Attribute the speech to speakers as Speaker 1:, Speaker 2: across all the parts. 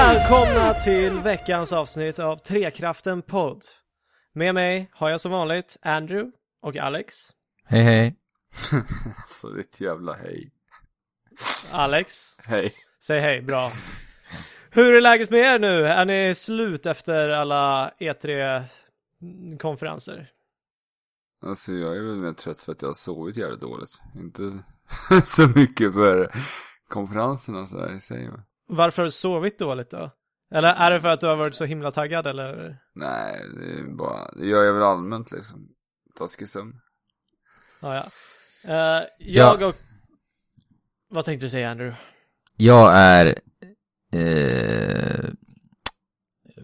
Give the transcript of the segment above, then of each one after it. Speaker 1: välkomna till veckans avsnitt av Trekraften podd. Med mig har jag som vanligt Andrew och Alex.
Speaker 2: Hej hej.
Speaker 3: Alltså ditt jävla hej.
Speaker 1: Alex,
Speaker 3: Hej.
Speaker 1: säg hej, bra. Hur är läget med er nu? Är ni slut efter alla E E3-konferenser?
Speaker 3: Alltså jag är väl mer trött för att jag har sovit jävligt dåligt. Inte så mycket för konferenserna så här i sig. men-
Speaker 1: Varför har du sovit dåligt då? Eller är det för att du har varit så himla taggad eller?
Speaker 3: Nej, det är bara, det gör jag väl allmänt liksom. Taskig sömn.
Speaker 1: Ja, ja. Eh, jag och... Vad tänkte du säga Andrew?
Speaker 2: Jag är eh,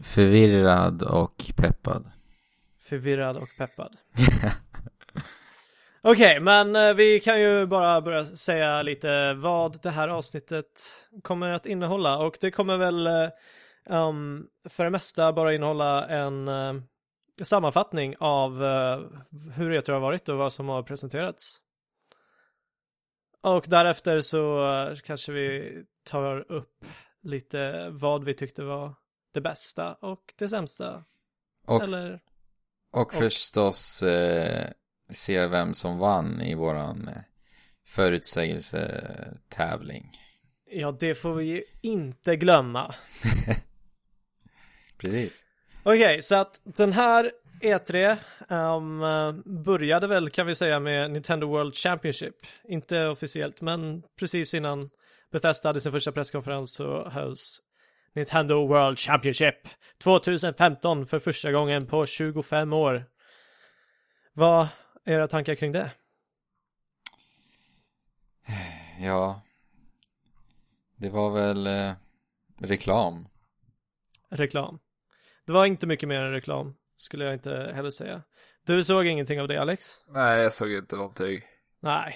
Speaker 2: förvirrad och peppad.
Speaker 1: Förvirrad och peppad. Okej, men eh, vi kan ju bara börja säga lite vad det här avsnittet kommer att innehålla och det kommer väl eh, ehm, för det mesta bara innehålla en eh, sammanfattning av eh, hur E3 har varit och vad som har presenterats. Och därefter så eh, kanske vi tar upp lite vad vi tyckte var det bästa och det sämsta.
Speaker 2: Och,
Speaker 1: Eller
Speaker 2: och förstås eh, se vem som vann i våran eh, förutsägelsetävling.
Speaker 1: Ja, det får vi ju inte glömma.
Speaker 2: Precis.
Speaker 1: Okej, så att den här E3 ehm, eh, började väl kan vi säga med Nintendo World Championship. Inte officiellt, men precis innan Bethesda hade sin första presskonferens så hölls Nintendo World Championship 2015 för första gången på 25 år. Vad är era tankar kring det?
Speaker 2: Ja. Det var väl eh, reklam.
Speaker 1: Reklam. Det var inte mycket mer än reklam, skulle jag inte heller säga. Du såg ingenting av det, Alex?
Speaker 3: Nej, jag såg inte någonting.
Speaker 1: Nej.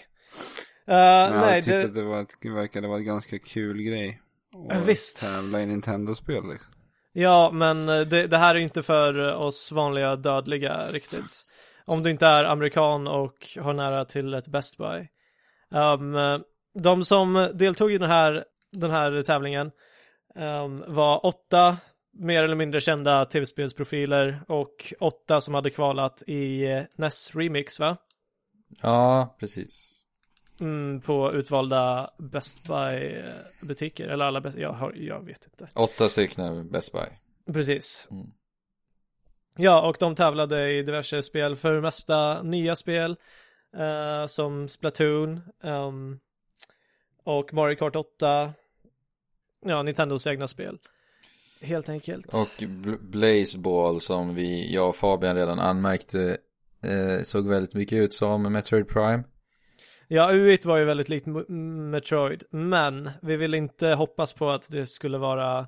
Speaker 1: Eh,
Speaker 3: Men
Speaker 1: nej,
Speaker 3: jag tyckte
Speaker 1: det,
Speaker 3: att det var ett, det verkade vara en ganska kul grej.
Speaker 1: Ja,
Speaker 3: Att
Speaker 1: visst.
Speaker 3: Tävla i Nintendo-spel liksom.
Speaker 1: ja, men eh, det, det här är ju inte för eh, oss vanliga dödliga riktigt. Om du inte är amerikan och har nära till ett Best Buy. Ehm, de som deltog i den här, den här tävlingen ehm, var åtta mer eller mindre kända tv-spelsprofiler och åtta som hade kvalat i eh, NES Remix, va?
Speaker 2: Ja, precis.
Speaker 1: Mm, på utvalda Best Buy-butiker, eller alla Best... Jag, har, jag vet inte.
Speaker 2: Åtta stycken Best Buy.
Speaker 1: Precis.
Speaker 2: Mm.
Speaker 1: Ja, och de tävlade i diverse spel, för det mesta nya spel eh, som Splatoon ehm, och Mario Kart 8. Ja, Nintendos egna spel. Helt enkelt.
Speaker 2: Och Bl- Blazeball som vi, jag och Fabian redan anmärkte eh, såg väldigt mycket ut som Metroid Prime.
Speaker 1: Ja, Uit var ju väldigt likt M- M- Metroid, men vi ville inte hoppas på att det skulle vara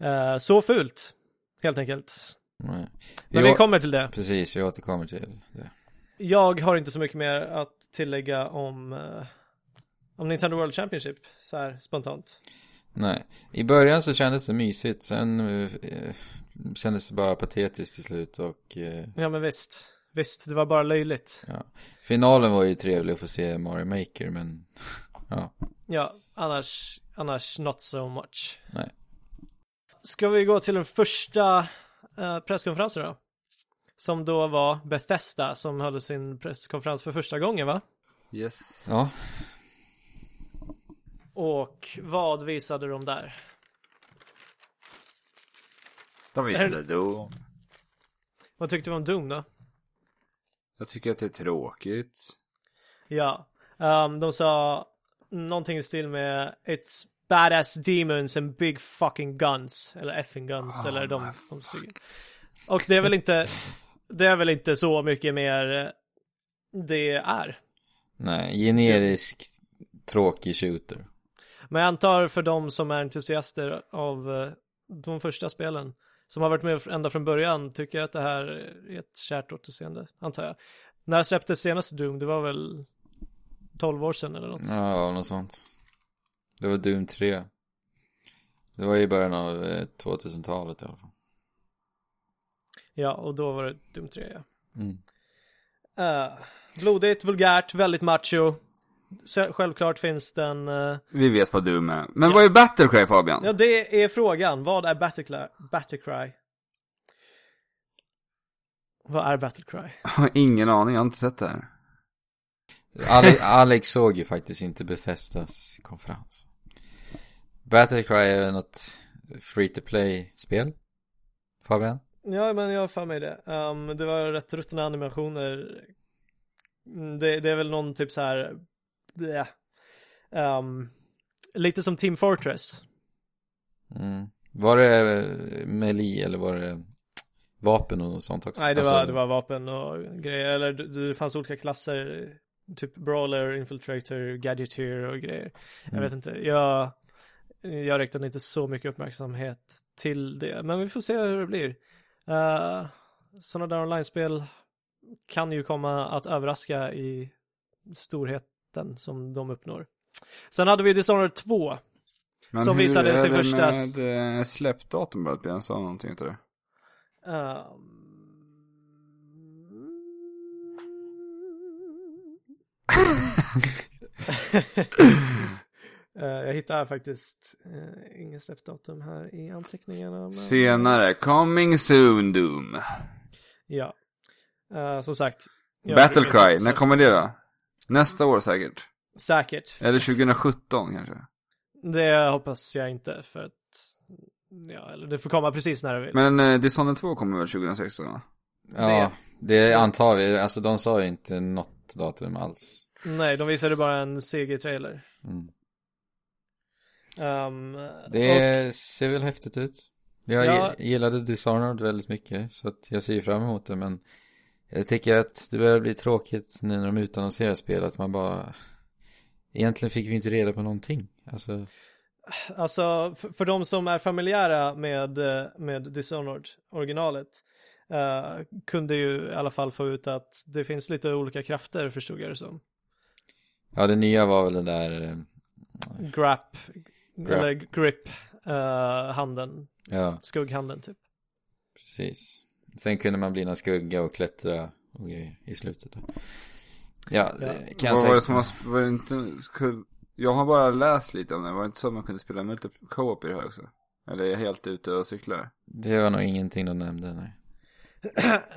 Speaker 1: eh, så fult, helt enkelt.
Speaker 2: Nej.
Speaker 1: Men
Speaker 2: Vi
Speaker 1: vi
Speaker 2: å-
Speaker 1: kommer till det.
Speaker 2: Precis, vi återkommer till det.
Speaker 1: Jag har inte så mycket mer att tillägga om, eh, om Nintendo World Championship så här spontant.
Speaker 2: Nej, i början så kändes det mysigt, sen eh, eh, kändes det bara patetiskt till slut och eh,
Speaker 1: Ja men visst, visst, det var bara löjligt.
Speaker 2: ja. Finalen var ju trevlig att få se Mario Maker men ja,
Speaker 1: Ja, annars, annars not so much.
Speaker 2: nej.
Speaker 1: Ska vi gå till den första eh, presskonferensen då? Som då var Bethesda som höll sin presskonferens för första gången va?
Speaker 3: Yes.
Speaker 2: Ja,
Speaker 1: Och vad visade de där?
Speaker 3: De
Speaker 1: visade
Speaker 3: då.
Speaker 1: Vad tyckte vi om Doom då?
Speaker 3: Jag tycker att det är tråkigt.
Speaker 1: Ja, ehm, de sa någonting i stil med It's badass demons and big fucking guns. Eller effing guns, eller de, de suger. Och det är väl inte, det är väl inte så mycket mer eh, det är.
Speaker 2: nej, generisk tråkig shooter.
Speaker 1: Men jag antar för de som är entusiaster av eh, de första spelen som har varit med ända från början tycker jag att det här är ett kärt återseende, antar jag. När släpptes senaste Doom? Det var väl 12 år sedan eller något?
Speaker 2: Ja, något sånt. Det var Doom 3. Det var i början av eh, 2000-talet i alla fall.
Speaker 1: Ja, och då var det Doom 3 ja.
Speaker 2: Mm.
Speaker 1: Eh, blodigt, vulgärt, väldigt macho. själv- Självklart finns den... eh,
Speaker 3: Vi vet vad du med. Men vad är Battlecry Fabian?
Speaker 1: Ja, det är frågan. Vad är Battlecry? Battlecry? Vad är Battlecry?
Speaker 3: Jag har ingen aning, jag har inte sett det här.
Speaker 2: Ale- Alex såg ju faktiskt inte Bethesdas konferens. Battlecry är något free to play-spel. Fabian?
Speaker 1: Ja, men jag har för mig det. Ehm, det var rätt ruttna animationer. Mm, Det, det är väl någon typ så här... bleh. Ehm, lite som Team Fortress.
Speaker 2: Mm. Var det eh, melee eller var det vapen och sånt också?
Speaker 1: Nej, det,
Speaker 2: Alltså,
Speaker 1: var, det var vapen och grejer. Eller det, det fanns olika klasser. Typ Brawler, Infiltrator, Gadgeteer och grejer. Jag
Speaker 2: Mm.
Speaker 1: vet inte. Jag, jag riktade inte så mycket uppmärksamhet till det. Men vi får se hur det blir. Uh, Sådana där online-spel kan ju komma att överraska i storheten som de uppnår. Sen hade vi Dishonored 2.
Speaker 3: Men
Speaker 1: Som
Speaker 3: hur
Speaker 1: visade
Speaker 3: är
Speaker 1: sig
Speaker 3: det
Speaker 1: förstas.
Speaker 3: med eh, släppdatum börjat bli? Han sa någonting inte det.
Speaker 1: Ehm. Eh, jag hittar faktiskt uh, ingen släppdatum här i anteckningarna. men-
Speaker 3: Senare, coming soon Doom.
Speaker 1: Ja. Eh, som sagt. jag bryr mig
Speaker 3: Battlecry,
Speaker 1: inte
Speaker 3: när
Speaker 1: så-
Speaker 3: kommer det då? Nästa år säkert.
Speaker 1: Säkert.
Speaker 3: Eller 2017 kanske.
Speaker 1: Det hoppas jag inte för att... Ja, eller det får komma precis när det vill.
Speaker 3: Men eh, Dishonored 2 kommer väl 2016? va?
Speaker 2: Ja, det antar vi. Alltså de sa ju inte något datum alls.
Speaker 1: Nej, de visade bara en CG-trailer.
Speaker 2: Mm.
Speaker 1: Ehm, och-
Speaker 2: Det ser väl häftigt ut. Jag
Speaker 1: Ja.
Speaker 2: gillade Dishonored väldigt mycket så att jag ser fram emot det men jag tycker att det börjar bli tråkigt nu när de utannonserar spel att man bara egentligen fick vi inte reda på någonting. Alltså,
Speaker 1: Alltså, för, för de som är familjära med, eh, med Dishonored, originalet, eh, kunde ju i alla fall få ut att det finns lite olika krafter, förstod jag det som.
Speaker 2: ja det nya var väl den där, eh,
Speaker 1: Grap,
Speaker 2: Grap.
Speaker 1: eller grip, eh, handen,
Speaker 2: ja
Speaker 1: skugghanden typ.
Speaker 2: precis. Sen kunde man bli någon skugga och klättra och grejer i slutet då. Ja,
Speaker 1: Ja.
Speaker 2: det kan jag
Speaker 3: Vad var det
Speaker 2: säga.
Speaker 3: som var, var det inte, skulle- jag har bara läst lite om det, var det inte så att man kunde spela multiple co-op i det här också? Eller är jag helt ute och cyklar?
Speaker 2: Det var nog ingenting de nämnde, nej.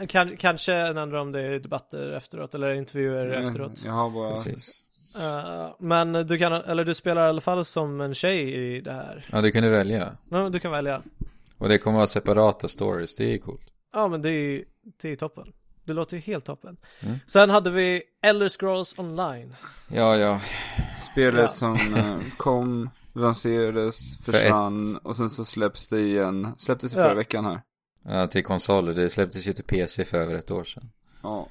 Speaker 1: Kan, kanske en andra om det är debatter efteråt, eller intervjuer
Speaker 3: Mm,
Speaker 1: efteråt.
Speaker 3: Jag har bara,
Speaker 2: Precis.
Speaker 1: Eh, men du kan, eller du spelar i alla fall som en tjej i det här.
Speaker 2: Ja, du kunde välja.
Speaker 1: Ja, Du kan välja.
Speaker 2: Och det kommer vara separata stories, det är ju coolt.
Speaker 1: Ja men det är ju det är toppen. Det låter ju helt toppen. Sen hade vi Elder Scrolls Online.
Speaker 2: Ja, ja.
Speaker 3: spelet
Speaker 1: Ja.
Speaker 3: som eh, kom, lanserades, försvann och sen så släpps det igen, släpptes i
Speaker 1: Ja.
Speaker 3: förra veckan här.
Speaker 2: ja till konsoler, det släpptes ju till PC för över ett år sedan.
Speaker 3: Ja.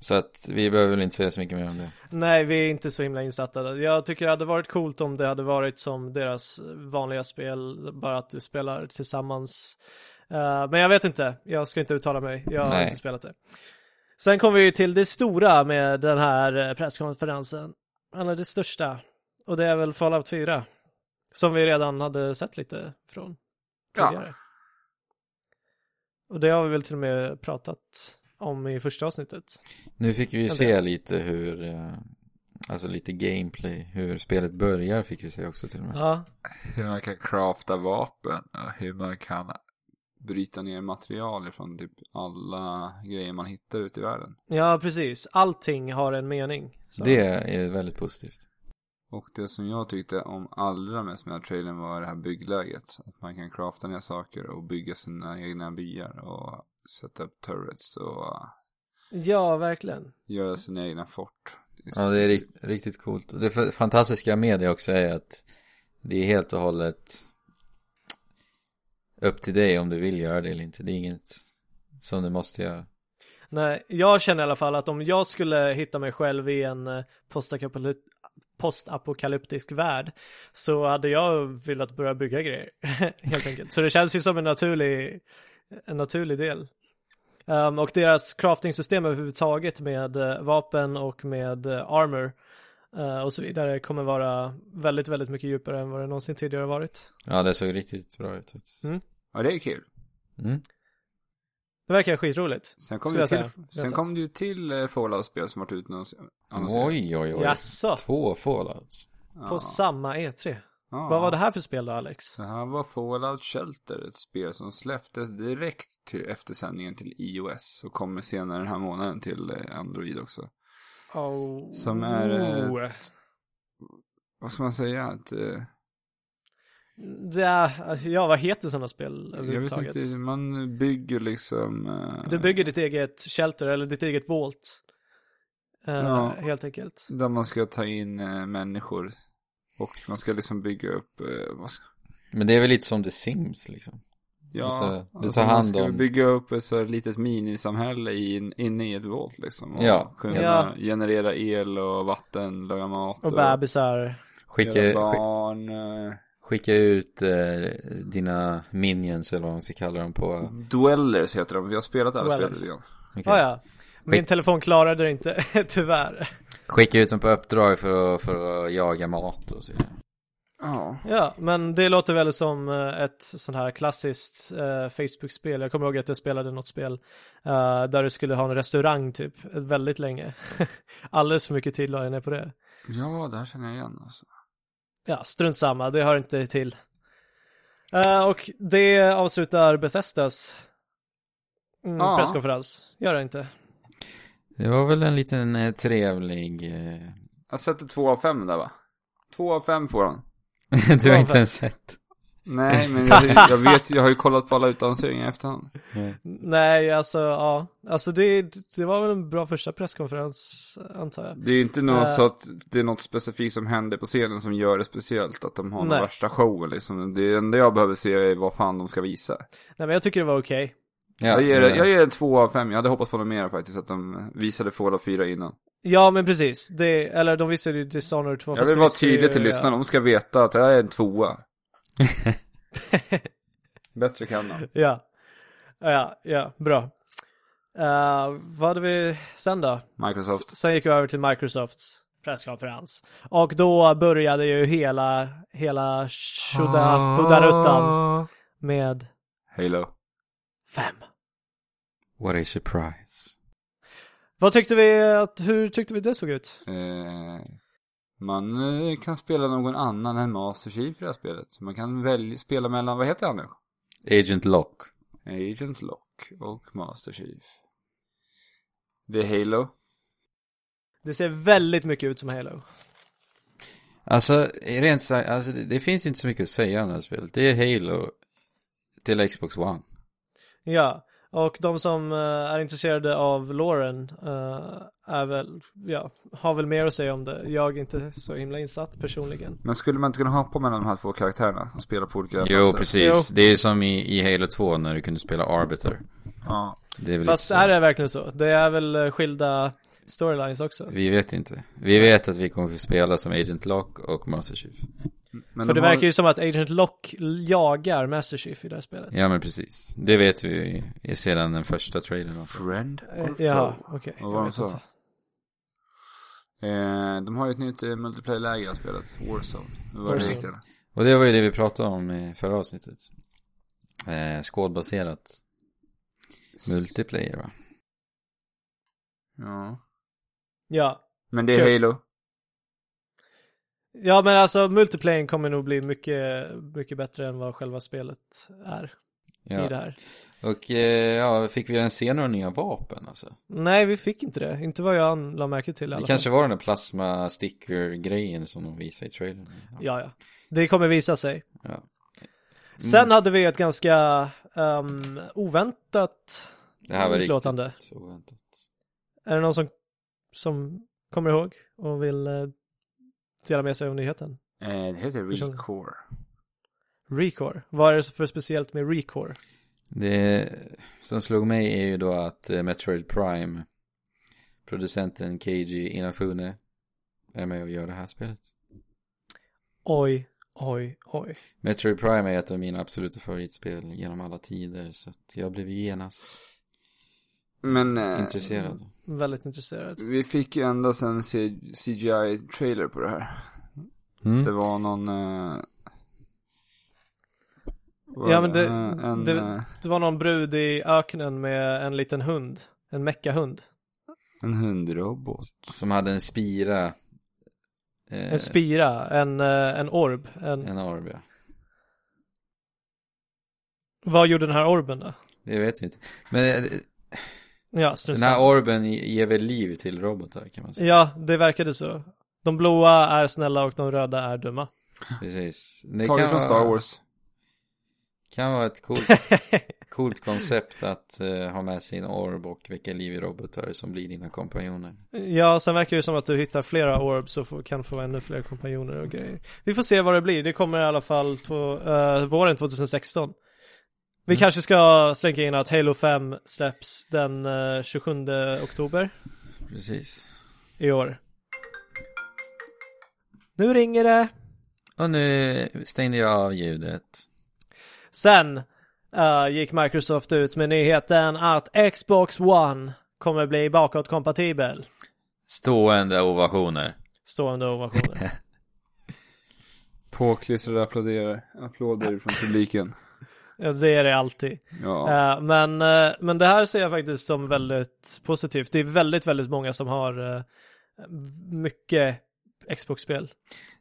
Speaker 2: Så att vi behöver väl inte säga så mycket mer om det.
Speaker 1: Nej, vi är inte så himla insatta. Jag tycker det hade varit coolt om det hade varit som deras vanliga spel, bara att du spelar tillsammans. Eh, men jag vet inte, jag ska inte uttala mig, jag har
Speaker 2: Nej.
Speaker 1: inte spelat det. Sen kom vi ju till det stora med den här eh, presskonferensen. Eller det största. Och det är väl Fallout 4. Som vi redan hade sett lite från
Speaker 3: Ja.
Speaker 1: tidigare. Och det har vi väl till och med pratat om i första avsnittet.
Speaker 2: Nu fick vi ju
Speaker 1: Jag
Speaker 2: se
Speaker 1: vet.
Speaker 2: lite hur, eh, alltså lite gameplay, hur spelet börjar fick vi se också till och med.
Speaker 1: Ja,
Speaker 3: Hur man kan crafta vapen och hur man kan bryta ner material från typ alla grejer man hittar ute i världen.
Speaker 1: Ja, precis. Allting har en mening. Så.
Speaker 2: Det är väldigt positivt.
Speaker 3: Och det som jag tyckte om allra mest med den här trailern var det här byggläget. Att man kan crafta ner saker och bygga sina egna byar och sätta upp turrets och uh,
Speaker 1: Ja, verkligen.
Speaker 3: göra sina egna fort. Det är
Speaker 2: Ja, det är rikt, riktigt coolt. Och det f- fantastiska med det också är att det är helt och hållet upp till dig om du vill göra det eller inte. Det är inget som du måste göra.
Speaker 1: Nej, jag känner i alla fall att om jag skulle hitta mig själv i en eh, postakapaly- postapokalyptisk värld så hade jag velat börja bygga grejer, helt enkelt. Så det känns ju som en naturlig, en naturlig del. Ehm, och deras crafting-system överhuvudtaget med eh, vapen och med eh, armor eh, och så vidare kommer vara väldigt, väldigt mycket djupare än vad det någonsin tidigare varit.
Speaker 2: Ja, det såg riktigt bra ut.
Speaker 1: Mm.
Speaker 3: Ja, det är kul.
Speaker 2: Mm.
Speaker 1: Det verkar skitroligt.
Speaker 3: Sen kom,
Speaker 1: Skulle
Speaker 3: det
Speaker 1: jag
Speaker 3: till,
Speaker 1: säga.
Speaker 3: sen
Speaker 1: Väntat.
Speaker 3: kom det ju till eh, Fallout-spel som varit utannonserat.
Speaker 2: Oj, oj, oj.
Speaker 1: Jaså?
Speaker 2: Två fallouts.
Speaker 1: På samma E3?
Speaker 3: Ja.
Speaker 1: Vad var det här för spel då Alex?
Speaker 3: Det här var Fallout Shelter, ett spel som släpptes direkt till eftersändningen till iOS och kommer senare den här månaden till eh, Android också.
Speaker 1: Oh.
Speaker 3: Som är, eh, Vad ska man säga? Att, eh,
Speaker 1: Det är, ja, vad heter sådana spel
Speaker 3: jag vet
Speaker 1: överhuvudtaget?
Speaker 3: inte, eh, man bygger liksom... eh,
Speaker 1: Du bygger ditt eget shelter, eller ditt eget vault. Eh,
Speaker 3: Ja.
Speaker 1: Helt enkelt.
Speaker 3: Där man ska ta in eh, människor. Och man ska liksom bygga upp, eh, vad ska,
Speaker 2: Men det är väl lite som The Sims liksom.
Speaker 3: ja,
Speaker 2: Alltså, du tar
Speaker 3: man
Speaker 2: hand
Speaker 3: ska
Speaker 2: om-
Speaker 3: bygga upp ett så här litet minisamhälle in, inne i ett volt liksom. Och
Speaker 2: Ja.
Speaker 3: kunna
Speaker 1: Ja.
Speaker 3: generera el och vatten, laga mat
Speaker 1: Och bebisar.
Speaker 2: Skicka,
Speaker 3: göra
Speaker 2: sk-
Speaker 3: barn, eh,
Speaker 2: skicka ut eh, dina minions eller vad man ska kalla dem på.
Speaker 3: Dwellers heter de, vi har spelat alla spel
Speaker 1: Dwellers.
Speaker 3: lite grann.
Speaker 2: Okej.
Speaker 1: Ah, ja. Min telefon klarade det inte, tyvärr.
Speaker 2: Skicka ut dem på uppdrag för att, för att jaga mat och så vidare.
Speaker 3: Ja.
Speaker 1: Ja, men det låter väl som eh, ett sånt här klassiskt eh, Facebook-spel. Jag kommer ihåg att jag spelade något spel eh, där du skulle ha en restaurang typ, väldigt länge. Alldeles för mycket tid la jag ner på det.
Speaker 3: ja, det här känner jag igen alltså.
Speaker 1: Ja, strunt samma, det hör inte till. Eh, och det avslutar Bethesdas mm,
Speaker 3: Ja.
Speaker 1: presskonferens. Gör det inte.
Speaker 2: Det var väl en liten eh, trevlig... Eh...
Speaker 3: Jag sätter två av fem där va? Två av fem får han.
Speaker 2: du har inte ens sett.
Speaker 3: Nej, men jag, jag vet, jag har ju kollat på alla utannonseringar i efterhand.
Speaker 1: Nej, alltså ja. Alltså det, det var väl en bra första presskonferens, antar jag.
Speaker 3: Det är ju inte något
Speaker 1: Eh.
Speaker 3: så att det är något specifikt som händer på scenen som gör det speciellt, att de har
Speaker 1: Nej.
Speaker 3: den värsta showen liksom. Det enda jag behöver se är vad fan de ska visa.
Speaker 1: Nej, men jag tycker det var okej.
Speaker 2: Ja,
Speaker 3: jag, ger,
Speaker 2: det-
Speaker 3: jag ger en två av fem, jag hade hoppats på något mer faktiskt, att de visade Fallout 4 innan.
Speaker 1: Ja, men precis. Det, eller de visade ju Dishonored 2.
Speaker 3: Jag
Speaker 1: fast
Speaker 3: vill
Speaker 1: det
Speaker 3: vara
Speaker 1: visste ju-
Speaker 3: tydlig till
Speaker 1: ja.
Speaker 3: lyssnarna, de ska veta att det här är en tvåa. Bättre kan de.
Speaker 1: Ja. Ja, ja, bra. Eh, vad hade vi sen då?
Speaker 3: Microsoft.
Speaker 1: S- Sen gick vi över till Microsofts presskonferens. Och då började ju hela, hela tjodafudaruttan med
Speaker 3: Halo.
Speaker 1: fem.
Speaker 2: What a surprise.
Speaker 1: Vad tyckte vi, att, hur tyckte vi det såg ut?
Speaker 3: Eh, man eh, kan spela någon annan än Master Chief i det här spelet. Man kan välja, spela mellan, vad heter han nu?
Speaker 2: Agent Lock.
Speaker 3: Agent Lock och Master Chief. Det är Halo.
Speaker 1: Det ser väldigt mycket ut som Halo.
Speaker 2: Alltså, rent sagt, alltså, det, det finns inte så mycket att säga om det här spelet. Det är Halo till Xbox One.
Speaker 1: Ja, och de som eh, är intresserade av Lauren eh, är väl, ja, har väl mer att säga om det. Jag är inte så himla insatt personligen.
Speaker 3: Men skulle man inte kunna hoppa mellan de här två karaktärerna och spela på olika
Speaker 2: Jo, precis.
Speaker 1: Jo.
Speaker 2: Det är som i, i Halo 2 när du kunde spela Arbiter.
Speaker 3: Ja.
Speaker 2: Det är väl
Speaker 1: Fast
Speaker 2: lite så.
Speaker 1: är det verkligen så? Det är väl eh, skilda storylines också.
Speaker 2: Vi vet inte. Vi vet att vi kommer få spela som Agent Lock och Master Chief.
Speaker 3: Men
Speaker 1: För
Speaker 3: de
Speaker 1: det
Speaker 3: har-
Speaker 1: verkar ju som att Agent Lock jagar Master Chief i det här spelet.
Speaker 2: Ja, men precis. Det vet vi ju sedan den första trailern. var.
Speaker 3: Friend
Speaker 1: Eh,
Speaker 3: or
Speaker 1: Jaha,
Speaker 3: foe?
Speaker 1: okej.
Speaker 3: Vad
Speaker 1: jag
Speaker 3: var de
Speaker 1: vet
Speaker 3: sa?
Speaker 1: inte.
Speaker 3: Eh, de har ju ett nytt eh, multiplayer-läge i det här spelet. Warzone. Vad var det
Speaker 1: Warzone.
Speaker 3: riktiga?
Speaker 2: Och det var ju det vi pratade om i förra avsnittet. Eh, skådbaserat multiplayer, va?
Speaker 3: Ja.
Speaker 1: Ja.
Speaker 3: Men det är
Speaker 1: Kul.
Speaker 3: Halo.
Speaker 1: Ja men alltså multiplaying kommer nog bli mycket, mycket bättre än vad själva spelet är i det
Speaker 2: Ja.
Speaker 1: här.
Speaker 2: Och eh, ja, fick vi ens se några nya vapen alltså?
Speaker 1: Nej vi fick inte det, inte vad jag la märke till i alla
Speaker 2: Det
Speaker 1: fall.
Speaker 2: kanske var den där plasma sticker-grejen som de visade i trailern.
Speaker 1: Ja, ja. Det kommer visa sig.
Speaker 2: Ja. Mm.
Speaker 1: Sen hade vi ett ganska ehm, oväntat
Speaker 2: Det här var riktigt
Speaker 1: utlåtande.
Speaker 2: oväntat.
Speaker 1: Är det någon som, som kommer ihåg och vill eh, dela med sig av nyheten?
Speaker 3: Eh, det heter
Speaker 1: Förstår du?
Speaker 3: Recore.
Speaker 1: Recore. Vad är det för speciellt med Recore?
Speaker 2: Det som slog mig är ju då att eh, Metroid Prime producenten KG Inafune är med och gör det här spelet.
Speaker 1: Oj, oj, oj.
Speaker 2: Metroid Prime är ett av mina absoluta favoritspel genom alla tider så att jag blev genast
Speaker 3: Men... eh,
Speaker 2: intresserad.
Speaker 1: Väldigt intresserad.
Speaker 3: Vi fick ju endast en CGI-trailer
Speaker 1: Mm.
Speaker 3: Mm. på det här. Det
Speaker 2: Mm.
Speaker 3: var någon... Eh, Var
Speaker 1: Ja, men det-
Speaker 3: eh, en,
Speaker 1: det-
Speaker 3: eh,
Speaker 1: Det var någon brud i öknen med en liten hund. En meckahund.
Speaker 3: en hundrobot.
Speaker 2: Som hade en spira. Eh,
Speaker 1: En spira, en, eh, en orb. En...
Speaker 2: En orb, ja.
Speaker 1: Vad gjorde den här orben då?
Speaker 2: Det vet vi inte. Men eh,
Speaker 1: Ja,
Speaker 2: den
Speaker 1: strusen.
Speaker 2: här orben ger väl liv till robotar kan man säga.
Speaker 1: Ja, det verkade så. De blåa är snälla och de röda är dumma.
Speaker 2: Precis. Det
Speaker 3: Taget från
Speaker 2: vara-
Speaker 3: Star Wars.
Speaker 2: kan vara ett coolt, coolt koncept att eh, ha med sig en orb och väcka liv i robotar som blir dina kompanjoner.
Speaker 1: Ja, sen verkar det som att du hittar flera orbs och får, kan få ännu fler kompanjoner och grejer. Vi får se vad det blir. Det kommer i alla fall på eh, våren 2016. Vi kanske ska slänga in att Halo 5 släpps den eh, 27 oktober
Speaker 2: Precis.
Speaker 1: i år. Nu ringer det.
Speaker 2: Och nu stängde jag av ljudet.
Speaker 1: Sen eh, gick Microsoft ut med nyheten att Xbox One kommer bli bakåtkompatibel.
Speaker 2: Stående ovationer.
Speaker 1: Stående ovationer.
Speaker 3: Påklistrade applåderar. Applåder från publiken.
Speaker 1: Ja, det är det alltid.
Speaker 3: Ja.
Speaker 1: Eh, men, eh, men det här ser jag faktiskt som väldigt positivt. Det är väldigt, väldigt många som har eh, mycket Xbox-spel.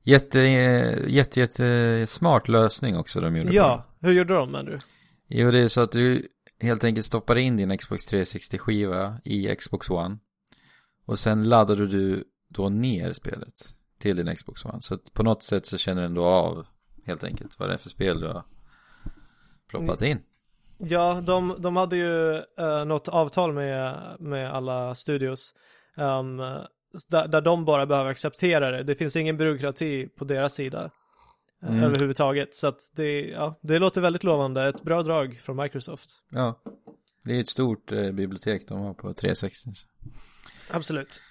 Speaker 2: Jätte, eh, jätte, jätte smart lösning också de gjorde. på
Speaker 1: Ja,
Speaker 2: det.
Speaker 1: hur gjorde de menar du?
Speaker 2: Jo, det är så att du helt enkelt stoppar in din Xbox 360-skiva i Xbox One. Och sen laddade du då ner spelet till din Xbox One. Så att på något sätt så känner den då av helt enkelt vad det är för spel du har ploppat in.
Speaker 1: Ja, de, de hade ju eh, något avtal med, med alla studios ehm, där, där de bara behöver acceptera det. Det finns ingen byråkrati på deras sida eh,
Speaker 2: Mm.
Speaker 1: överhuvudtaget. Så att det, ja, det låter väldigt lovande. Ett bra drag från Microsoft.
Speaker 2: Ja. Det är ett stort eh, bibliotek de har på 360. så.
Speaker 1: Absolut.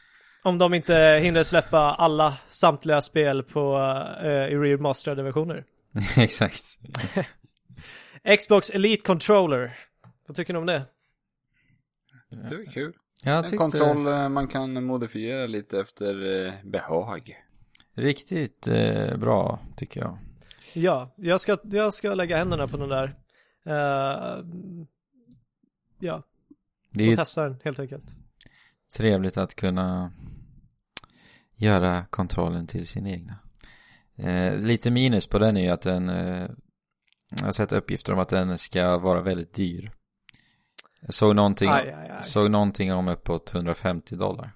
Speaker 1: Om de inte hinner släppa alla samtliga spel på eh, i remasterade versioner.
Speaker 2: Exakt.
Speaker 1: Xbox Elite Controller. Vad tycker ni om det?
Speaker 3: Det var kul.
Speaker 2: Jag
Speaker 3: En
Speaker 2: tyckte
Speaker 3: kontroll eh, man kan modifiera lite efter eh, behag.
Speaker 2: riktigt eh, bra tycker jag.
Speaker 1: Ja, jag ska, jag ska lägga händerna på den där. Eh, ja,
Speaker 2: Det är
Speaker 1: och
Speaker 2: ju
Speaker 1: testa den helt enkelt.
Speaker 2: trevligt att kunna göra kontrollen till sin egna. Eh, lite minus på den är ju att den, eh, jag har sett uppgifter om att den ska vara väldigt dyr. Jag såg någonting,
Speaker 1: Aj, aj, aj.
Speaker 2: såg någonting om uppåt 150 dollar.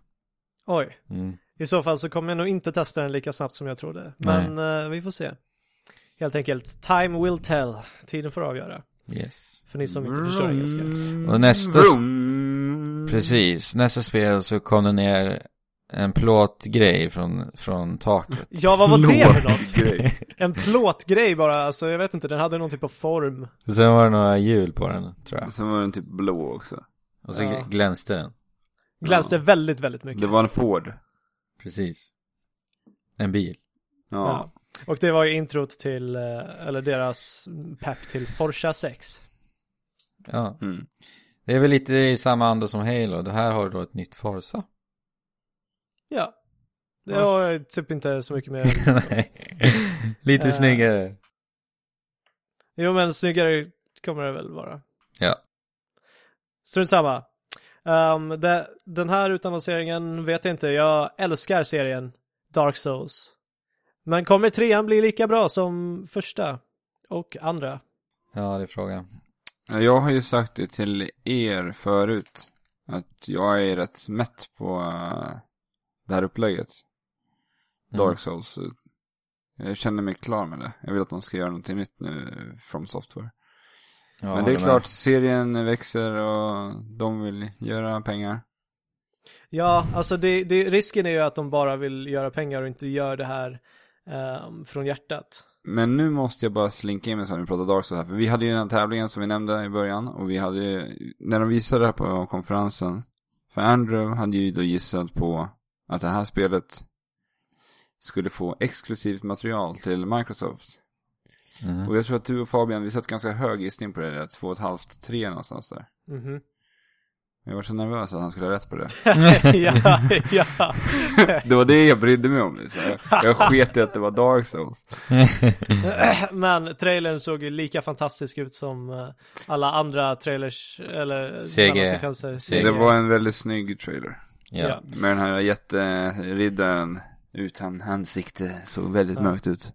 Speaker 1: Oj,
Speaker 2: Mm.
Speaker 1: i så fall så kommer jag nog inte testa den lika snabbt som jag trodde. Men eh, vi får se. Helt enkelt, time will tell. Tiden får avgöra.
Speaker 2: Yes.
Speaker 1: För ni som inte förstår engelska.
Speaker 2: Och nästa, s-
Speaker 1: Mm.
Speaker 3: Vroom.
Speaker 2: precis, nästa spel så kom det ner en plåtgrej från, från taket.
Speaker 1: Ja, vad var det för något?
Speaker 3: Grej.
Speaker 1: En plåtgrej bara, alltså jag vet inte, den hade någon typ av form.
Speaker 2: Sen var det några hjul på den, tror jag.
Speaker 3: Sen var den typ blå också.
Speaker 2: Och så
Speaker 1: Ja.
Speaker 2: glänste den.
Speaker 1: Glänste
Speaker 3: Ja.
Speaker 1: väldigt, väldigt mycket.
Speaker 3: Det var en Ford.
Speaker 2: Precis. En bil.
Speaker 3: Ja.
Speaker 1: Ja. Och det var ju introt till, eh, eller deras pepp till Forza 6.
Speaker 2: Ja.
Speaker 3: Mm.
Speaker 2: Det är väl lite i samma anda som Halo. Det här har då ett nytt Forza.
Speaker 1: Ja. Det var ju typ inte så mycket mer.
Speaker 2: lite
Speaker 1: Eh.
Speaker 2: snyggare.
Speaker 1: Jo men snyggare kommer det väl vara.
Speaker 2: Ja.
Speaker 1: Strunt samma. Ehm, det, den här utannonseringen vet jag inte, jag älskar serien Dark Souls. Men kommer trean bli lika bra som första? Och andra?
Speaker 2: Ja, det är frågan.
Speaker 3: Jag har ju sagt det till er förut. Att jag är rätt mätt på eh, det här upplägget.
Speaker 2: Mm.
Speaker 3: Dark Souls. Jag känner mig klar med det. Jag vill att de ska göra någonting nytt nu, From Software. Men
Speaker 2: Ja,
Speaker 3: det är
Speaker 2: håller med.
Speaker 3: klart, serien växer och de vill göra pengar.
Speaker 1: Ja, alltså det, det, risken är ju att de bara vill göra pengar och inte gör det här ehm, från hjärtat.
Speaker 3: Men nu måste jag bara slinka in mig så här när vi pratar Dark Souls här. För vi hade ju den här tävlingen som vi nämnde i början. Och vi hade ju, när de visade det här på konferensen. För Andrew hade ju då gissat på att det här spelet skulle få exklusivt material till Microsoft.
Speaker 2: Mhm.
Speaker 3: Och jag tror att du och Fabian, vi satt ganska hög gissning på det där. Två och ett halvt, tre någonstans där.
Speaker 1: Mhm.
Speaker 3: Jag var så nervös att han skulle ha rätt på det.
Speaker 1: ja, ja.
Speaker 3: Det var det jag brydde mig om liksom. Jag, jag sket i att det var Dark Souls.
Speaker 1: Men trailern såg ju lika fantastisk ut som eh, alla andra trailers, eller
Speaker 2: CG.
Speaker 1: mellansekvenser.
Speaker 2: CG.
Speaker 3: Det var en väldigt snygg trailer.
Speaker 1: Ja.
Speaker 2: Ja.
Speaker 3: Med den här jätteriddaren utan ansikte, såg väldigt mörkt ut.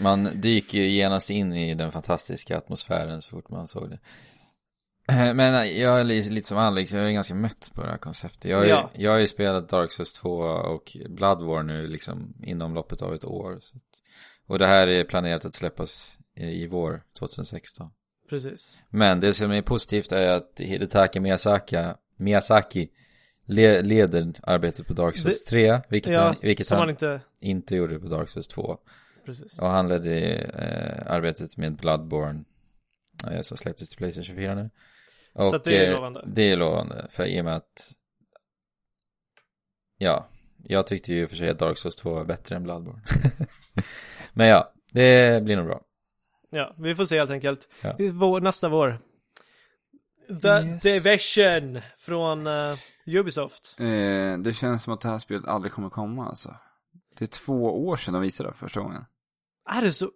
Speaker 2: Man dyker ju genast in i den fantastiska atmosfären så fort man såg det. Men jag är li- lite som Alex, jag är ganska mött på det här konceptet. Jag har ju,
Speaker 1: Ja.
Speaker 2: jag har ju spelat Dark Souls 2 och Bloodborne nu liksom inom loppet av ett år. Så att, och det här är planerat att släppas i, i vår, 2016.
Speaker 1: Precis.
Speaker 2: Men det som är positivt är att Hidetaki Miyazaki, Miyazaki le, leder arbetet på Dark Souls 3, vilket
Speaker 1: Ja,
Speaker 2: han, vilket
Speaker 1: som
Speaker 2: han
Speaker 1: man inte...
Speaker 2: inte gjorde på Dark Souls 2.
Speaker 1: Precis.
Speaker 2: Och han ledde eh, arbetet med Bloodborne eh, som släpptes till Playstation 4 nu. Och,
Speaker 1: Så att det är
Speaker 2: eh,
Speaker 1: lovande.
Speaker 2: Det är lovande, för i och med att... Ja, jag tyckte ju i och för sig att Dark Souls 2 var bättre än Bloodborne. Men ja, det blir nog bra.
Speaker 1: Ja, vi får se helt enkelt.
Speaker 2: Ja.
Speaker 1: Det är vår, nästa vår. The
Speaker 2: Yes.
Speaker 1: Division från eh, Ubisoft.
Speaker 3: Eh, det känns som att det här spelet aldrig kommer komma alltså. Det är två år sedan de visade det första gången.
Speaker 1: Är det så?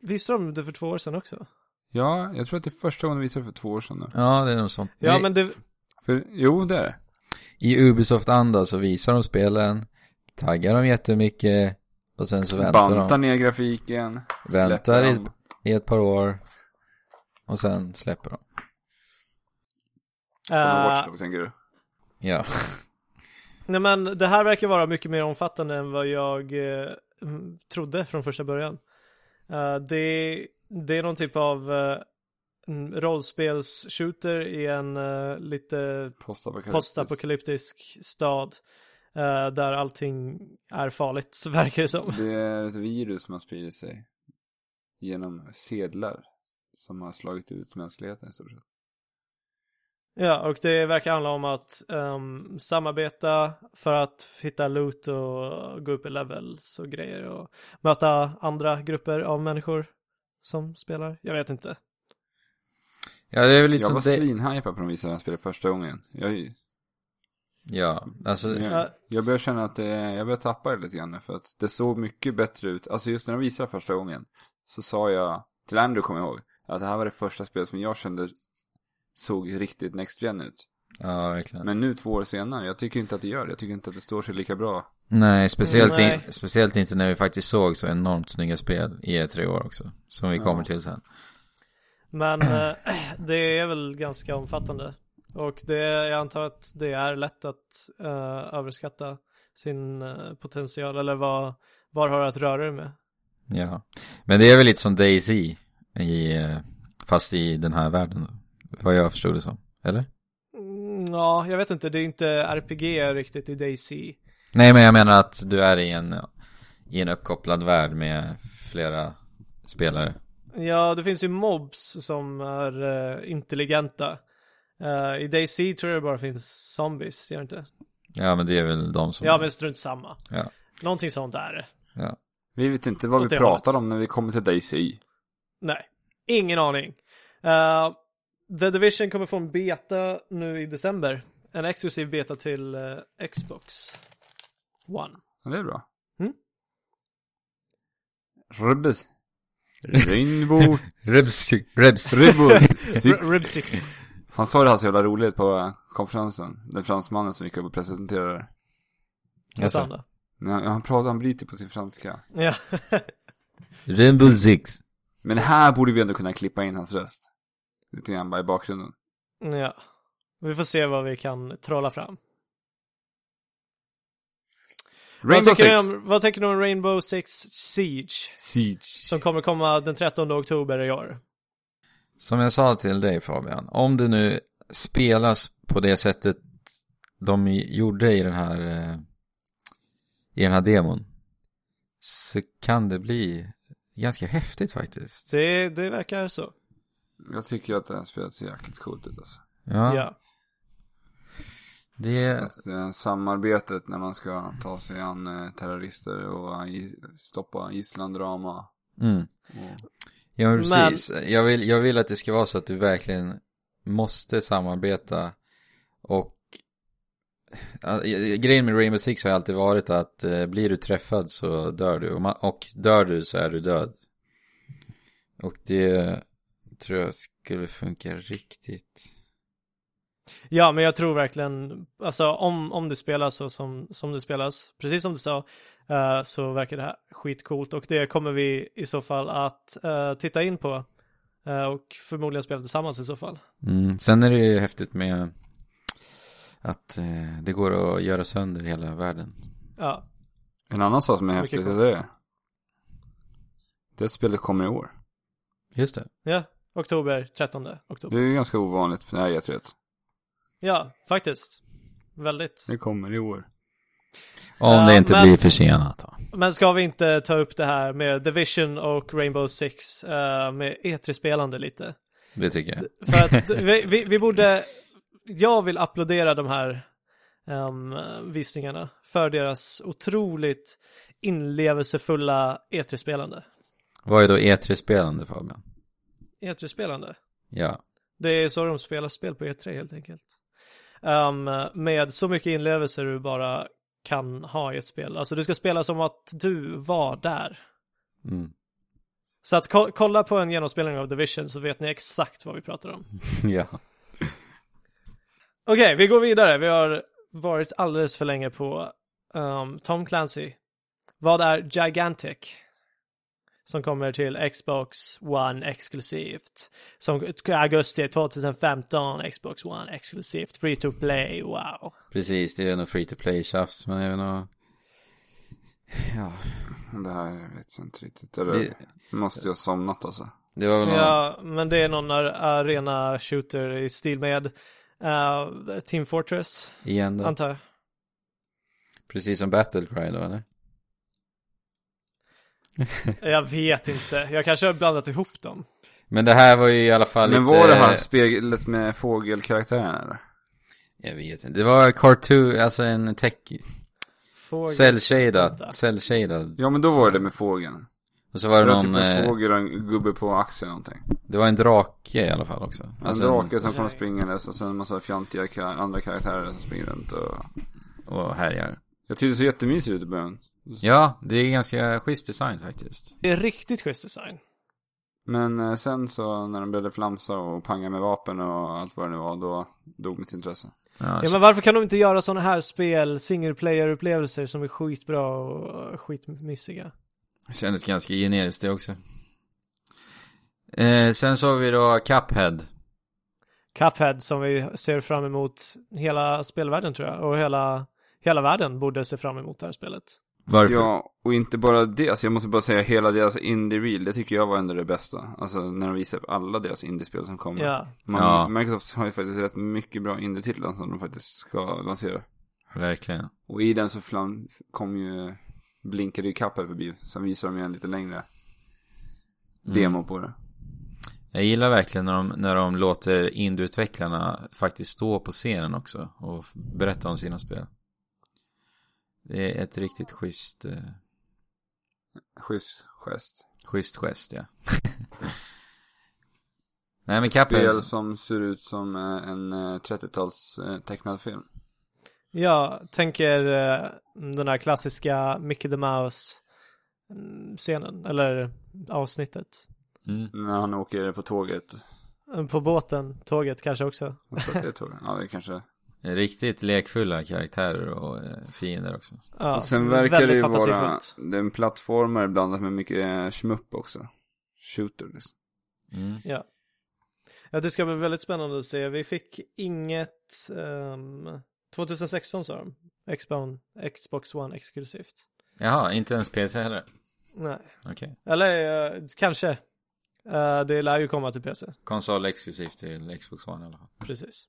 Speaker 1: Visste de det för två år sedan också?
Speaker 3: Ja, jag tror att det är första gången de visade det för två år sedan nu.
Speaker 2: Ja, det är nog sånt.
Speaker 1: Ja,
Speaker 2: Vi-
Speaker 1: men det...
Speaker 3: För, jo, det är det.
Speaker 2: I Ubisoft-anda så visar de spelen, taggar dem jättemycket och sen så väntar
Speaker 3: Bantar
Speaker 2: de
Speaker 3: ner grafiken,
Speaker 2: Väntar
Speaker 3: släpper
Speaker 2: i-
Speaker 3: dem.
Speaker 2: i ett par år och sen släpper de.
Speaker 3: Som en
Speaker 1: eh,
Speaker 3: Watch Dogs, tänker du?
Speaker 2: Ja,
Speaker 1: nej, men det här verkar vara mycket mer omfattande än vad jag eh, m- trodde från första början. Eh, det, det är någon typ av eh, m- rollspels-shooter i en eh, lite
Speaker 3: Postapokalyptisk.
Speaker 1: postapokalyptisk stad eh, där allting är farligt, verkar det som.
Speaker 3: Det är ett virus som har spridit sig genom sedlar som har slagit ut mänskligheten i stort sett.
Speaker 1: Ja, och det verkar handla om att ehm, samarbeta för att hitta loot och gå upp i levels och grejer och möta andra grupper av människor som spelar. Jag vet inte.
Speaker 2: ja det är väl lite
Speaker 3: Jag
Speaker 2: som
Speaker 3: var
Speaker 2: Liksom det...
Speaker 3: svinhypad på de visade det här spelet första gången. Jag,
Speaker 2: Ja, alltså,
Speaker 3: jag,
Speaker 1: Ja.
Speaker 3: jag börjar känna att det, jag börjar tappa det lite grann nu, för att det såg mycket bättre ut. Alltså just när de visade det första gången så sa jag, till Andrew kommer jag ihåg, att det här var det första spelet som jag kände såg riktigt next gen ut.
Speaker 2: ja verkligen.
Speaker 3: Men nu två år senare, jag tycker inte att det gör det. Jag tycker inte att det står sig lika bra.
Speaker 2: Nej, speciellt,
Speaker 1: Nej.
Speaker 2: In, speciellt inte när vi faktiskt såg så enormt snygga spel i E3 år också. Som vi kommer till sen.
Speaker 1: Men eh, det är väl ganska omfattande. Och det, jag antar att det är lätt att eh, överskatta sin eh, potential eller vad, vad har du att röra dig med?
Speaker 2: Ja. Men det är väl lite som DayZ, i, eh, fast i den här världen då. Vad jag förstod det som. Eller?
Speaker 1: Mm, ja, jag vet inte. Det är inte RPG riktigt i DayZ.
Speaker 2: Nej, men jag menar att du är i en, i en uppkopplad värld med flera spelare.
Speaker 1: Ja, det finns ju mobs som är eh, intelligenta. Eh, I DayZ tror jag det bara finns zombies, gör det inte?
Speaker 2: Ja, men det är väl de som...
Speaker 1: Ja, men strunt samma.
Speaker 2: Ja.
Speaker 1: Någonting sånt är det.
Speaker 2: ja.
Speaker 3: Vi vet inte vad
Speaker 1: Åt det
Speaker 3: vi pratar
Speaker 1: hållet.
Speaker 3: om när vi kommer till Daisy.
Speaker 1: Nej, ingen aning. Eh, The Division kommer få en beta nu i december. En exklusiv beta till eh, Xbox One.
Speaker 3: Ja, det är bra.
Speaker 1: Mm.
Speaker 3: Rubbes. Rainbow.
Speaker 2: Rebs, Rebs.
Speaker 3: Ribble.
Speaker 1: R- Rib 6.
Speaker 3: Han sa det här så jävla roligt på konferensen. Den fransmannen som gick upp och presenterade. det.
Speaker 2: Alltså,
Speaker 3: Men Han, han pratade, han bryter på sin franska.
Speaker 1: Ja.
Speaker 2: Rainbow Six.
Speaker 3: Men här borde vi ändå kunna klippa in hans röst. Lite grann bara i bakgrunden.
Speaker 1: ja. Vi får se vad vi kan trolla fram.
Speaker 3: Rainbow
Speaker 1: vad, tycker
Speaker 3: Six.
Speaker 1: ni om, vad tänker ni om Rainbow Six Siege?
Speaker 3: Siege.
Speaker 1: Som kommer komma den 13 oktober i år.
Speaker 2: Som jag sa till dig Fabian, om det nu spelas på det sättet de gjorde i den här eh, i den här demon så kan det bli ganska häftigt faktiskt.
Speaker 1: Det, det verkar så.
Speaker 3: Jag tycker att det här spelet ser jäkligt coolt ut alltså.
Speaker 2: Ja,
Speaker 1: Ja.
Speaker 2: det...
Speaker 3: Att, eh, samarbetet när man ska ta sig an eh, terrorister och eh, i- stoppa gisslandrama.
Speaker 2: Mm.
Speaker 3: Och...
Speaker 2: Ja, men precis. Jag, vill, jag vill att det ska vara så att du verkligen måste samarbeta och Ja, Grejen med Rainbow Six har alltid varit att eh, blir du träffad så dör du. Och, ma- och dör du så är du död. Och det tror jag skulle funka riktigt.
Speaker 1: Ja, men jag tror verkligen, alltså om, om det spelas så som, som det spelas, precis som du sa, eh, så verkar det här skitcoolt och det kommer vi i så fall att eh, titta in på eh, och förmodligen spela tillsammans i så fall.
Speaker 2: Mm. Sen är det ju häftigt med att eh, det går att göra sönder hela världen.
Speaker 1: Ja,
Speaker 3: En annan sak som är
Speaker 1: Mycket
Speaker 3: häftigt är
Speaker 1: coolt.
Speaker 3: det. Det spelet kommer i år.
Speaker 2: Just det.
Speaker 1: ja, oktober, 13 oktober.
Speaker 3: Det är ju ganska ovanligt för det här E3.
Speaker 1: Ja, faktiskt. Väldigt.
Speaker 3: Det kommer i år.
Speaker 2: Om
Speaker 1: Ja,
Speaker 2: det inte
Speaker 1: men-
Speaker 2: blir försenat. då.
Speaker 1: Men ska vi inte ta upp det här med Division och Rainbow Six eh, med E3-spelande lite?
Speaker 2: Det tycker jag.
Speaker 1: För att vi, vi, vi borde, jag vill applådera de här ehm, visningarna för deras otroligt inlevelsefulla E E3-spelande.
Speaker 2: Vad är då E3-spelande Fabian?
Speaker 1: E3-spelande.
Speaker 2: Ja.
Speaker 1: E Det är så de spelar spel på E3 helt enkelt. Ehm, med så mycket inlevelse du bara kan ha i ett spel. Alltså du ska spela som att du var där.
Speaker 2: Mm.
Speaker 1: Så att ko- kolla på en genomspelning av Division så vet ni exakt vad vi pratar om.
Speaker 2: ja.
Speaker 1: Okej, vi går vidare. Vi har varit alldeles för länge på ehm, Tom Clancy. Vad är Gigantic? Som kommer till Xbox One exklusivt. Som augusti 2015, Xbox One exklusivt, free to play, wow.
Speaker 2: Precis, det är nog free to play-tjafs, men jag vet nog... Ja,
Speaker 3: Det här jag vet inte riktigt. Eller
Speaker 2: Det-
Speaker 3: måste jag ha somnat alltså.
Speaker 2: det var väl någon...
Speaker 1: Ja, men det är någon ar- arena shooter i stil med eh, Team Fortress,
Speaker 2: Igen då.
Speaker 1: antar jag.
Speaker 2: Precis som Battlecry då, eller?
Speaker 1: Jag vet inte, jag kanske har blandat ihop dem.
Speaker 2: Men det här var ju i alla fall
Speaker 3: Men
Speaker 2: lite...
Speaker 3: var det här spelet med fågelkaraktären eller?
Speaker 2: Jag vet inte. Det var cartoon, alltså en tech...
Speaker 1: Fågel.
Speaker 2: Cell-shaded. Cell-shaded.
Speaker 3: Ja men då var det med fågeln.
Speaker 2: Och så var
Speaker 3: Det
Speaker 2: det
Speaker 3: var
Speaker 2: någon...
Speaker 3: typ en
Speaker 2: eh,
Speaker 3: fågel och en gubbe på axeln någonting.
Speaker 2: Det var en drake i alla fall också.
Speaker 3: En
Speaker 2: Alltså
Speaker 3: drake som kommer springandes och sen en massa fjantiga ka- andra karaktärer som springer runt och...
Speaker 2: Och härjar.
Speaker 3: Jag tyckte det såg jättemysigt ut i början.
Speaker 2: Ja, det är ganska schysst design faktiskt.
Speaker 1: Det är riktigt schysst design.
Speaker 3: Men eh, sen så när de började flamsa och panga med vapen och allt vad det nu var, då dog mitt intresse.
Speaker 1: Ja
Speaker 2: Ja,
Speaker 3: Alltså-
Speaker 2: så-
Speaker 1: men varför kan de inte göra sådana här spel, single player upplevelser som är skitbra och eh, skitmysiga?
Speaker 2: Kändes ganska generiskt det också. Eh, sen så har vi då Cuphead.
Speaker 1: Cuphead som vi ser fram emot hela spelvärlden tror jag och hela, hela världen borde se fram emot det här spelet.
Speaker 2: Varför?
Speaker 3: Ja, och inte bara det. Alltså jag måste bara säga hela deras indie-reel, det tycker jag var ändå det bästa. Alltså när de visar upp alla deras indie-spel som kommer.
Speaker 1: Ja.
Speaker 3: Man,
Speaker 2: Ja.
Speaker 3: Microsoft har ju faktiskt rätt mycket bra indie-titlar som de faktiskt ska lansera.
Speaker 2: Verkligen.
Speaker 3: Och i den så flam, kom ju, blinkade ju Cuphead förbi. Sen visade de ju en lite längre
Speaker 1: Mm.
Speaker 3: demo på det.
Speaker 2: Jag gillar verkligen när de, när de låter indieutvecklarna faktiskt stå på scenen också och f- berätta om sina spel. Det är ett riktigt schysst, eh,
Speaker 3: Schysst gest.
Speaker 2: schysst gest, ja. Nej men Cuphead.
Speaker 3: Spel som ser ut som eh, en eh, 30-tals eh, tecknad film.
Speaker 1: Jag tänker eh, den här klassiska Mickey the Mouse mm, scenen, eller avsnittet.
Speaker 2: Mm.
Speaker 3: När han åker på tåget.
Speaker 1: Eh, På båten, tåget kanske också.
Speaker 3: Jag tror att det är tåget. Ja, det kanske.
Speaker 2: Riktigt lekfulla karaktärer och eh, fiender också.
Speaker 1: Ja,
Speaker 3: och sen verkar det
Speaker 1: väldigt
Speaker 3: ju vara,
Speaker 1: fantasifullt.
Speaker 3: det är en plattformare blandat med mycket eh, shmupp också. Shooter liksom.
Speaker 2: Mm.
Speaker 1: Ja. ja, det ska bli väldigt spännande att se. Vi fick inget ehm, 2016 sa de. Xbox, Xbox One exklusivt.
Speaker 2: Jaha, inte ens PC heller.
Speaker 1: Nej.
Speaker 2: Okej.
Speaker 1: Eller eh, kanske. Eh, det lär ju komma till PC.
Speaker 2: Konsol exklusivt till Xbox One i alla fall.
Speaker 1: Precis.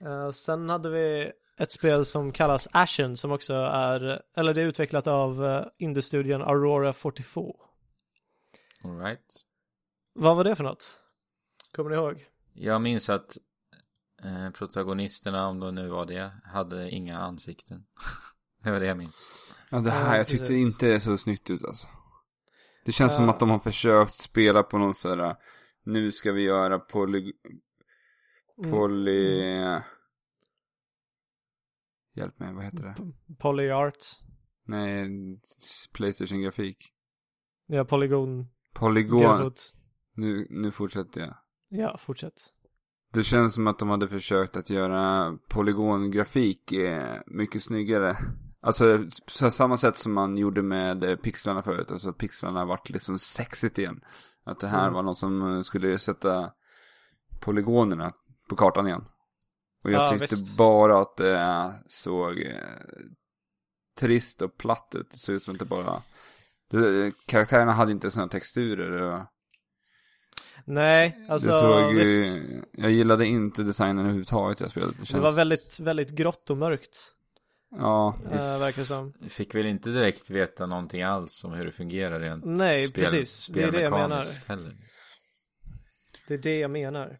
Speaker 1: Eh, sen hade vi ett spel som kallas Ashen som också är, eller det är utvecklat av uh, indiestudion Aurora 42.
Speaker 2: Alright.
Speaker 1: Vad var det för något? Kommer ni ihåg?
Speaker 2: Jag minns att eh, protagonisterna, om de nu var det, hade inga ansikten. det var det jag minns.
Speaker 3: Ja, det här,
Speaker 1: Ja,
Speaker 3: jag tyckte
Speaker 1: precis. Eh.
Speaker 3: inte det såg snyggt ut alltså. Det känns
Speaker 1: Ja.
Speaker 3: som att de har försökt spela på någon sån här, nu ska vi göra poly...
Speaker 1: Mm.
Speaker 3: Poly... Hjälp mig, vad heter det?
Speaker 1: PolyArt.
Speaker 3: Nej, s- Playstation-grafik.
Speaker 1: Ja, polygon.
Speaker 3: Polygon.
Speaker 1: Grafot.
Speaker 3: Nu, nu fortsätter jag.
Speaker 1: Ja, fortsätt.
Speaker 3: Det känns som att de hade försökt att göra polygongrafik eh, mycket snyggare. Alltså, så här, samma sätt som man gjorde med eh, pixlarna förut. Alltså, att pixlarna vart liksom sexigt igen. Att det här
Speaker 1: Mm.
Speaker 3: var något som eh, skulle sätta polygonerna på kartan igen. Och jag
Speaker 1: Ja,
Speaker 3: tyckte
Speaker 1: visst.
Speaker 3: bara att det eh, såg eh, trist och platt ut. Det såg ut som att det bara... Det, eh, karaktärerna hade inte sådana texturer. Och...
Speaker 1: Nej, alltså
Speaker 3: det såg,
Speaker 1: visst.
Speaker 3: ju- jag gillade inte designen överhuvudtaget i det här spelet. Det,
Speaker 1: Det
Speaker 3: känns,
Speaker 1: var väldigt, väldigt grått och mörkt.
Speaker 3: Ja,
Speaker 1: eh, verkar det som.
Speaker 2: Vi fick väl inte direkt veta någonting alls om hur det fungerar rent
Speaker 1: Nej, precis. Det är det jag menar.
Speaker 2: spelmekaniskt Heller.
Speaker 1: Det är det jag menar.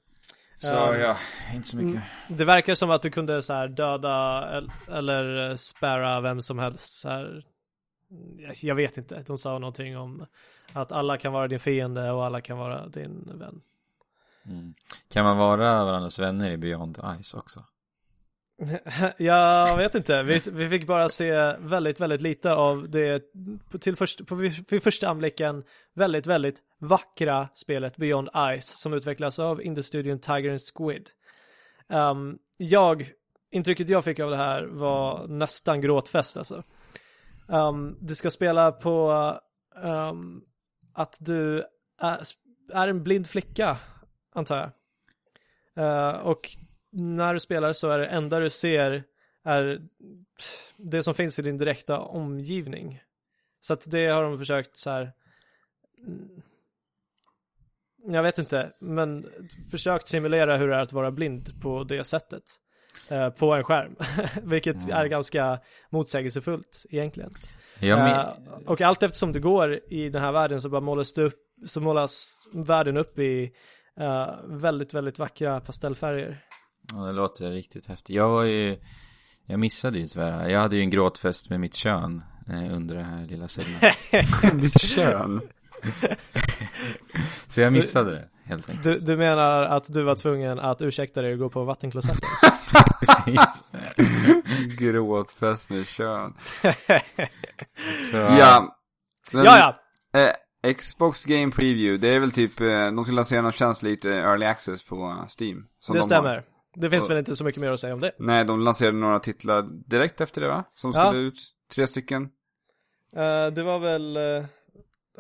Speaker 2: Så
Speaker 1: Ehm,
Speaker 2: ja, inte så mycket.
Speaker 1: Det verkar som att du kunde så här döda el- eller eh, spärra vem som helst så här. Jag- Jag vet inte, de sa någonting om att alla kan vara din fiende och alla kan vara din vän.
Speaker 2: Mm. Kan man vara varandras vänner i Beyond Ice också?
Speaker 1: Jag vet inte, vi, vi fick bara se väldigt, väldigt lite av det på- till först, på, vid första anblicken väldigt, väldigt vackra spelet Beyond Ice som utvecklas av Indie-studion Tiger and Squid. Ehm, jag, intrycket jag fick av det här var nästan gråtfest alltså. Ehm, du ska spela på ehm, att du är, är en blind flicka, antar jag. Eh, och när du spelar så är det enda du ser är pff, det som finns i din direkta omgivning. Så att det har de försökt så här. mm, Jag vet inte, men försökt simulera hur det är att vara blind på det sättet. eh, På en skärm, vilket
Speaker 2: Mm.
Speaker 1: är ganska motsägelsefullt egentligen.
Speaker 2: Jag
Speaker 1: Eh, och allt eftersom du går i den här världen så bara målas det upp, så målas världen upp i eh, väldigt, väldigt vackra pastellfärger.
Speaker 2: Ja, det låter riktigt häftigt. Jag var ju, jag missade ju tyvärr. Jag hade ju en gråtfest med mitt kön eh, under det här lilla segmentet.
Speaker 3: ditt kön.
Speaker 2: Så jag missade det, helt enkelt.
Speaker 1: Du, du menar att du var tvungen att ursäkta dig och gå på vattenklosetten?
Speaker 2: Precis.
Speaker 3: Gråtfest med kön.
Speaker 2: Så,
Speaker 3: Ja. Men,
Speaker 1: ja, ja!
Speaker 3: Eh, Xbox Game Preview, det är väl typ, eh, de ska lansera någon tjänst lite early access på eh, Steam. som
Speaker 1: Det
Speaker 3: de
Speaker 1: stämmer.
Speaker 3: Har.
Speaker 1: Det finns
Speaker 3: Och-
Speaker 1: väl inte så mycket mer att säga om det.
Speaker 3: Nej, de lanserade några titlar direkt efter det va? Som skulle
Speaker 1: Ja.
Speaker 3: ut. Tre stycken.
Speaker 1: Eh, det var väl... Uh,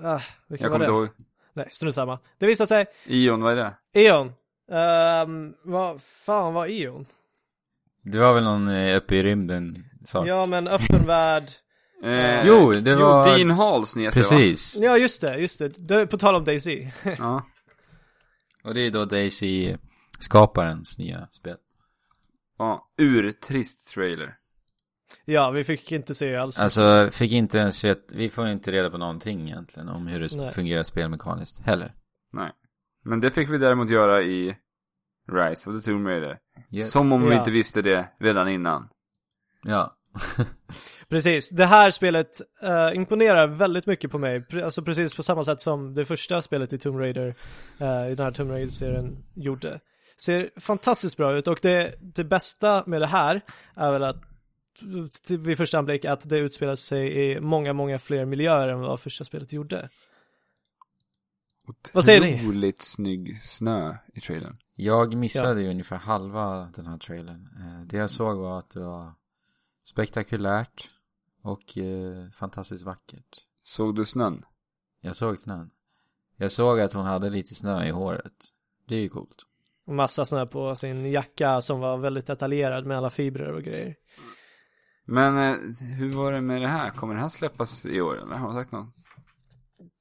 Speaker 1: ah, vilken
Speaker 3: Jag
Speaker 1: var
Speaker 3: kommer
Speaker 1: det?
Speaker 3: inte ihåg.
Speaker 1: Nej, strunt samma. Det visade sig,
Speaker 3: Ion, vad är det?
Speaker 1: Eon. Ehm, vad fan var Eon?
Speaker 2: det var väl någon eh, uppe i rymden sak.
Speaker 1: Ja, men öppen värld.
Speaker 3: Eh,
Speaker 2: Jo, det
Speaker 3: Jo,
Speaker 2: var...
Speaker 3: Dean Halls nyheter va?
Speaker 2: Precis.
Speaker 1: Ja, just det, just det. det. På tal om Daisy.
Speaker 3: Ja.
Speaker 2: Och det är då Daisy-skaparens nya spel.
Speaker 3: ja. Urtrist trailer.
Speaker 1: Ja, vi fick inte se alls.
Speaker 2: Alltså, fick inte ens vet, vi får inte reda på någonting egentligen om hur det sp-
Speaker 1: Nej.
Speaker 2: fungerar spelmekaniskt heller.
Speaker 3: Nej. Men det fick vi däremot göra i Rise of the Tomb Raider.
Speaker 2: Yes.
Speaker 3: Som om vi
Speaker 1: Ja.
Speaker 3: inte visste det redan innan.
Speaker 2: Ja.
Speaker 1: Precis, det här spelet eh, imponerar väldigt mycket på mig. Pre- alltså precis på samma sätt som det första spelet i Tomb Raider, eh, i den här Tomb Raider-serien, gjorde. Ser fantastiskt bra ut och det, det bästa med det här är väl att till- vid första anblick att det utspelar sig i många, många fler miljöer än vad första spelet gjorde. Vad säger ni?
Speaker 3: Otroligt snygg snö i trailern.
Speaker 2: Jag missade ju ungefär halva den här trailern. Eh, Det jag såg var att det var spektakulärt och eh, fantastiskt vackert.
Speaker 3: Såg du snön?
Speaker 2: Jag såg snön. Jag såg att hon hade lite snö i håret. Det är ju coolt.
Speaker 1: Och Massa sådana här på sin jacka som var väldigt detaljerad med alla fibrer och grejer.
Speaker 3: Men eh, hur var det med det här? Kommer det här släppas i år eller? Har de sagt något?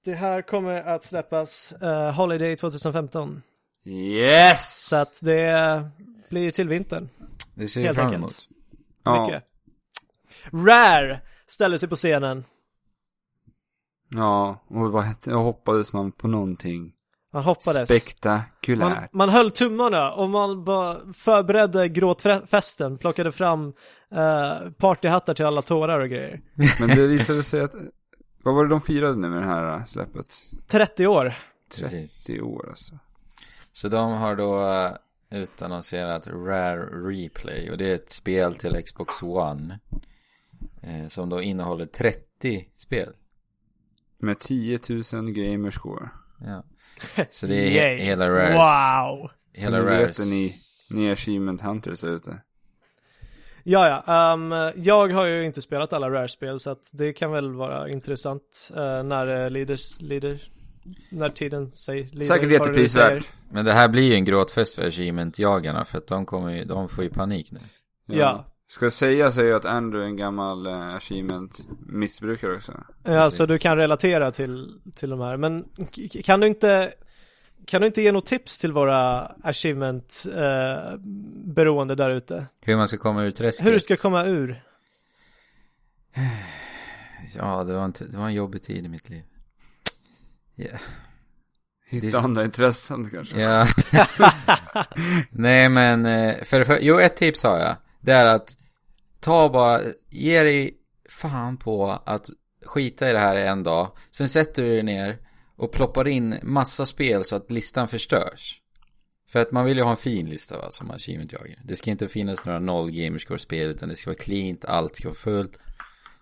Speaker 1: Det här kommer att släppas eh, Holiday 2015.
Speaker 3: Yes!
Speaker 1: Så att det blir till vintern.
Speaker 2: Det ser jag
Speaker 1: Helt
Speaker 2: fram
Speaker 1: enkelt.
Speaker 2: emot.
Speaker 3: Ja,
Speaker 1: Mycket. Rare ställer sig på scenen.
Speaker 3: ja, och vad hette, jag hoppades man på någonting
Speaker 1: Man hoppades. man,
Speaker 3: spektakulärt.
Speaker 1: man höll tummarna och man bara förberedde gråtfesten, plockade fram eh, partyhattar till alla tårar och grejer.
Speaker 3: Men det visade sig att, vad var det de firade nu med det här eh, släppet?
Speaker 1: 30 år.
Speaker 2: Precis.
Speaker 3: 30 år alltså.
Speaker 2: Så de har då eh, utannonserat Rare Replay och det är ett spel till Xbox One eh, som då innehåller 30 spel.
Speaker 3: Med 10 000 gamerscore.
Speaker 2: Ja. Så det är he-
Speaker 1: Yay.
Speaker 2: hela Rares,
Speaker 1: Wow!
Speaker 3: Så
Speaker 2: hela
Speaker 3: nu vet
Speaker 2: Rares,
Speaker 3: det ni, ni är achievement hunters där ute.
Speaker 1: Ja, ja. ehm, jag har ju inte spelat alla Rare-spel så att det kan väl vara intressant eh, när uh, leaders, lider, när tiden säger lider
Speaker 3: Säkert
Speaker 1: för det du säger.
Speaker 3: jätteprisvärt.
Speaker 2: Men det här blir ju en gråtfest för achievement-jagarna för att de kommer ju, de får ju panik nu.
Speaker 1: Ja.
Speaker 3: Ska säga sig att Andrew är en gammal eh, achievement-missbrukare också.
Speaker 1: Ja, så Alltså, du kan relatera till, till de här. Men k- k- kan du inte kan du inte ge något tips till våra achievement-beroende där ute?
Speaker 2: Hur man ska komma ur träsket.
Speaker 1: Hur du ska komma ur?
Speaker 2: Ja, det var, en, t- det var en jobbig tid i mitt liv. Ja. Det
Speaker 3: Hitta
Speaker 2: är-
Speaker 3: andra intressen kanske.
Speaker 2: Ja. Nej men, eh, för, för, jo ett tips har jag. Det är att ta bara, ge dig fan på att skita i det här en dag. Sen sätter du dig ner och ploppar in massa spel så att listan förstörs. För att man vill ju ha en fin lista va, som achievement jagar. Det ska inte finnas några noll gamerscore-spel utan det ska vara cleant, allt ska vara fullt.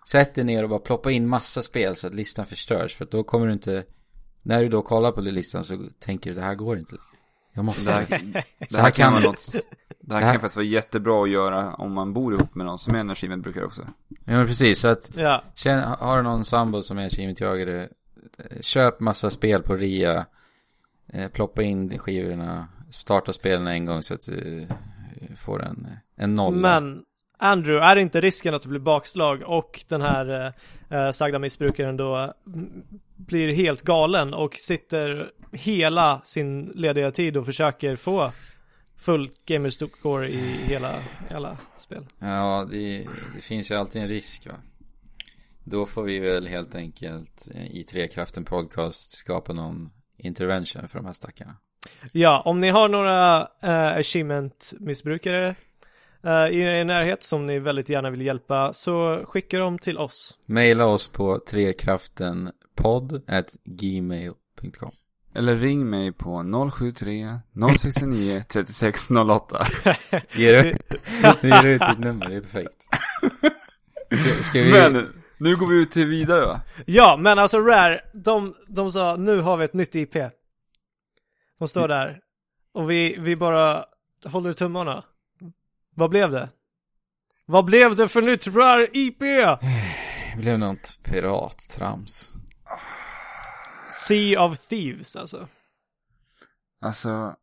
Speaker 2: Sätt dig ner och bara ploppa in massa spel så att listan förstörs för att då kommer du inte när du då kollar på listan så tänker du det här går inte längre. Jag måste...
Speaker 3: Det här, det
Speaker 2: Så här
Speaker 3: här
Speaker 2: kan
Speaker 3: kan vara
Speaker 2: man-
Speaker 3: något. Det här
Speaker 2: Det här-
Speaker 3: kan faktiskt vara jättebra att göra om man bor ihop med någon som är en achievement-brukare också.
Speaker 2: Ja men precis, så att
Speaker 1: Ja,
Speaker 2: känn, har du någon sambo som är achievement-jagare, eh, köp massa spel på rea, eh, ploppa in skivorna, starta spelen en gång så att du eh, får en, en nolla.
Speaker 1: men Andrew, är det inte risken att det blir bakslag och den här eh, eh, sagda missbrukaren då eh, blir helt galen och sitter hela sin lediga tid och försöker få fullt gamerscore i hela, hela spel?
Speaker 2: Ja, det, det finns ju alltid en risk va. Då får vi väl helt enkelt eh, i Trekraften Podcast skapa någon intervention för de här stackarna.
Speaker 1: Ja, om ni har några eh, achievement-missbrukare eh, i er närhet som ni väldigt gärna vill hjälpa så skicka dem till oss.
Speaker 2: Maila oss på trekraftenpodd@gmail.com.
Speaker 3: Eller ring mig på 073 069 3608.
Speaker 2: Ger ut, ger ut ditt nummer, det är perfekt. Ska, ska vi...
Speaker 3: Men, nu går vi ut till vidare va?
Speaker 1: Ja, men alltså Rare, de, de sa nu har vi ett nytt IP. De står där och vi, vi bara håller tummarna. Vad blev det? Vad blev det för nytt Rare IP?
Speaker 2: Det blev något pirattrams.
Speaker 1: Sea of Thieves alltså.
Speaker 3: Alltså...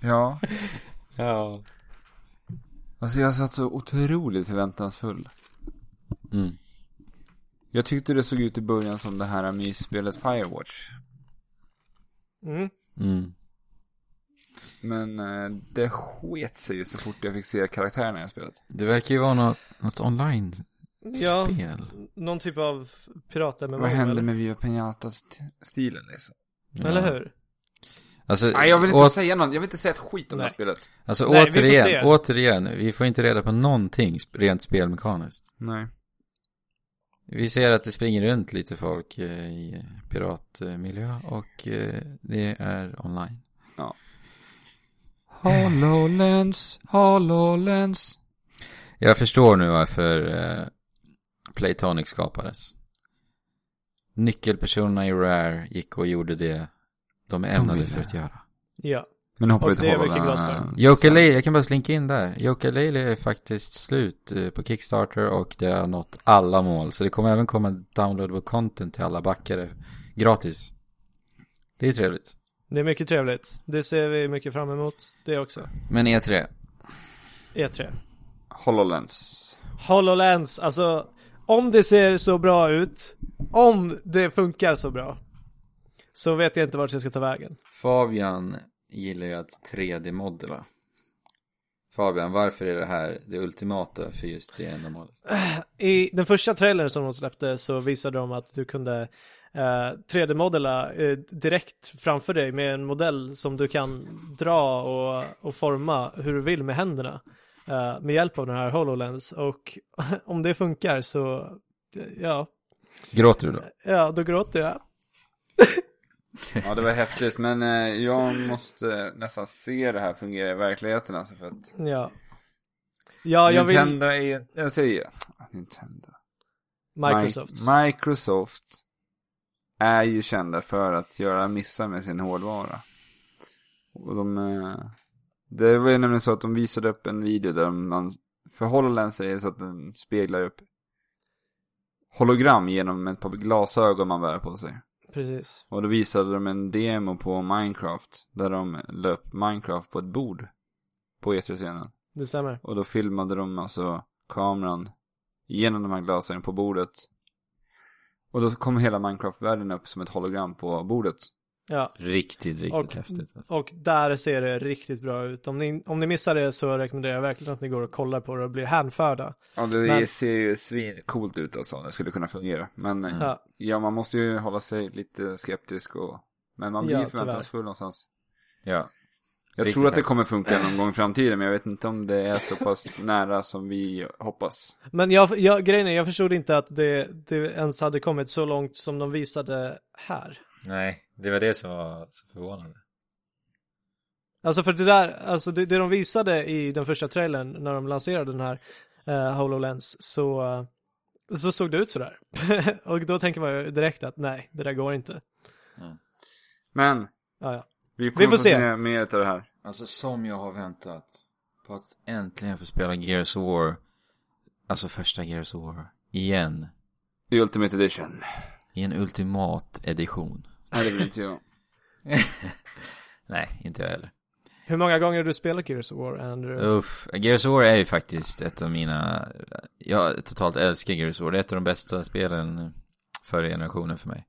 Speaker 3: ja.
Speaker 2: Ja.
Speaker 3: Alltså jag satt så otroligt förväntansfull.
Speaker 2: Mm.
Speaker 3: Jag tyckte det såg ut i början som det här mysspelet Firewatch.
Speaker 1: Mm.
Speaker 2: Mm.
Speaker 3: Men eh, det sket sig ju så fort jag fick se karaktärerna i spelet.
Speaker 2: Det verkar ju vara något, något online-spel.
Speaker 1: Ja, någon typ av pirat med
Speaker 3: Vad hände med Viva Pinata-stilen liksom?
Speaker 1: Eller hur?
Speaker 2: Alltså,
Speaker 3: Nej, jag vill inte
Speaker 2: åt,
Speaker 3: säga något. Jag vill inte säga ett skit om det här
Speaker 1: Nej.
Speaker 3: spelet.
Speaker 2: alltså
Speaker 1: Nej, vi får se.
Speaker 2: återigen, återigen, vi får inte reda på någonting sp- rent spelmekaniskt.
Speaker 3: Nej.
Speaker 2: Vi ser att det springer runt lite folk eh, i piratmiljö och eh, det är online.
Speaker 3: HoloLens, HoloLens.
Speaker 2: Jag förstår nu varför eh, Playtonic skapades. Nyckelpersonerna i Rare gick och gjorde det de är ämnade
Speaker 3: ville.
Speaker 2: för att göra.
Speaker 1: Ja.
Speaker 3: Men hoppar
Speaker 1: Och
Speaker 3: vi till
Speaker 1: det är vi mycket
Speaker 3: HoloLens.
Speaker 1: glada
Speaker 2: Yooka-Laylee, jag kan bara slinka in där. Yooka-Laylee är faktiskt slut eh, på Kickstarter och det har nått alla mål. Så det kommer även komma downloadable content till alla backare gratis. Det är trevligt.
Speaker 1: Det är mycket trevligt. Det ser vi mycket fram emot. Det också.
Speaker 2: Men E E3.
Speaker 1: E3.
Speaker 3: HoloLens.
Speaker 1: HoloLens, alltså om det ser så bra ut, om det funkar så bra, så vet jag inte vart jag ska ta vägen.
Speaker 2: Fabian gillar ju att 3D-modella. Fabian, varför är det här det ultimata för just det ändamålet?
Speaker 1: I den första trailern som de släppte så visade de att du kunde eh, 3D-modella eh, direkt framför dig med en modell som du kan dra och, och forma hur du vill med händerna eh, med hjälp av den här HoloLens och om det funkar så, ja,
Speaker 2: Gråter du då?
Speaker 1: ja då gråter jag.
Speaker 3: Ja, det var häftigt. Men eh, jag måste nästan se det här fungera i verkligheten alltså för att
Speaker 1: Ja. Ja, jag vill...
Speaker 3: Nintendo är ju... Jag säger Nintendo.
Speaker 1: Microsoft.
Speaker 3: Mi- Microsoft är ju kända för att göra missar med sin hårdvara. Och de... eh, Det var ju nämligen så att de visade upp en video där man förhåller sig så att den speglar upp hologram genom ett par glasögon man bär på sig.
Speaker 1: Precis.
Speaker 3: Och då visade de en demo på Minecraft där de löp Minecraft på ett bord på E E3-scenen.
Speaker 1: Det stämmer.
Speaker 3: Och då filmade de alltså kameran genom de här glasögonen på bordet. Och då kom hela Minecraft-världen upp som ett hologram på bordet.
Speaker 1: Ja.
Speaker 2: Riktigt, riktigt
Speaker 1: Och-
Speaker 2: häftigt. Alltså.
Speaker 1: Och där ser det riktigt bra ut. Om ni, om ni missar det så rekommenderar jag verkligen att ni går och kollar på det och blir hänförda.
Speaker 3: Ja, det
Speaker 1: Men-
Speaker 3: ser ju svincoolt ut alltså, det skulle kunna fungera. Men eh,
Speaker 1: Ja.
Speaker 3: ja, man måste ju hålla sig lite skeptisk och... Men man blir
Speaker 1: Ja,
Speaker 3: ju förväntansfull någonstans.
Speaker 2: Ja.
Speaker 3: Jag
Speaker 2: Riktigt
Speaker 3: tror att det
Speaker 2: faktiskt.
Speaker 3: kommer funka någon gång i framtiden, men jag vet inte om det är så pass nära som vi hoppas.
Speaker 1: Men jag, jag, grejen är, jag förstod inte att det, det ens hade kommit så långt som de visade här.
Speaker 2: Nej, det var det som var så förvånande.
Speaker 1: Alltså för det där, alltså det, det de visade i den första trailern när de lanserade den här eh, HoloLens så, eh, så såg det ut sådär. och då tänker man ju direkt att nej, det där går inte.
Speaker 3: Men,
Speaker 1: Ja, ja.
Speaker 3: vi kommer
Speaker 1: får se.
Speaker 3: se mer av det här.
Speaker 2: Alltså som jag har väntat på att äntligen få spela Gears of War. Alltså första Gears of War. Igen.
Speaker 3: I Ultimate Edition.
Speaker 2: I en ultimat edition.
Speaker 3: Nej, det vill inte jag.
Speaker 2: Nej, inte jag heller.
Speaker 1: Hur många gånger har du spelat Gears of War, Andrew?
Speaker 2: Uff, Gears of War är ju faktiskt ett av mina... Jag totalt älskar Gears of War. Det är ett av de bästa spelen förra generationen för mig.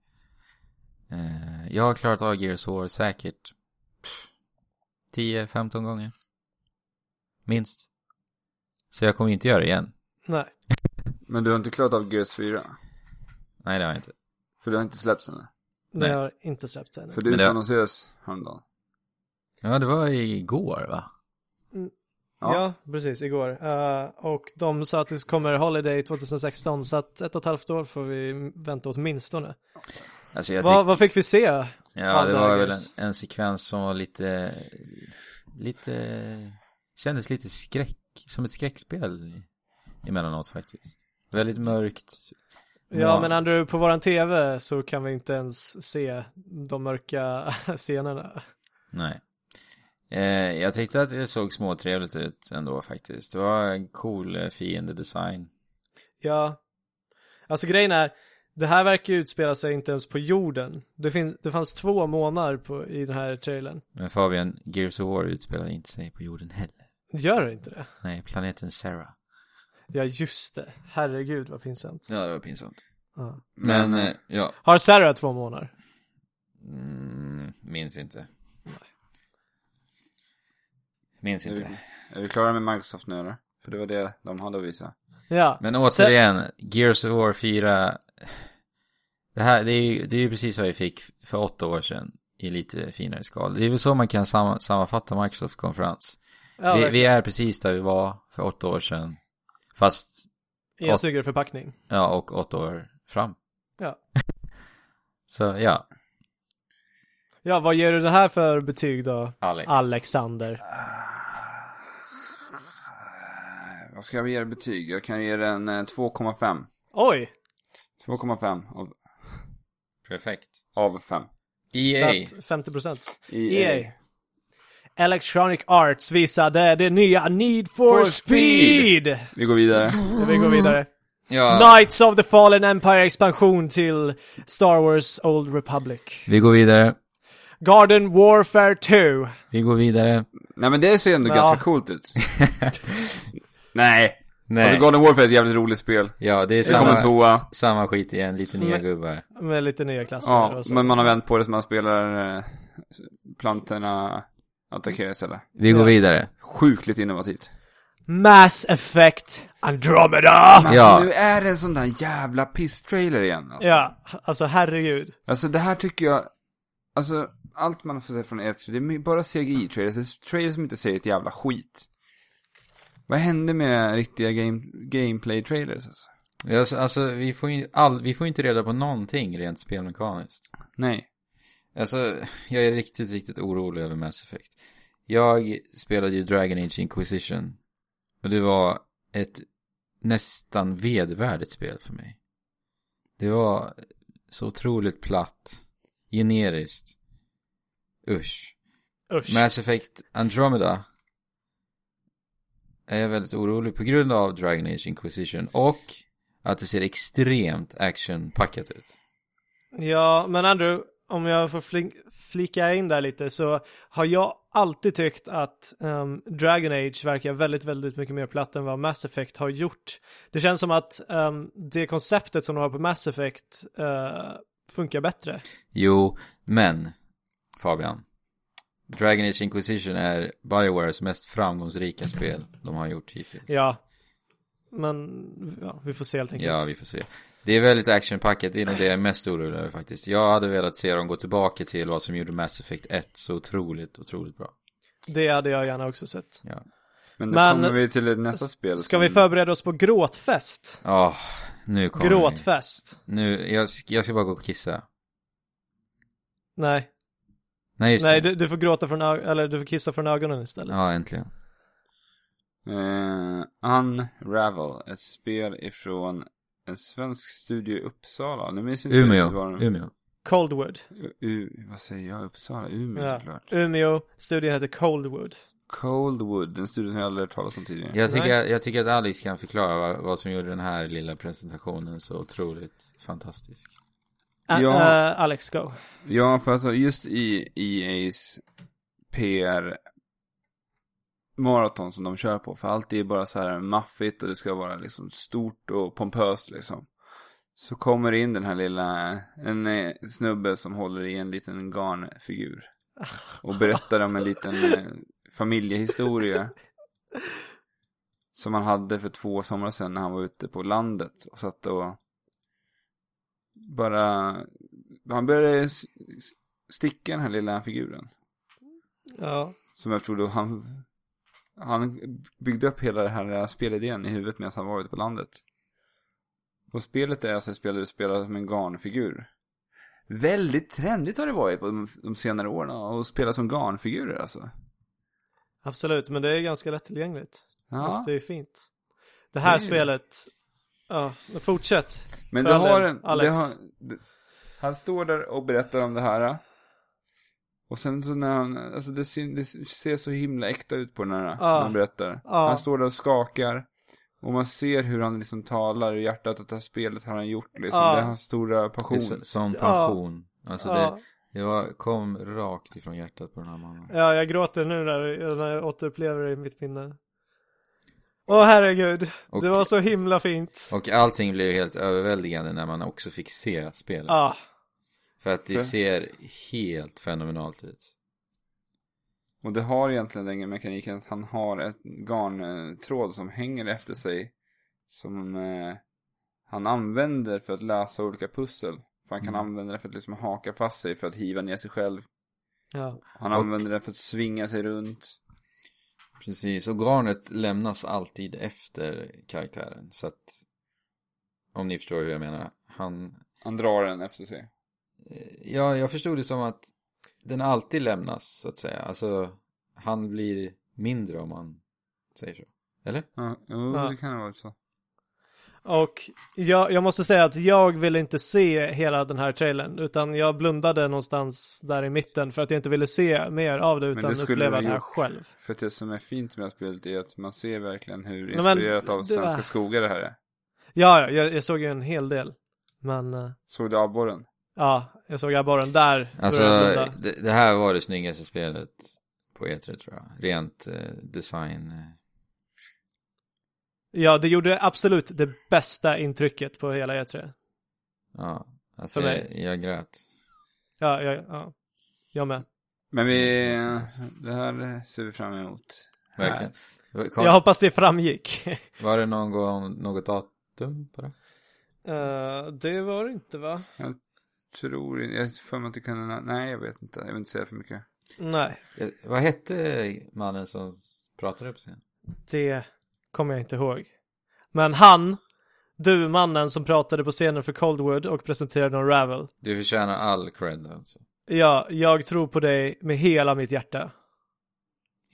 Speaker 2: Eh, Jag har klarat av Gears of War säkert pff, 10-15 gånger. Minst. Så jag kommer inte göra det igen.
Speaker 1: Nej.
Speaker 3: Men du har inte klarat av Gears 4?
Speaker 2: Nej, det har jag inte.
Speaker 3: För det har inte släppts ännu?
Speaker 1: Det
Speaker 2: Nej.
Speaker 1: har inte släppts ännu.
Speaker 3: För det
Speaker 2: Men det-
Speaker 3: utannonserades häromdagen.
Speaker 2: Ja, det var igår va?
Speaker 1: Ja.
Speaker 3: Ja.
Speaker 1: precis, igår. Eh, och de sa att det kommer Holiday 2016, så att ett och ett halvt år får vi vänta åtminstone.
Speaker 2: Alltså jag
Speaker 1: Vad, vad fick vi se?
Speaker 2: Ja, det
Speaker 1: Andra
Speaker 2: var väl en,
Speaker 1: Gears.
Speaker 2: en sekvens som var lite, lite, kändes lite skräck, som ett skräckspel i- emellanåt faktiskt. Väldigt mörkt.
Speaker 1: Ja, men Andrew, på våran tv så kan vi inte ens se de mörka scenerna.
Speaker 2: Nej. Eh, jag tyckte att det såg småtrevligt ut ändå faktiskt. Det var en cool eh, fiendedesign.
Speaker 1: Ja, alltså grejen är, det här verkar ju utspela sig inte ens på jorden. Det, fin- det fanns två månader på, i den här trailern.
Speaker 2: Men Fabian, Gears of War utspelar inte sig på jorden heller.
Speaker 1: Gör det inte det?
Speaker 2: Nej, planeten Sarah.
Speaker 1: Ja, just det. Herregud, vad pinsamt.
Speaker 2: Ja, det var pinsamt.
Speaker 1: Ja.
Speaker 2: Men, eh, ja.
Speaker 1: Har Sarah två månader?
Speaker 2: Mm, minns inte. Minns
Speaker 3: Är
Speaker 2: inte.
Speaker 3: vi, är vi klara med Microsoft nu eller? För det var det de hade att visa.
Speaker 1: Ja.
Speaker 2: Men återigen, Gears of War 4. Det här, det är ju, det är ju precis vad vi fick för åtta år sedan i lite finare skal. Det är väl så man kan sam- sammanfatta Microsofts konferens.
Speaker 1: ja,
Speaker 2: vi,
Speaker 1: verkligen.
Speaker 2: vi är precis där vi var för åtta år sedan. Fast,
Speaker 1: I en sugerförpackning.
Speaker 2: ja, och åtta år fram.
Speaker 1: Ja.
Speaker 2: Så, ja,
Speaker 1: Ja, vad ger du det här för betyg då?
Speaker 2: Alex.
Speaker 1: Alexander.
Speaker 3: Vad ska jag ge er betyg? Jag kan ge den eh, 2,5.
Speaker 1: Oj!
Speaker 3: 2,5 av,
Speaker 2: Perfekt. E
Speaker 3: av 5.
Speaker 2: EA.
Speaker 1: Så att 50%.
Speaker 3: EA.
Speaker 1: EA. Electronic Arts visade det nya Need for,
Speaker 3: For
Speaker 1: Speed!
Speaker 3: Speed. Vi går vidare.
Speaker 1: Vi går vidare.
Speaker 2: Ja.
Speaker 1: Knights of the Fallen Empire expansion till Star Wars Old Republic.
Speaker 2: Vi går vidare.
Speaker 1: Garden Warfare 2.
Speaker 2: Vi går vidare.
Speaker 3: Nej men det ser ändå
Speaker 1: Ja.
Speaker 3: ganska coolt ut. Nej.
Speaker 2: Nej.
Speaker 3: Alltså Golden Warfare är ett jävligt roligt spel.
Speaker 2: Ja, det är
Speaker 3: Det kommer en
Speaker 2: samma,
Speaker 3: tvåa.
Speaker 2: samma skit igen, lite nya gubbar.
Speaker 1: Med lite nya klasser
Speaker 3: Ja,
Speaker 1: och så.
Speaker 3: men man har vänt på det så man spelar eh, plantorna attackerar istället.
Speaker 2: Vi går vidare.
Speaker 3: Sjukligt innovativt.
Speaker 1: Mass Effect Andromeda!
Speaker 2: Ja.
Speaker 3: Alltså, nu är det en sån där jävla piss-trailer igen alltså.
Speaker 1: Ja, alltså herregud.
Speaker 3: alltså det här tycker jag, alltså allt man har fått se från E3, det är bara CGI-trailers, det är trailers som inte säger ett jävla skit. Vad hände med riktiga game, gameplay-trailers alltså?
Speaker 2: Ja, Alltså, alltså vi, får ju all, vi får ju inte reda på någonting rent spelmekaniskt.
Speaker 3: Nej.
Speaker 2: Alltså, jag är riktigt, riktigt orolig över Mass Effect. Jag spelade ju Dragon Age Inquisition. Och det var ett nästan vedvärdigt spel för mig. Det var så otroligt platt. Generiskt. Usch.
Speaker 1: Usch.
Speaker 2: Mass Effect Andromeda är jag väldigt orolig på grund av Dragon Age Inquisition och att det ser extremt actionpackat ut.
Speaker 1: Ja, men Andrew, om jag får flink- flika in där lite så har jag alltid tyckt att ehm, Dragon Age verkar väldigt, väldigt mycket mer platt än vad Mass Effect har gjort. Det känns som att ehm, det konceptet som de har på Mass Effect eh, funkar bättre.
Speaker 2: Jo, men Fabian. Dragon Age Inquisition är Biowares mest framgångsrika spel de har gjort hittills.
Speaker 1: Ja. Men, ja, vi får se helt enkelt.
Speaker 2: Ja, vi får se. Det är väldigt actionpackat, det är nog det jag är mest orolig över faktiskt. Jag hade velat se dem gå tillbaka till vad som gjorde Mass Effect 1 så otroligt, otroligt bra.
Speaker 1: Det hade jag gärna också sett.
Speaker 2: Ja.
Speaker 3: Men då
Speaker 1: Men-
Speaker 3: kommer vi till ett nästa spel.
Speaker 1: Ska
Speaker 3: som-
Speaker 1: vi förbereda oss på gråtfest?
Speaker 2: Åh, nu kommer vi.
Speaker 1: Gråtfest?
Speaker 2: Nu, jag, sk- jag ska bara gå och kissa.
Speaker 1: Nej.
Speaker 2: Nej, just
Speaker 1: Nej,
Speaker 2: det.
Speaker 1: du, du får gråta från ögonen, eller du får kissa från ögonen istället.
Speaker 2: Ja, äntligen.
Speaker 3: Eh, Unravel, ett spel ifrån en svensk studio i Uppsala. Nu minns inte
Speaker 2: Umeå.
Speaker 3: riktigt vad den-
Speaker 2: Umeå.
Speaker 1: Coldwood.
Speaker 3: U- U- vad säger jag? Uppsala? Umeå
Speaker 1: Ja.
Speaker 3: såklart.
Speaker 1: Umeå, studien heter Coldwood.
Speaker 3: Coldwood, en studio som jag aldrig hört talas om tidigare.
Speaker 2: Jag tycker, jag tycker att Alex kan förklara vad, vad som gjorde den här lilla presentationen så otroligt fantastisk.
Speaker 1: Ä-
Speaker 3: Ja.
Speaker 1: eh, Alex, go.
Speaker 3: Ja, för alltså just i E EA's PR maraton som de kör på. För allt är bara så här maffigt och det ska vara liksom stort och pompöst liksom. Så kommer det in den här lilla, en eh, snubbe som håller i en liten garnfigur. Och berättar om en liten eh, familjehistoria. Som han hade för två somrar sedan när han var ute på landet och satt och bara han började s- s- sticka den här lilla figuren.
Speaker 1: Ja.
Speaker 3: Som jag trodde han... Han byggde upp hela den här spelidén i huvudet medan han var ute på landet. Och spelet är alltså ett spel där du spelar som en garnfigur. Väldigt trendigt har det varit på de, de senare åren att spela som garnfigurer alltså.
Speaker 1: Absolut, men det är ganska lättillgängligt.
Speaker 3: Ja.
Speaker 1: Och det är fint. Det här
Speaker 3: Det är det.
Speaker 1: spelet, ja, men fortsätt.
Speaker 3: Men
Speaker 1: För
Speaker 3: det
Speaker 1: all
Speaker 3: har
Speaker 1: del,
Speaker 3: en...
Speaker 1: Alex.
Speaker 3: Det har, det, han står där och berättar om det här. Och sen så när han... Alltså det ser, det ser så himla äkta ut på den här. När han berättar.
Speaker 1: Ja.
Speaker 3: Han står där och skakar. Och man ser hur han liksom talar ur hjärtat att det här spelet har han gjort liksom.
Speaker 1: Ja.
Speaker 3: Det är hans stora
Speaker 2: Det är
Speaker 3: passion.
Speaker 2: så- sån passion. Alltså
Speaker 1: Ja.
Speaker 2: det, det var, kom rakt ifrån hjärtat på den här mannen.
Speaker 1: Ja, jag gråter nu när jag, när jag återupplever det i mitt minne. Åh herregud,
Speaker 2: Och-
Speaker 1: det var så himla fint.
Speaker 2: Och allting blev helt överväldigande när man också fick se spelet.
Speaker 1: Ja,
Speaker 2: För att det
Speaker 3: För-
Speaker 2: ser helt fenomenalt ut.
Speaker 3: Och det har egentligen den mekaniken att han har ett garntråd som hänger efter sig. Som eh, han använder för att lösa olika pussel. För han kan använda det för att liksom haka fast sig, för att hiva ner sig själv.
Speaker 1: ja.
Speaker 3: Han
Speaker 2: Och-
Speaker 3: använder den för att svinga sig runt.
Speaker 2: Precis, och garnet lämnas alltid efter karaktären. Så att, om ni förstår hur jag menar. Han,
Speaker 3: Han drar den efter sig.
Speaker 2: Ja, jag förstod det som att den alltid lämnas, så att säga. Alltså, han blir mindre om man säger så. Eller?
Speaker 3: Ja, jo,
Speaker 1: Ja.
Speaker 3: det kan det vara så.
Speaker 1: Och jag, jag måste säga att jag ville inte se hela den här trailern, utan jag blundade någonstans där i mitten för att jag inte ville se mer av det utan
Speaker 3: det skulle du
Speaker 1: uppleva
Speaker 3: ha
Speaker 1: det här
Speaker 3: gjort.
Speaker 1: själv.
Speaker 3: För att det som är fint med det här spelet är att man ser verkligen hur
Speaker 1: men,
Speaker 3: inspirerat av
Speaker 1: det
Speaker 3: svenska
Speaker 1: var-
Speaker 3: skogar det här är.
Speaker 1: Ja, ja, jag, jag såg ju en hel del. Men, eh,
Speaker 3: Såg du abborren?
Speaker 1: ja, jag såg abborren där.
Speaker 2: Alltså,
Speaker 1: började jag blunda.
Speaker 2: det, det här var det snyggaste spelet på E3, tror jag. Rent eh, design.
Speaker 1: Ja, det gjorde absolut det bästa intrycket på hela E E3.
Speaker 2: Ja, alltså
Speaker 1: För
Speaker 2: jag,
Speaker 1: mig.
Speaker 2: jag grät.
Speaker 1: Ja, ja, ja. Jag med.
Speaker 3: Men vi... Det här ser vi fram emot.
Speaker 2: Verkligen. Kom,
Speaker 1: Jag hoppas det framgick.
Speaker 2: Var det någon gång, något datum på det?
Speaker 1: Eh, det var det inte, va?
Speaker 3: Tror inte... Jag har för mig att det kan... Nej, jag vet inte. Jag vill inte säga för mycket.
Speaker 1: Nej,
Speaker 2: Eh, Vad hette mannen som pratade på scen?
Speaker 1: det kommer jag inte ihåg. Men han, du mannen som pratade på scenen för Coldwood och presenterade Unravel.
Speaker 2: Du förtjänar all cred alltså.
Speaker 1: Ja, jag tror på dig med hela mitt hjärta.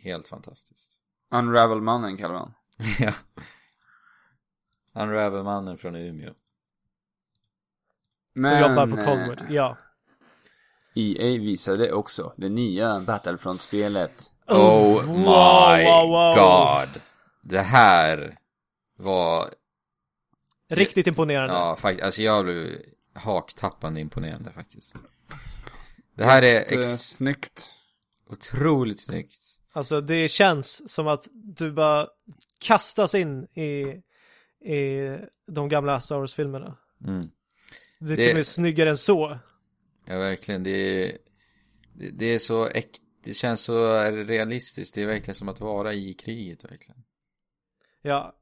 Speaker 2: Helt fantastiskt.
Speaker 3: Unravel-mannen kallar man.
Speaker 2: ja. Unravel-mannen från Umeå.
Speaker 1: Som jobbar på Colwood.
Speaker 3: eh,
Speaker 1: Ja.
Speaker 3: EA E visade också det nya Battlefront-spelet.
Speaker 2: Oh
Speaker 1: wow,
Speaker 2: my
Speaker 1: wow, wow.
Speaker 2: god. Det här var,
Speaker 1: Riktigt imponerande.
Speaker 2: ja faktiskt, alltså jag blev haktappande imponerande faktiskt. Det här är
Speaker 3: Eh,
Speaker 2: ex-
Speaker 3: Snyggt.
Speaker 2: otroligt snyggt.
Speaker 1: Alltså det känns som att du bara kastas in i, i de gamla Star Wars-filmerna.
Speaker 2: Mm.
Speaker 1: Det är
Speaker 2: Det-
Speaker 1: till och med snyggare än så.
Speaker 2: Ja, verkligen. Det är, det, det är så äkt, det känns så realistiskt. Det är verkligen som att vara i kriget, verkligen.
Speaker 1: Ja.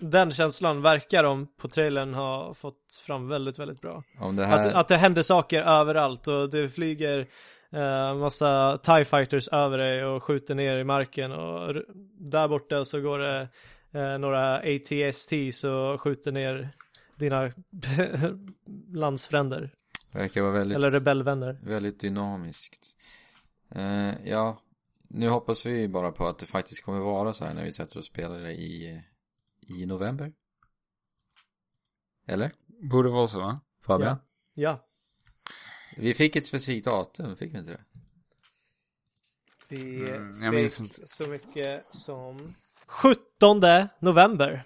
Speaker 1: Den känslan verkar de på trailern ha fått fram väldigt, väldigt bra.
Speaker 2: Om det här...
Speaker 1: Att,
Speaker 3: Eh.
Speaker 1: att det händer saker överallt och det flyger eh, massa TIE fighters över dig och skjuter ner i marken och r- där borta så går det eh, några ATSTs och skjuter ner dina landsfränder.
Speaker 2: verkar vara väldigt,
Speaker 1: Eller rebellvänner.
Speaker 2: väldigt dynamiskt. Eh, ja, nu hoppas vi bara på att det faktiskt kommer vara så här när vi sätter och spelar det i, i november. Eller?
Speaker 3: Borde vara så, va?
Speaker 2: Fabian?
Speaker 1: Ja.
Speaker 2: Vi fick ett specifikt datum, fick vi inte det?
Speaker 1: Vi
Speaker 3: Mm, jag minns inte.
Speaker 1: fick så mycket som 17 november.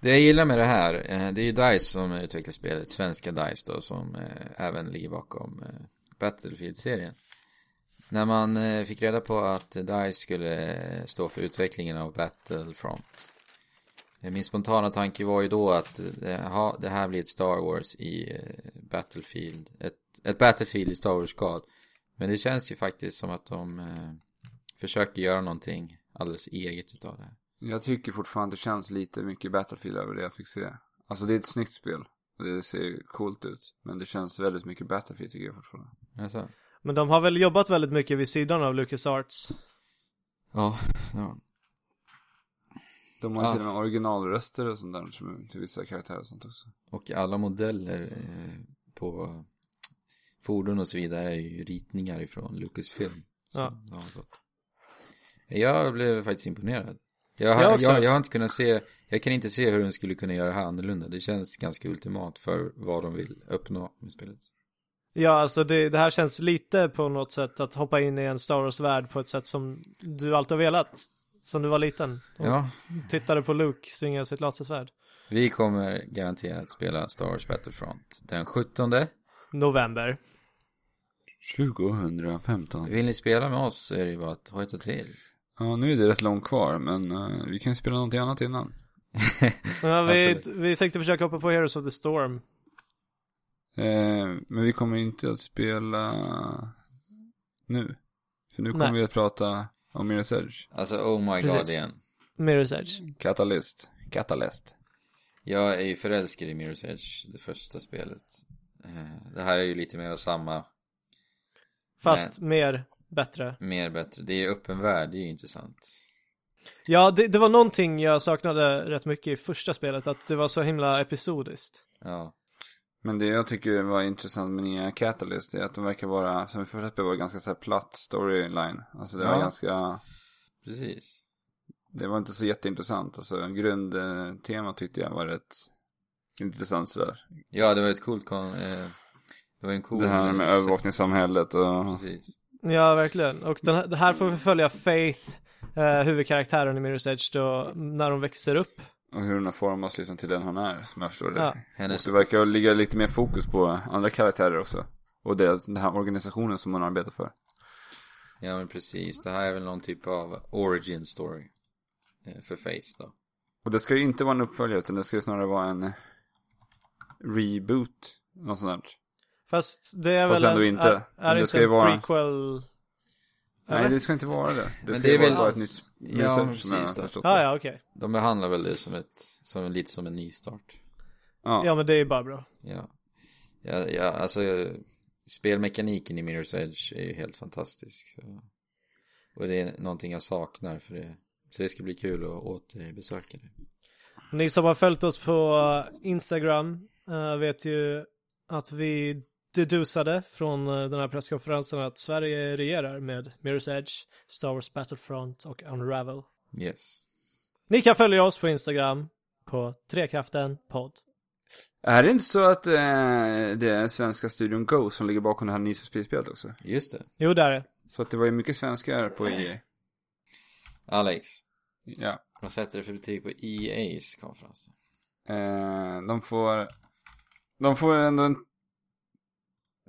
Speaker 2: Det jag gillar med det här, eh, det är ju DICE som utvecklar spelet, svenska DICE då, som eh, även ligger bakom eh, Battlefield-serien. När man eh, fick reda på att DICE skulle eh, stå för utvecklingen av Battlefront. Eh, Min spontana tanke var ju då att eh, jaha, det här blir ett Star Wars i eh, Battlefield, ett, ett Battlefield i Star Wars-grad. Men det känns ju faktiskt som att de eh, försöker göra någonting alldeles eget utav det här.
Speaker 3: Jag tycker fortfarande det känns lite mycket Battlefield över det jag fick se. Alltså det är ett snyggt spel. Och Det ser coolt ut. Men det känns väldigt mycket Battlefield tycker jag fortfarande.
Speaker 2: Alltså.
Speaker 1: Men de har väl jobbat väldigt mycket vid sidan av LucasArts.
Speaker 2: Ja, ja.
Speaker 3: De har ju
Speaker 2: Ja.
Speaker 3: till och med originalröster och sånt där som- till vissa karaktärer och sånt också.
Speaker 2: Och alla modeller eh, på fordon och så vidare är ju ritningar ifrån Lucasfilm. som
Speaker 1: Ja.
Speaker 2: de har fått. Jag blev faktiskt imponerad. Jag
Speaker 1: Jag
Speaker 2: har,
Speaker 1: också.
Speaker 2: jag, jag har inte kunnat se, jag kan inte se hur de skulle kunna göra det här annorlunda. Det känns ganska ultimat för vad de vill uppnå med spelet.
Speaker 1: Ja, alltså det, det här känns lite på något sätt att hoppa in i en Star Wars-värld på ett sätt som du alltid har velat. Som du var liten. Och
Speaker 2: Ja,
Speaker 1: tittade på Luke svinga sitt lasersvärd.
Speaker 2: vi kommer garanterat spela Star Wars Battlefront den 17.
Speaker 1: November.
Speaker 3: 2015.
Speaker 2: Vill ni spela med oss är det ju bara att hojta till.
Speaker 3: Ja, nu är det rätt långt kvar, men eh, vi kan ju spela någonting annat innan.
Speaker 1: Ja, vi,
Speaker 2: Absolut.
Speaker 1: vi tänkte försöka hoppa på Heroes of the Storm.
Speaker 3: Eh, men vi kommer inte att spela nu. För nu kommer
Speaker 1: Nej.
Speaker 3: vi att prata om Mirror's Edge.
Speaker 2: Alltså oh my god
Speaker 1: Precis.
Speaker 2: igen.
Speaker 1: Mirror's Edge.
Speaker 3: Mm. Catalyst. Catalyst.
Speaker 2: Jag är ju förälskad i Mirror's Edge, det första spelet. Eh, Det här är ju lite mer av samma,
Speaker 1: Fast mer bättre.
Speaker 2: mer bättre. Det är öppen värld, det är ju intressant.
Speaker 1: Ja, det, det var någonting jag saknade rätt mycket i första spelet, att det var så himla episodiskt.
Speaker 2: Ja,
Speaker 3: Men det jag tycker var intressant med nya Catalyst är att de verkar vara, som i första spelet var det ganska så här platt storyline. Alltså det var
Speaker 2: Ja.
Speaker 3: ganska,
Speaker 2: precis.
Speaker 3: det var inte så jätteintressant. Alltså grundtemat tyckte jag var rätt intressant sådär.
Speaker 2: Ja, det var ett coolt kon... eh, Det var en cool...
Speaker 3: Det här med
Speaker 2: sekt-
Speaker 3: övervakningssamhället och...
Speaker 2: Precis.
Speaker 1: Ja, verkligen. Och den här, det här får vi följa Faith, eh, huvudkaraktären i Mirror's Edge då, när de växer upp.
Speaker 3: Och hur hon har formats liksom till den hon är, som jag förstår det.
Speaker 1: Ja.
Speaker 3: Och
Speaker 2: Hennes...
Speaker 3: det verkar ligga lite mer fokus på andra karaktärer också. Och det, den här organisationen som hon arbetar för.
Speaker 2: Ja, men precis. Det här är väl någon typ av origin story. eh, För Faith då.
Speaker 3: Och det ska ju inte vara en uppföljare, utan det ska ju snarare vara en reboot. Något sånt där.
Speaker 1: Fast det är
Speaker 3: Fast
Speaker 1: väl
Speaker 3: ändå
Speaker 1: en,
Speaker 3: inte.
Speaker 1: är, är
Speaker 3: Men det
Speaker 1: inte
Speaker 3: ska ju
Speaker 1: en
Speaker 3: vara-
Speaker 1: prequel...
Speaker 3: Nej,
Speaker 1: Eller?
Speaker 3: det ska inte vara det. Det ska
Speaker 2: det
Speaker 3: ju
Speaker 2: är väl
Speaker 3: vara ett
Speaker 2: alls-
Speaker 3: nytt
Speaker 2: Ja,
Speaker 3: research,
Speaker 2: men
Speaker 3: som jag
Speaker 2: precis
Speaker 3: har
Speaker 2: det.
Speaker 3: förstått
Speaker 1: Ja,
Speaker 3: det.
Speaker 1: ja, okej.
Speaker 2: De behandlar väl det som ett... Som lite som en ny start.
Speaker 3: Ja.
Speaker 1: Ja, men det är ju bara bra.
Speaker 2: Ja. Ja, ja alltså eh, spelmekaniken i Mirror's Edge är ju helt fantastisk. Så. Och det är någonting jag saknar för det. Så det ska bli kul att återbesöka det.
Speaker 1: Ni som har följt oss på Instagram eh, vet ju eh, att vi dedusade från eh, den här presskonferensen att Sverige regerar med Mirror's Edge, Star Wars Battlefront och Unravel.
Speaker 2: Yes.
Speaker 1: Ni kan följa oss på Instagram på Trekraften podd.
Speaker 3: Är det inte så att eh, det är svenska studion Go som ligger bakom det här Need for Speed-spelet också?
Speaker 2: Just det.
Speaker 1: Jo, där är
Speaker 3: Så att det var ju mycket svenskar på EA.
Speaker 2: Alex,
Speaker 3: Ja.
Speaker 2: vad sätter du för betyg på E EA's konferens?
Speaker 3: Eh, de får... De får ändå en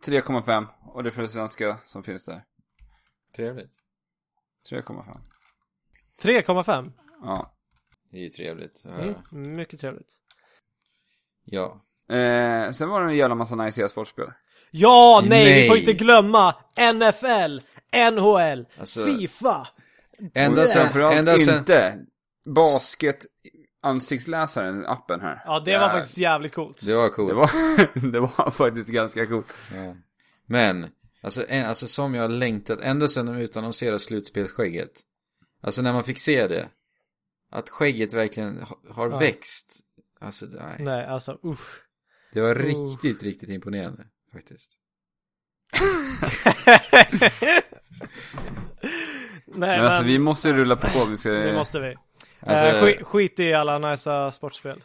Speaker 3: 3,5 och det är för det svenska som finns där.
Speaker 2: Trevligt.
Speaker 3: 3,5.
Speaker 1: 3,5.
Speaker 3: Ja.
Speaker 2: Det är ju trevligt att höra.
Speaker 1: Mm, mycket trevligt.
Speaker 2: Ja.
Speaker 3: Eh, sen var det en jävla massa nice e-sportspel.
Speaker 1: Ja, nej, vi
Speaker 2: Nej.
Speaker 1: får inte glömma NFL, NHL,
Speaker 2: Alltså-
Speaker 1: Fifa.
Speaker 2: Ända sen,
Speaker 3: Framförallt
Speaker 2: ända sen,
Speaker 3: inte basket ansiktsläsaren, appen här.
Speaker 1: Ja, det var faktiskt jävligt coolt.
Speaker 2: det var coolt.
Speaker 3: Det var, det var faktiskt ganska coolt.
Speaker 2: Ja. Men, alltså, en, alltså som jag har längtat, ända sedan de utannonserade slutspelsskägget. Alltså när man fick se det. Att skägget verkligen ha, har växt. Alltså, nej.
Speaker 1: Nej, alltså usch.
Speaker 2: Det var riktigt, riktigt imponerande faktiskt.
Speaker 1: Nej,
Speaker 3: Men
Speaker 1: men,
Speaker 3: alltså eh, vi måste rulla på om vi ska...
Speaker 1: det måste vi.
Speaker 2: Alltså-
Speaker 1: Eh, skit, skit i alla nice eh, sportspel.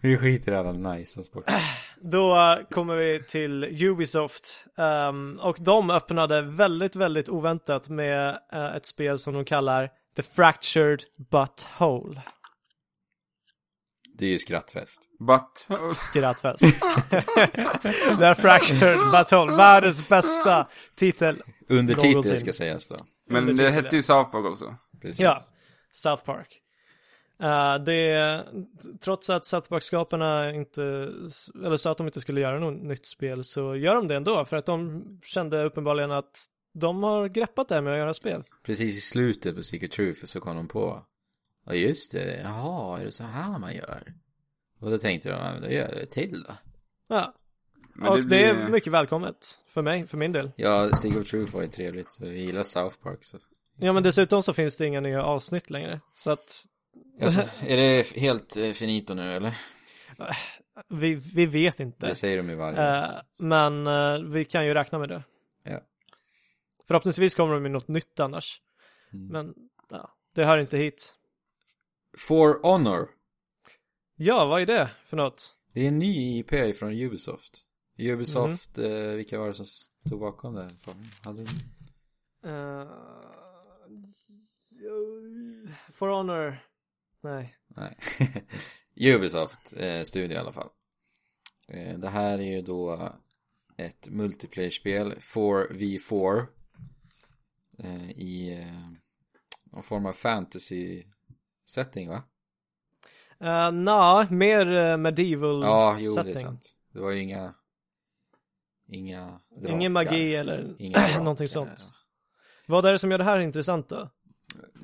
Speaker 2: Vi skiter i alla nice sport.
Speaker 1: Då eh, kommer vi till Ubisoft. Ehm, och de öppnade väldigt, väldigt oväntat med eh, ett spel som de kallar The Fractured Butthole.
Speaker 2: Det är ju skrattfest.
Speaker 3: But...
Speaker 1: Skrattfest. The Fractured Butthole. Världens bästa titel.
Speaker 2: Undertitel
Speaker 1: Någonsin.
Speaker 2: ska sägas då.
Speaker 3: Men det hette ju South Park också.
Speaker 2: Precis.
Speaker 1: Ja, South Park. Eh, det, trots att South Park-skaparna inte, eller sa att de inte skulle göra något nytt spel så gör de det ändå för att de kände uppenbarligen att de har greppat det här med att göra spel.
Speaker 2: Precis i slutet på Secret Truth så kom de på. Ja just det, jaha, är det så här man gör? Och då tänkte de, ja men då gör jag det till då.
Speaker 1: Ja.
Speaker 3: Men
Speaker 1: och det,
Speaker 3: blir-
Speaker 1: är mycket välkommet för mig, för min del.
Speaker 2: Ja, Stick of Truth var ju trevligt. Vi gillar South Park så.
Speaker 1: Ja men dessutom så finns det inga nya avsnitt längre. Så att
Speaker 2: Alltså, är det helt eh, finito nu eller?
Speaker 1: vi, vi vet inte.
Speaker 2: Det säger de ju varje
Speaker 1: Eh,
Speaker 2: år.
Speaker 1: men eh, vi kan ju räkna med det.
Speaker 2: Ja.
Speaker 1: Förhoppningsvis kommer de med något nytt annars. Men ja, det hör inte hit.
Speaker 2: For Honor.
Speaker 1: Ja, vad är det för något?
Speaker 2: Det är en ny IP från Ubisoft. Ubisoft, eh, vilka var det som stod bakom det? Fan, Hade... de-
Speaker 1: Uh, For Honor. Nej.
Speaker 2: Nej. Ubisoft eh, studio i alla fall. Eh, det här är ju då ett multiplayer-spel, 4v4. Eh, I eh, någon form av fantasy-setting va?
Speaker 1: Uh, Nja, mer eh, medieval
Speaker 2: Ja, jo
Speaker 1: setting.
Speaker 2: det är sant. Det var ju inga... Inga drakar.
Speaker 1: Ingen magi eller
Speaker 2: Inga drakar.
Speaker 1: någonting sånt. Vad är det som gör det här intressant då?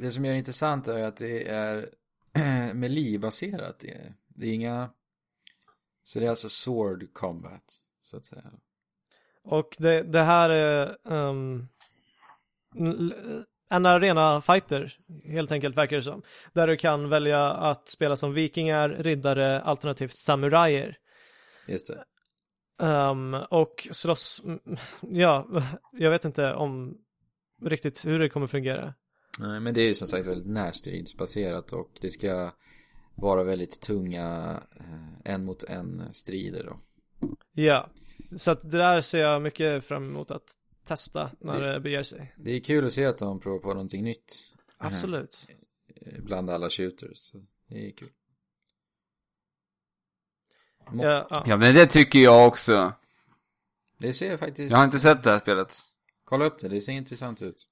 Speaker 2: Det som gör det intressant är att det är melee-baserat. Det är- Det är inga... Så det är alltså sword combat, så att säga.
Speaker 1: Och det, det här är ehm, l- en arena fighter, helt enkelt verkar det som. Där du kan välja att spela som vikingar, riddare, alternativt samurajer.
Speaker 2: Just det.
Speaker 1: Ehm, och slåss, mm, ja, jag vet inte om riktigt hur det kommer fungera.
Speaker 2: Nej, men det är ju som sagt väldigt närstridsbaserat och det ska vara väldigt tunga eh, en mot en strider då.
Speaker 1: Ja, så att det där ser jag mycket fram emot att testa när det beger sig.
Speaker 2: Det är kul att se att de provar på någonting nytt
Speaker 1: Absolut.
Speaker 2: eh, bland alla shooters. Så det är kul.
Speaker 1: Ja, ja.
Speaker 3: Ja men det tycker jag också.
Speaker 2: Det ser faktiskt...
Speaker 3: Jag har inte sett det här spelet.
Speaker 2: Kolla upp det, det ser intressant ut.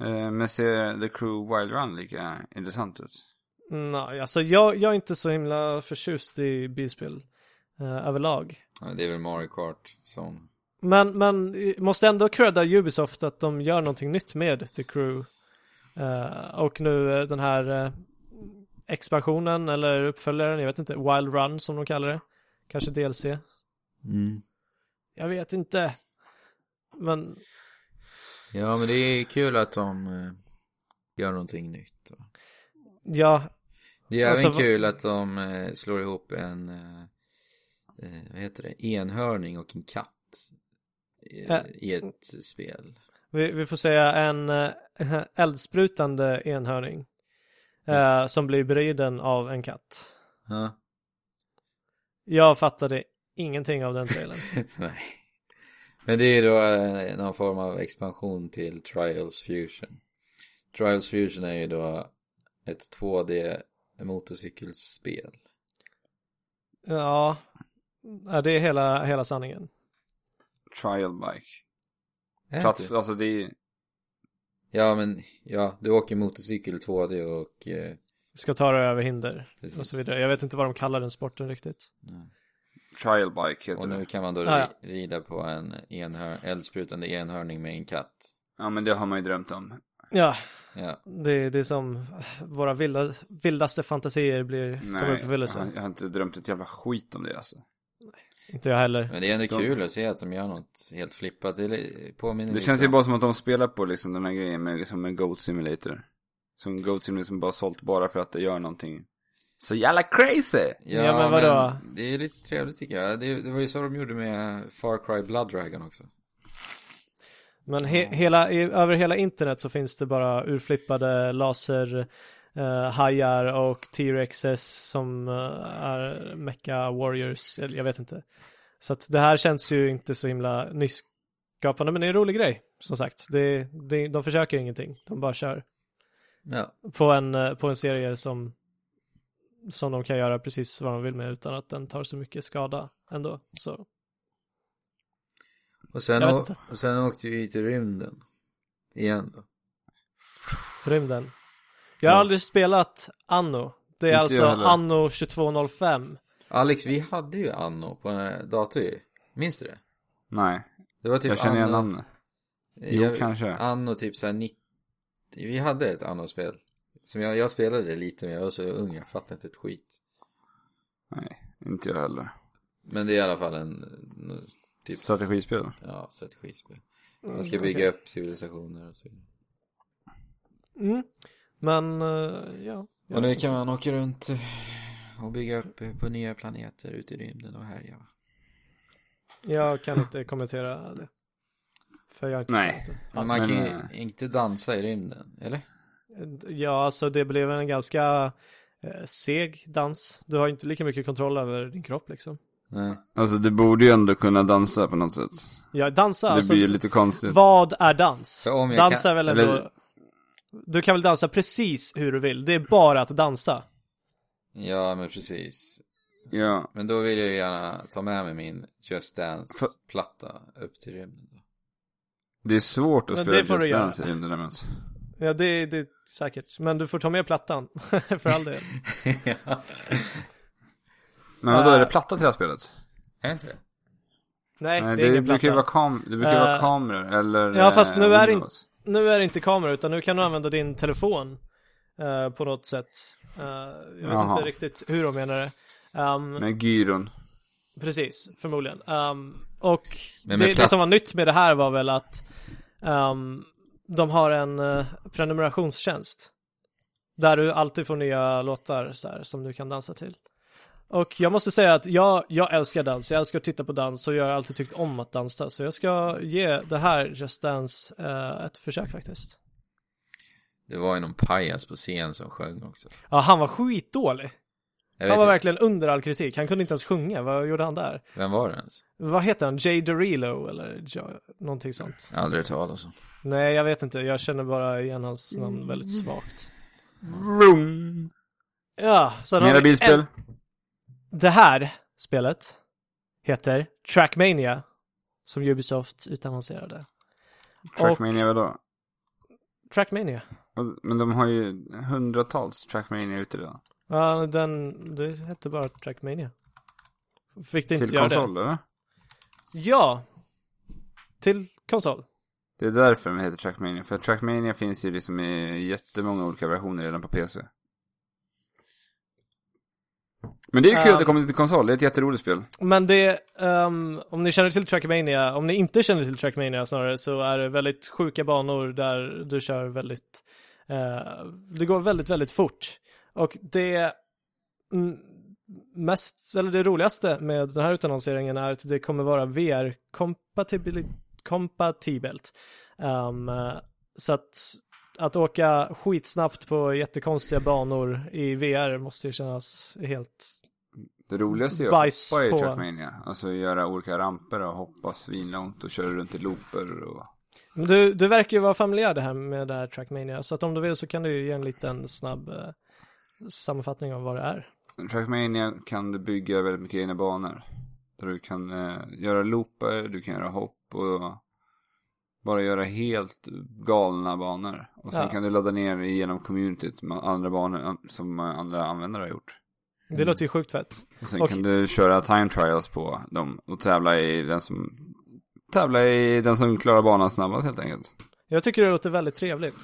Speaker 3: Eh, Men ser The Crew Wild Run lika intressant ut?
Speaker 1: Nej, alltså jag, jag är inte så himla förtjust i bilspel eh, överlag.
Speaker 2: Ja, det är väl Mario Kart som...
Speaker 1: Men, men eh, måste ändå credda Ubisoft att de gör någonting nytt med The Crew. Eh, och nu eh, den här eh, expansionen eller uppföljaren, jag vet inte, Wild Run som de kallar det. Kanske DLC. Jag vet inte. Men
Speaker 2: Ja, men det är kul att de eh, gör någonting nytt. Då.
Speaker 1: ja,
Speaker 2: Det är
Speaker 1: Alltså,
Speaker 2: även
Speaker 1: vad-
Speaker 2: kul att de eh, slår ihop en eh, eh, vad heter det, enhörning och en katt i,
Speaker 1: Ja.
Speaker 2: i ett spel.
Speaker 1: Vi, vi får säga en eh, eldsprutande enhörning eh, som blir beriden av en katt.
Speaker 2: Ja.
Speaker 1: Jag fattade ingenting av den trailern.
Speaker 2: Nej. Men det är ju då eh, någon form av expansion till Trials Fusion. Trials Fusion är ju då ett 2D motorcykelspel.
Speaker 1: ja, Ja, det är hela, hela sanningen.
Speaker 3: Trial bike.
Speaker 2: Är det
Speaker 3: Plats,
Speaker 2: inte?
Speaker 3: alltså det är
Speaker 2: Ja, men ja, du åker motorcykel 2D och eh,
Speaker 1: Ska ta dig över hinder
Speaker 2: precis.
Speaker 1: och så vidare. Jag vet inte vad de kallar den sporten riktigt.
Speaker 3: trial bike heter
Speaker 2: Och nu
Speaker 3: det.
Speaker 2: kan man då
Speaker 1: Ja, ja.
Speaker 2: ri- rida på en enhör, eldsprutande enhörning med en katt.
Speaker 3: Ja men det har man ju drömt om.
Speaker 1: Ja,
Speaker 2: Ja,
Speaker 1: det, det är som våra vilda, vildaste fantasier blir, kommer
Speaker 3: Nej,
Speaker 1: upp i
Speaker 3: jag,
Speaker 1: fyllelse.
Speaker 3: har- jag har inte drömt ett jävla skit om det alltså.
Speaker 1: Inte jag heller.
Speaker 2: men det är ändå
Speaker 3: De-
Speaker 2: kul att se att de gör något helt flippat. Det li- påminner
Speaker 3: Det
Speaker 2: lite
Speaker 3: känns ju
Speaker 2: om-
Speaker 3: bara som att de spelar på liksom den här grejen med liksom en Goat Simulator. Som Goat Simulator som bara sålt bara för att det gör någonting. Så jävla crazy!
Speaker 2: Ja,
Speaker 1: Ja, men vadå?
Speaker 2: men det är lite trevligt tycker jag. Det, det var ju så de gjorde med Far Cry Blood Dragon också.
Speaker 1: Men he, hela, i, över hela internet så finns det bara urflippade laser eh, hajar och T-Rexes som eh, är mecha warriors, eller jag vet inte. Så att det här känns ju inte så himla nyskapande, men det är en rolig grej, som sagt. Det, det, de försöker ingenting, de bara kör.
Speaker 2: Ja.
Speaker 1: På en, eh, på en serie som, som de kan göra precis vad de vill med utan att den tar så mycket skada ändå. Så,
Speaker 2: Och sen,
Speaker 1: Jag vet
Speaker 2: å-
Speaker 1: inte.
Speaker 2: och sen åkte vi till rymden. Igen då.
Speaker 1: rymden. Jag har
Speaker 2: Ja.
Speaker 1: aldrig spelat Anno. Det är
Speaker 3: Inte
Speaker 1: alltså
Speaker 3: jag heller.
Speaker 1: Anno 2205.
Speaker 2: Alex, vi hade ju Anno på eh, dator ju. Minns du det?
Speaker 3: Nej,
Speaker 2: Det var typ
Speaker 3: jag känner igen
Speaker 2: Anno-
Speaker 3: namnet. Jo,
Speaker 2: jag-
Speaker 3: kanske.
Speaker 2: Anno typ såhär 90. Vi hade ett Anno-spel. Som jag, jag spelade det lite men jag var så ung, jag fattade inte ett skit.
Speaker 3: Nej, inte jag heller.
Speaker 2: Men det är i alla fall en... en typ,
Speaker 3: Strategispel.
Speaker 2: Ja, strategispel. Man ska bygga upp civilisationer och så vidare.
Speaker 1: Mm. Men, eh, ja.
Speaker 2: Och nu kan man åka runt eh, och bygga upp eh, på nya planeter ute i rymden och härja. va?
Speaker 1: Jag kan inte kommentera det. För jag har inte
Speaker 3: Nej.
Speaker 1: spelat det.
Speaker 2: Men
Speaker 1: alls.
Speaker 2: man kan
Speaker 3: Alltså, Men, eh,
Speaker 2: ju inte dansa i rymden, eller?
Speaker 1: Ja, alltså det blev en ganska eh, seg dans. Du har ju inte lika mycket kontroll över din kropp liksom.
Speaker 2: Nej.
Speaker 3: Alltså du borde ju ändå kunna dansa på något sätt.
Speaker 1: Ja, dansa
Speaker 3: det
Speaker 1: alltså.
Speaker 3: blir ju lite konstigt.
Speaker 1: Vad är dans?
Speaker 2: För om jag
Speaker 1: Dans
Speaker 2: kan-
Speaker 1: är väl ändå...
Speaker 3: eller-
Speaker 1: Du kan väl dansa precis hur du vill. Det är bara att dansa.
Speaker 2: Ja, men precis.
Speaker 3: Ja,
Speaker 2: Men då vill jag ju gärna ta med mig min Just Dance-platta upp till rymden. då.
Speaker 3: det är svårt att
Speaker 1: Men
Speaker 3: spela
Speaker 1: det får du
Speaker 3: Just
Speaker 1: göra.
Speaker 3: Dance i rymden däremot.
Speaker 1: Ja, det, det är säkert. Men du får ta med plattan. För all del.
Speaker 2: ja.
Speaker 3: Men vadå, är det
Speaker 1: Äh.
Speaker 3: platta till det här spelet?
Speaker 2: Är det inte det?
Speaker 1: Nej,
Speaker 3: Nej,
Speaker 1: det är
Speaker 3: det,
Speaker 1: ingen platta.
Speaker 3: brukar ju vara, kam det brukar ju vara
Speaker 1: Äh.
Speaker 3: kameror eller
Speaker 1: Ja, fast
Speaker 3: eh,
Speaker 1: nu är det
Speaker 3: Windows.
Speaker 1: Nu är det inte kamera utan nu kan du använda din telefon eh, på något sätt. Eh, jag vet
Speaker 3: Jaha.
Speaker 1: inte riktigt hur de menar det. Ehm,
Speaker 3: Med gyron.
Speaker 1: Precis, förmodligen. Ehm, och det,
Speaker 2: Men med
Speaker 1: det
Speaker 2: platt-
Speaker 1: som var nytt med det här var väl att ehm, de har en eh, prenumerationstjänst. Där du alltid får nya låtar så här, som du kan dansa till. Och jag måste säga att jag, jag älskar dans, jag älskar att titta på dans och jag har alltid tyckt om att dansa. Så jag ska ge det här Just Dance eh, ett försök faktiskt.
Speaker 2: Det var ju någon pajas på scen som sjöng också.
Speaker 1: Ja, han var skitdålig.
Speaker 2: Jag
Speaker 1: Han
Speaker 2: vet
Speaker 1: var
Speaker 2: inte,
Speaker 1: verkligen under all kritik. Han kunde inte ens sjunga. Vad gjorde han där?
Speaker 2: Vem var det ens?
Speaker 1: Vad heter han? Jay Derulo eller jo, någonting sånt?
Speaker 2: Aldrig hört talas om.
Speaker 1: Nej, jag vet inte. Jag känner bara igen hans namn väldigt svagt.
Speaker 3: Vroom.
Speaker 1: Ja, sen har
Speaker 3: Mera
Speaker 1: vi
Speaker 3: bilspel.
Speaker 1: Det här spelet heter Trackmania, som Ubisoft utannonserade.
Speaker 3: Trackmania vadå?
Speaker 1: Trackmania.
Speaker 3: Och- Men de har ju hundratals Trackmania ute redan.
Speaker 1: Ja, den... Det hette bara Trackmania. Fick det inte
Speaker 3: Till
Speaker 1: göra
Speaker 3: konsol, eller?
Speaker 1: det? Ja. Till konsol.
Speaker 3: Det är därför den heter Trackmania. För Trackmania finns ju liksom i jättemånga olika versioner redan på PC. Men det är ju kul
Speaker 1: Ja.
Speaker 3: att det kommer till konsol. Det är ett jätteroligt spel.
Speaker 1: Men det, ehm, om ni känner till Trackmania, om ni inte känner till Trackmania snarare så är det väldigt sjuka banor där du kör väldigt, eh, det går väldigt, väldigt fort. Och det, mm, mest, eller det roligaste med den här utannonseringen är att det kommer vara VR-kompatibelt. Um, så att, att åka skitsnabbt på jättekonstiga banor i VR måste ju kännas helt...
Speaker 3: Det roligaste är att
Speaker 1: Bajs
Speaker 3: hoppa i
Speaker 1: på-
Speaker 3: Trackmania. Alltså göra olika ramper och hoppa svinlångt och köra runt i looper och...
Speaker 1: Men du, du verkar ju vara familjär det här med det här Trackmania, så att om du vill så kan du ju ge en liten snabb eh, sammanfattning av vad det är.
Speaker 3: Trackmania kan du bygga väldigt mycket egna banor. Där du kan eh, göra loopar, du kan göra hopp och bara göra helt galna banor. Och sen
Speaker 1: Ja.
Speaker 3: kan du ladda ner genom communityt med andra banor an- som eh, andra användare har gjort.
Speaker 1: Det låter ju sjukt fett.
Speaker 3: Och sen
Speaker 1: Och-
Speaker 3: kan du köra time trials på dem och tävla i den som tävla i den som klarar banan snabbast helt enkelt.
Speaker 1: Jag tycker det låter väldigt trevligt.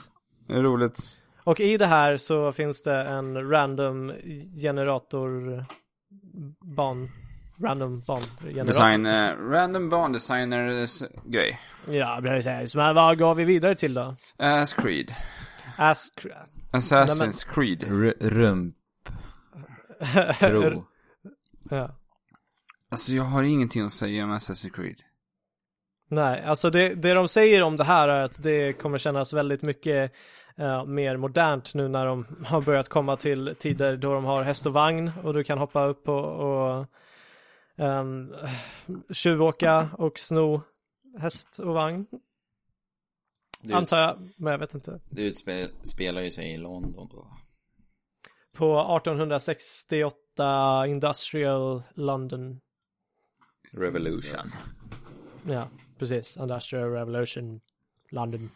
Speaker 3: Det är roligt.
Speaker 1: Och i det här så finns det en random generator ban random ban generator.
Speaker 3: Design, eh, random bandesigners grej.
Speaker 1: Ja, precis. Men vad går vi vidare till då?
Speaker 3: As Creed.
Speaker 1: Ask
Speaker 3: Assassin's Creed.
Speaker 2: R- rump. Tro.
Speaker 1: ja.
Speaker 3: Alltså jag har ingenting att säga om Assassin's Creed.
Speaker 1: Nej, alltså det, det de säger om det här är att det kommer kännas väldigt mycket eh, mer modernt nu när de har börjat komma till tider då de har häst och vagn och du kan hoppa upp och, och um, tjuvåka och sno häst och vagn.
Speaker 4: Det,
Speaker 1: Antar jag, men jag vet inte.
Speaker 4: det utspelar ju sig i London då.
Speaker 1: På 1868 Industrial London.
Speaker 4: Revolution.
Speaker 1: Ja, precis. Industrial Revolution London.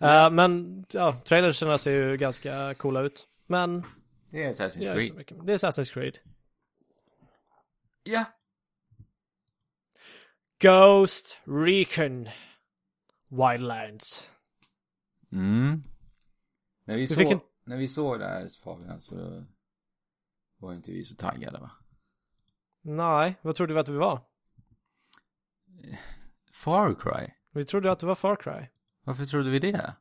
Speaker 1: Eh, men ja, trailersarna ser ju ganska coola ut. Men
Speaker 4: Det är
Speaker 1: det
Speaker 4: Assassin's
Speaker 1: är, inte
Speaker 4: Creed.
Speaker 1: mycket. det är Assassin's Creed.
Speaker 3: Ja.
Speaker 1: Ghost Recon Wildlands.
Speaker 2: Mm.
Speaker 4: När vi,
Speaker 1: fick
Speaker 4: såg,
Speaker 1: en-
Speaker 4: när vi såg det här Fabian så var inte vi så taggade va?
Speaker 1: Nej, vad trodde vi att vi var?
Speaker 2: Far Cry?
Speaker 1: Vi trodde att det var Far Cry.
Speaker 2: Varför trodde vi det?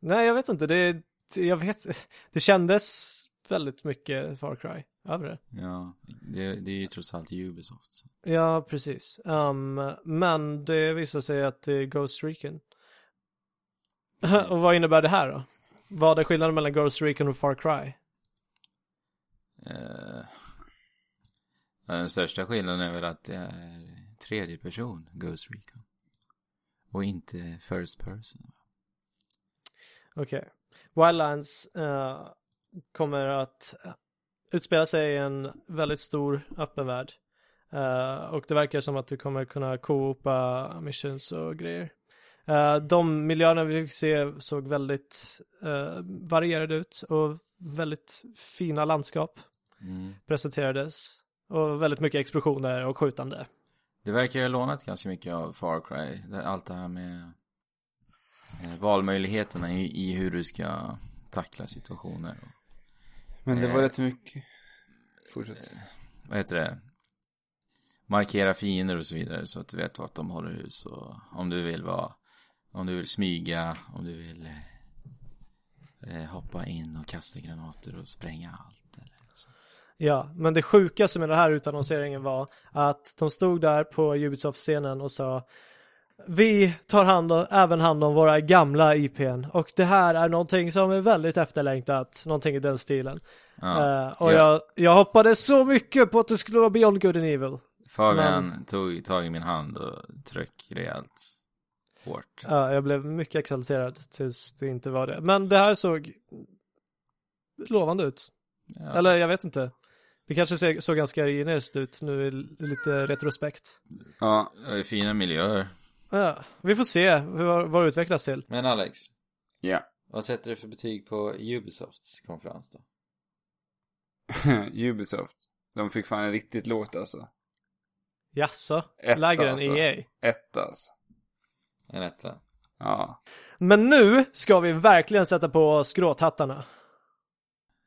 Speaker 1: Nej, jag vet inte. Det, det- jag vet, det kändes väldigt mycket Far Cry över det.
Speaker 2: Ja, det, det är ju trots allt Ubisoft. så.
Speaker 1: Ja, precis. Ehm, men det visar sig att det är Ghost Recon. och vad innebär det här då? Vad är skillnaden mellan Ghost Recon och Far Cry?
Speaker 2: Eh, ja, den Eh, största skillnaden är väl att det är tredje person, Ghost Recon. Och inte first person.
Speaker 1: Okej. Wildlands eh, kommer att utspela sig i en väldigt stor öppen värld. Eh, och det verkar som att du kommer kunna co-opa missions och grejer. Eh, de miljöerna vi fick se såg väldigt eh, varierade ut och väldigt fina landskap
Speaker 2: Mm.
Speaker 1: presenterades. Och väldigt mycket explosioner och skjutande.
Speaker 2: Det verkar ju ha lånat ganska mycket av Far Cry. Det- Allt det här med eh, valmöjligheterna i, i hur du ska tackla situationer. Och,
Speaker 3: Men
Speaker 2: det var
Speaker 3: rätt mycket. Fortsätt.
Speaker 2: vad heter det? Markera fiender och så vidare så att du vet vart de håller hus och om du vill vara, om du vill smyga, om du vill eh, hoppa in och kasta granater och spränga allt. Eller så.
Speaker 1: Ja, men det sjukaste med den här utannonseringen var att de stod där på Ubisoft-scenen och sa vi tar hand om, även hand om våra gamla IPn och det här är någonting som är väldigt efterlängtat, någonting i den stilen.
Speaker 2: Ja.
Speaker 1: Eh, och
Speaker 2: ja.
Speaker 1: jag, jag hoppades så mycket på att det skulle vara Beyond Good and Evil.
Speaker 2: Fabian tog tag i min hand och tryck rejält hårt.
Speaker 1: Ja, jag blev mycket exalterad tills det inte var det. Men det här såg lovande ut.
Speaker 2: Ja.
Speaker 1: Eller jag vet inte. Det kanske ser- såg ganska generiskt ut nu i lite retrospekt.
Speaker 3: Ja.
Speaker 2: Det är fina miljöer.
Speaker 1: Ja, vi får se vad, vad det utvecklas till.
Speaker 4: Men Alex,
Speaker 3: Ja.
Speaker 4: vad sätter du för betyg på Ubisofts konferens då?
Speaker 3: Ubisoft. De fick fan en riktigt lågt alltså.
Speaker 1: Jaså?
Speaker 3: Etta,
Speaker 1: Lägre än E
Speaker 3: alltså.
Speaker 1: EA?
Speaker 3: Ett alltså.
Speaker 4: En etta.
Speaker 3: Ja.
Speaker 1: Men nu ska vi verkligen sätta på oss gråthattarna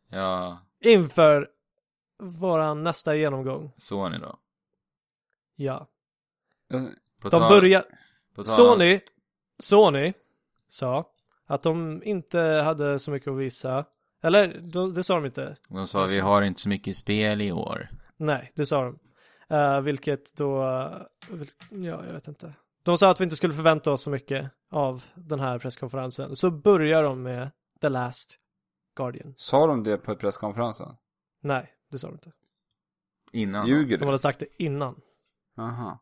Speaker 2: Ja,
Speaker 1: inför våran nästa genomgång.
Speaker 2: Sony då.
Speaker 1: Ja.
Speaker 3: Eh,
Speaker 2: På
Speaker 1: De
Speaker 2: tal-
Speaker 1: börjar...
Speaker 2: på tal-
Speaker 1: Sony, Sony sa att de inte hade så mycket att visa. Eller, de- det sa de inte.
Speaker 2: De sa vi har inte så mycket spel i år.
Speaker 1: Nej, det sa de. Eh, vilket då, vil- ja jag vet inte. De sa att vi inte skulle förvänta oss så mycket av den här presskonferensen. Så börjar de med The Last Guardian.
Speaker 3: Sa de det på presskonferensen?
Speaker 1: Nej, det sa de inte.
Speaker 2: Innan.
Speaker 1: De
Speaker 3: Ljuger du?
Speaker 1: hade sagt det innan.
Speaker 3: Aha.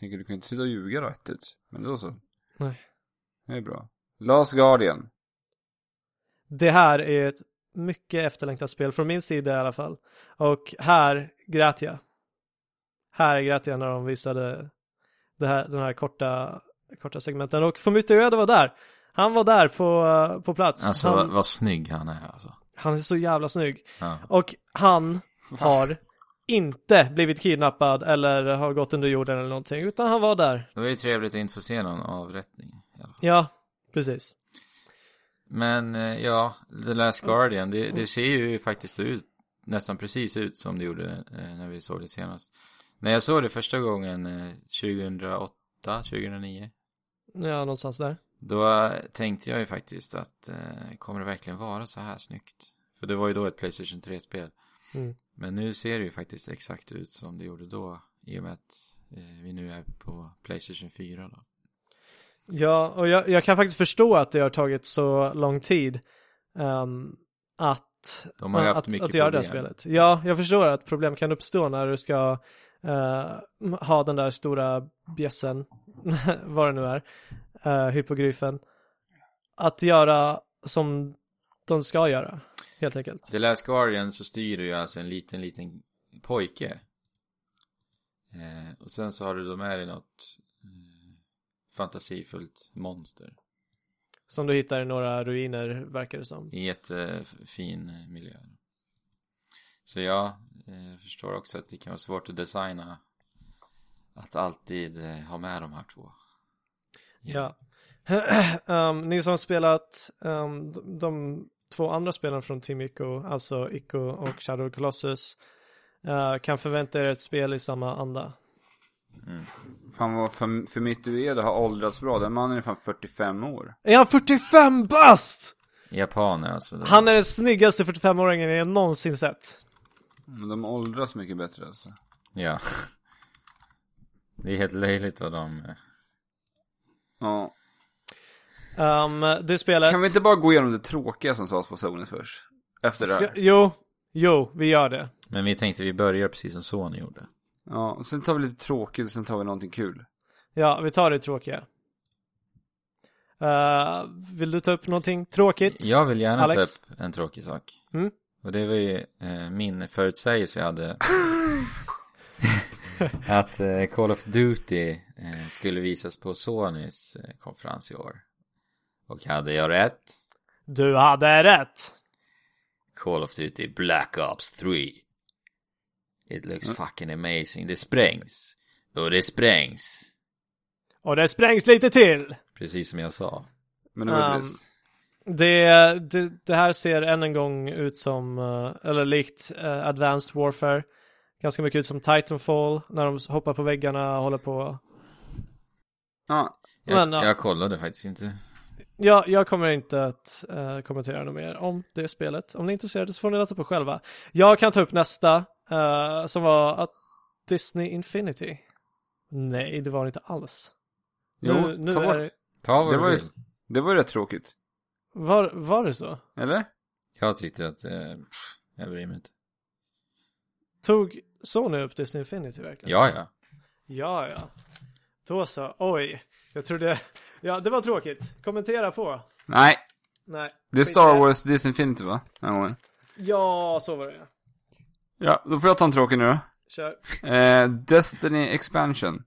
Speaker 3: Tänker du kan ju inte sitta och ljuga rätt ut. Men då så.
Speaker 1: Nej.
Speaker 3: Det är bra. Last Guardian.
Speaker 1: Det här är ett mycket efterlängtat spel, från min sida i alla fall. Och här grät jag. Här grät jag när de visade det här, den här korta, korta segmenten. Och Fumito Ueda var där. Han var där på, eh, på plats.
Speaker 2: Alltså vad,
Speaker 1: han,
Speaker 2: vad snygg han är alltså.
Speaker 1: han är så jävla snygg.
Speaker 2: Ja.
Speaker 1: Och han har inte blivit kidnappad eller har gått under jorden eller någonting, utan han var där.
Speaker 2: Det var ju trevligt att inte få se någon avrättning. i alla fall.
Speaker 1: Ja, precis.
Speaker 2: Men eh, ja, The Last
Speaker 1: Mm.
Speaker 2: Guardian, det, det ser ju faktiskt ut, nästan precis ut som det gjorde eh, när vi såg det senast. När jag såg det första gången eh, 2008, 2009,
Speaker 1: Ja, någonstans där.
Speaker 2: Då tänkte jag ju faktiskt att eh, kommer det verkligen vara så här snyggt? För det var ju då ett Playstation 3-spel.
Speaker 1: Mm.
Speaker 2: Men nu ser det ju faktiskt exakt ut som det gjorde då. I och med att eh, vi nu är på Playstation 4 då.
Speaker 1: Ja, och jag, jag kan faktiskt förstå att det har tagit så lång tid ehm, att,
Speaker 2: De har ju haft
Speaker 1: att,
Speaker 2: mycket
Speaker 1: att göra det här
Speaker 2: problem.
Speaker 1: spelet. Ja, jag förstår att problem kan uppstå när du ska eh, ha den där stora bjässen, vad det nu är, uh, hypogryfen, att göra som de ska göra, helt enkelt.
Speaker 2: The Last Guardian så styr du ju alltså en liten, liten pojke. Eh, och sen så har du då med dig något eh, fantasifullt monster.
Speaker 1: Som du hittar i några ruiner, verkar det som.
Speaker 2: I jättefin eh, miljö. Så jag eh, förstår också att det kan vara svårt att designa att alltid eh, ha med de här två.
Speaker 1: Ja. Ehm, ni som har spelat ehm, de, de två andra spelen från Team Ico, alltså Ico och Shadow Colossus, eh, kan förvänta er ett spel i samma anda.
Speaker 3: Fan vad för, för mitt Ueda har åldrats bra. Den mannen är fan 45 år.
Speaker 1: Är han 45 bast?
Speaker 2: Japaner alltså. det-
Speaker 1: Han är den snyggaste 45-åringen jag någonsin sett.
Speaker 3: Men de åldras mycket bättre alltså.
Speaker 2: Ja. Det är helt löjligt vad de... eh,
Speaker 3: Ja.
Speaker 1: Ehm, det spelet...
Speaker 3: Kan vi inte bara gå igenom det tråkiga som sades på Sony först? Efter det
Speaker 1: Ska,
Speaker 3: här.
Speaker 1: jo, jo, vi gör det.
Speaker 2: Men vi tänkte vi börjar precis som Sony gjorde.
Speaker 3: Ja, och sen tar vi lite tråkigt och sen tar vi någonting kul.
Speaker 1: Ja, vi tar det tråkiga. Eh, vill du ta upp någonting tråkigt?
Speaker 2: Jag vill gärna
Speaker 1: Alex?
Speaker 2: ta upp en tråkig sak.
Speaker 1: Mm.
Speaker 2: Och det var ju eh, min förutsägelse jag hade. att eh, Call of Duty eh, skulle visas på Sonys eh, konferens i år. Och hade jag rätt?
Speaker 1: Du hade rätt.
Speaker 2: Call of Duty Black Ops 3. It looks
Speaker 1: Mm.
Speaker 2: fucking amazing. Det sprängs. Och det sprängs.
Speaker 1: Och det sprängs lite till.
Speaker 2: Precis som jag sa.
Speaker 3: Men det var
Speaker 1: Ehm,
Speaker 3: trist.
Speaker 1: Det, det, det här ser än en gång ut som, eh, eller likt eh, Advanced Warfare. Ganska mycket ut som Titanfall, när de hoppar på väggarna och håller på.
Speaker 3: Ja,
Speaker 2: Jag,
Speaker 1: Men, ja.
Speaker 2: jag kollade faktiskt inte.
Speaker 1: Jag, jag kommer inte att eh, kommentera något mer om det spelet. Om ni är intresserade så får ni läsa på själva. Jag kan ta upp nästa, eh, som var att Disney Infinity. Nej, det var det inte alls.
Speaker 3: jo,
Speaker 1: nu, nu
Speaker 3: ta bort.
Speaker 1: är det,
Speaker 2: Ta
Speaker 3: Det
Speaker 2: vad
Speaker 3: var
Speaker 2: du
Speaker 3: ju-
Speaker 2: vill.
Speaker 3: Det var ju rätt tråkigt.
Speaker 1: var, var det så?
Speaker 3: Eller?
Speaker 2: Jag tyckte att, eh, pff, jag bryr mig inte.
Speaker 1: Tog Sony upp Disney Infinity verkligen?
Speaker 2: Ja, ja.
Speaker 1: Ja, ja. Då så. Oj. Jag trodde... Ja, det var tråkigt. Kommentera på.
Speaker 3: Nej.
Speaker 1: Nej.
Speaker 3: Det är Star Wars Disinfinity va? Den här gången.
Speaker 1: Ja, så var det.
Speaker 3: Ja, då får jag ta en tråkig nu då.
Speaker 1: Kör.
Speaker 3: Eh, Destiny Expansion.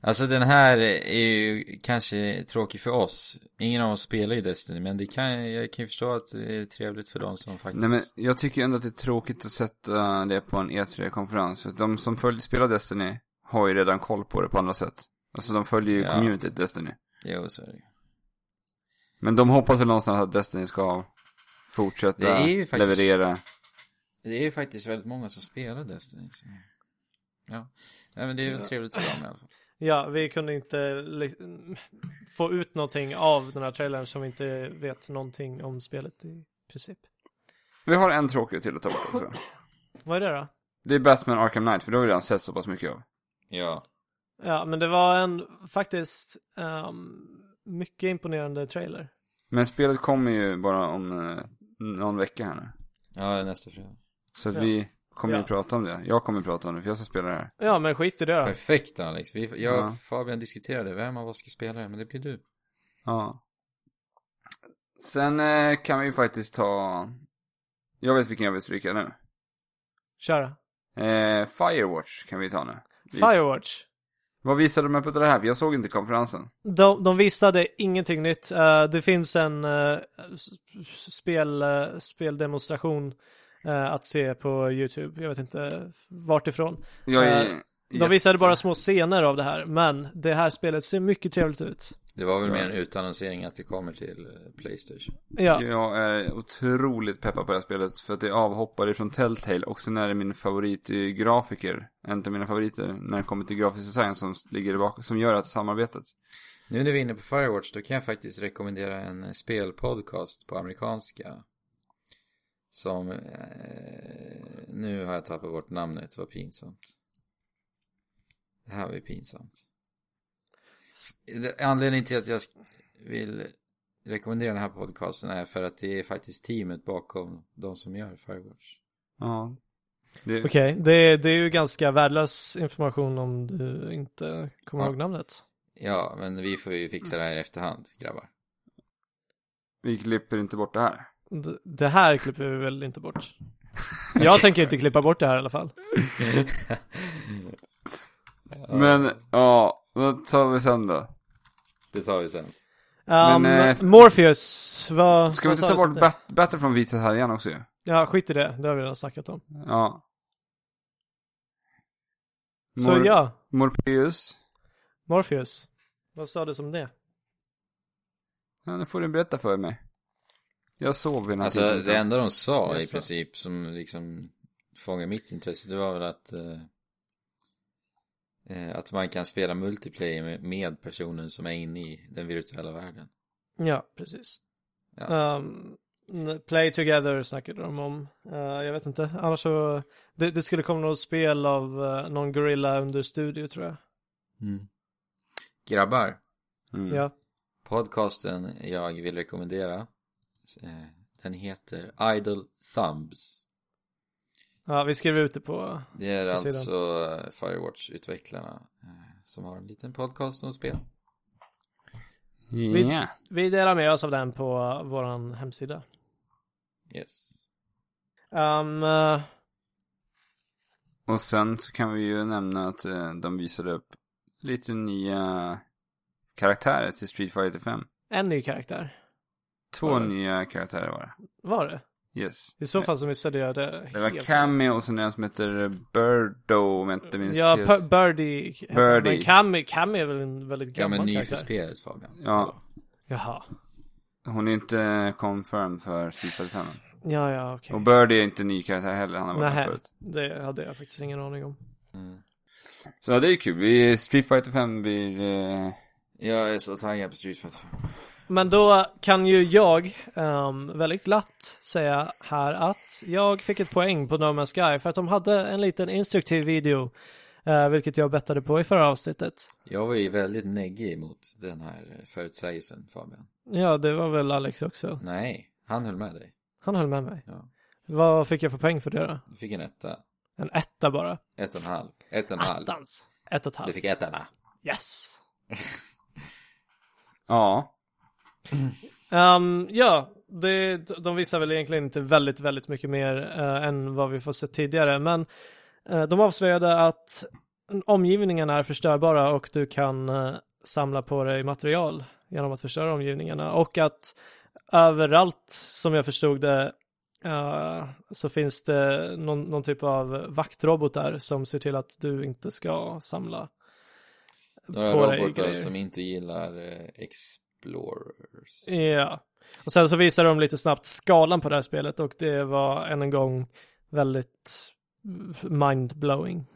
Speaker 2: Alltså den här är ju kanske tråkig för oss. Ingen av oss spelar ju Destiny, men det kan, jag kan ju förstå att det är trevligt för de som faktiskt...
Speaker 3: Nej men, jag tycker ju ändå att det är tråkigt att sätta det på en E3-konferens. För att de som följer, spelar Destiny har ju redan koll på det på andra sätt. Alltså de följer ju
Speaker 2: Ja.
Speaker 3: communityt Destiny.
Speaker 2: Jo, så är det ju.
Speaker 3: Men de hoppas väl någonstans att Destiny ska fortsätta
Speaker 2: Det är ju faktiskt-
Speaker 3: leverera.
Speaker 2: Det är ju faktiskt väldigt många som spelar Destiny. Så. Ja. Nej men det är väl trevligt för dem i alla fall.
Speaker 1: Ja, vi kunde inte li- få ut någonting av den här trailern som vi inte vet någonting om spelet i princip.
Speaker 3: Vi har en tråkig till att ta bort också.
Speaker 1: Vad är det då?
Speaker 3: Det är Batman Arkham Knight, för det har vi redan sett så pass mycket av.
Speaker 2: Ja.
Speaker 1: Ja, men det var en faktiskt ehm, mycket imponerande trailer.
Speaker 3: Men spelet kommer ju bara om eh, någon vecka här nu.
Speaker 2: Ja, nästa fredag.
Speaker 3: Så att
Speaker 1: Ja.
Speaker 3: vi kommer
Speaker 1: Ja.
Speaker 3: ju prata om det. Jag kommer prata om det, för jag ska spela det här.
Speaker 1: Ja, men skit i det.
Speaker 2: Perfekt Alex. Vi, jag
Speaker 3: Ja.
Speaker 2: och Fabian diskuterade vem av oss ska spela det, men det blir du.
Speaker 3: Ja. Sen eh, kan vi ju faktiskt ta... Jag vet vilken jag vill stryka nu.
Speaker 1: Köra.
Speaker 3: Eh, Firewatch kan vi ta nu. Vis-
Speaker 1: Firewatch.
Speaker 3: Vad visade de upp av det här? För jag såg inte konferensen.
Speaker 1: De, de visade ingenting nytt. Eh, det finns en eh, s- s- spel, eh, speldemonstration eh, att se på YouTube. Jag vet inte vart ifrån.
Speaker 3: Jag är...
Speaker 1: Eh, De visade bara små scener av det här, men det här spelet ser mycket trevligt ut.
Speaker 2: Det var väl
Speaker 3: Ja.
Speaker 2: mer en utannonsering att det kommer till eh, Playstation.
Speaker 1: Ja,
Speaker 3: Jag är otroligt peppad på det här spelet för att det är avhoppare från Telltale och sen är det min favoritgrafiker, en av mina favoriter när det kommer till grafisk design som ligger bakom, som gör att samarbetet.
Speaker 2: Nu när vi är inne på Firewatch, då kan jag faktiskt rekommendera en eh, spelpodcast på amerikanska. Som, eh, nu har jag tappat bort namnet, vad pinsamt. Det här var ju pinsamt. Det- Anledningen till att jag sk- vill rekommendera den här podcasten är för att det är faktiskt teamet bakom de som gör Firewatch.
Speaker 3: Ja. Det,
Speaker 1: okej. Det, det är ju ganska värdelös information om du inte kommer
Speaker 2: Ja.
Speaker 1: ihåg namnet.
Speaker 2: Ja, men vi får ju fixa det här i efterhand, grabbar.
Speaker 3: Vi klipper inte bort det här.
Speaker 1: D- Det här klipper vi väl inte bort? Jag tänker inte klippa bort det här i alla fall.
Speaker 3: Men, ja, vad tar vi sen då?
Speaker 2: Det tar vi sen.
Speaker 1: Um,
Speaker 3: Men, eh,
Speaker 1: Morpheus, vad...
Speaker 3: Ska vi
Speaker 1: vad sa
Speaker 3: inte ta
Speaker 1: du
Speaker 3: bort
Speaker 1: sånt där?
Speaker 3: bat- Battlefront visas här igen också ju?
Speaker 1: Ja, skit i det. Det har vi redan snackat om.
Speaker 3: Ja.
Speaker 1: Så
Speaker 3: Mor-
Speaker 1: ja,
Speaker 3: Morpheus.
Speaker 1: Morpheus. Vad sa du som det?
Speaker 3: Ja, nu får du berätta för mig. Jag sov vid den här
Speaker 2: Alltså
Speaker 1: typ
Speaker 3: tiden.
Speaker 2: det enda de sa i
Speaker 1: Jaså.
Speaker 2: princip som liksom fångade mitt intresse det var väl att eh, eh, att man kan spela multiplayer med, med personen som är inne i den virtuella världen.
Speaker 1: Ja, precis.
Speaker 2: Ja.
Speaker 1: Um, n- play together snackade de om. Eh, jag vet inte. Annars så... Det, det skulle komma något spel av eh, någon gorilla under studio, tror jag.
Speaker 2: Grabbar,
Speaker 3: Mm.
Speaker 1: Ja.
Speaker 2: podcasten jag vill rekommendera eh, den heter Idle Thumbs.
Speaker 1: ja, vi skriver ut det på...
Speaker 2: Det är
Speaker 1: Jag ser den.
Speaker 2: alltså eh, Firewatch-utvecklarna eh, som har en liten podcast om spel.
Speaker 3: Ja.
Speaker 1: Vi delar med oss av den på uh, vår hemsida.
Speaker 2: Yes.
Speaker 1: Um, eh,
Speaker 3: Och sen så kan vi ju nämna att eh, de visade upp lite nya karaktärer till Street Fighter 5.
Speaker 1: en ny karaktär.
Speaker 3: Två
Speaker 1: Var det?
Speaker 3: nya karaktärer var det.
Speaker 1: Var det?
Speaker 3: Yes.
Speaker 1: I så fall så missade jag det
Speaker 3: Det var
Speaker 1: helt.
Speaker 3: Cammy och sen en som heter Birdo om jag inte minns
Speaker 1: Ja,
Speaker 3: helt.
Speaker 1: P- Birdie. heter han.
Speaker 3: Birdie.
Speaker 1: Men Cammy, Cammy är väl en väldigt
Speaker 2: Ja
Speaker 1: gammal
Speaker 2: men ny för
Speaker 1: karaktär?
Speaker 2: spelet Fabian.
Speaker 3: Ja,
Speaker 1: Jaha.
Speaker 3: hon är inte confirmed för Street Fighter 5.
Speaker 1: Ja, ja, okej.
Speaker 3: Och Birdie är inte ny karaktär heller, han har varit med
Speaker 1: Nej,
Speaker 3: förut.
Speaker 1: det hade jag faktiskt ingen aning om.
Speaker 3: Så ja, det är kul. Vi, Street Fighter 5 blir... Eh,
Speaker 2: Jag är så taggad på Street Fighter.
Speaker 1: Men då kan ju jag ehm, väldigt glatt säga här att jag fick ett poäng på No Man's Sky för att de hade en liten instruktiv video, eh, vilket jag bettade på i förra avsnittet.
Speaker 2: Jag var ju väldigt neggig mot den här förutsägelsen Fabian.
Speaker 1: Ja, det var väl Alex också.
Speaker 2: Nej, han höll med dig.
Speaker 1: Han höll med mig.
Speaker 2: Ja.
Speaker 1: Vad fick jag för poäng för det då?
Speaker 2: Du fick en etta.
Speaker 1: En etta bara.
Speaker 2: Ett och en halv. Ett och en halv.
Speaker 1: Attans. Ett och ett
Speaker 2: Du
Speaker 1: halvt.
Speaker 2: fick ettorna.
Speaker 1: Yes.
Speaker 3: ja.
Speaker 1: Ehm, ja, det, de visar väl egentligen inte väldigt, väldigt mycket mer eh, än vad vi får se tidigare, men eh, de avslöjade att omgivningarna är förstörbara och du kan eh, samla på dig material genom att förstöra omgivningarna och att överallt, som jag förstod det, eh, så finns det någon, någon typ av vaktrobotar som ser till att du inte ska samla
Speaker 2: Några
Speaker 1: på dig
Speaker 2: robotar
Speaker 1: grejer.
Speaker 2: som inte gillar eh, Explorers.
Speaker 1: Ja. Och sen så visar de lite snabbt skalan på det här spelet och det var än en gång väldigt mindblowing.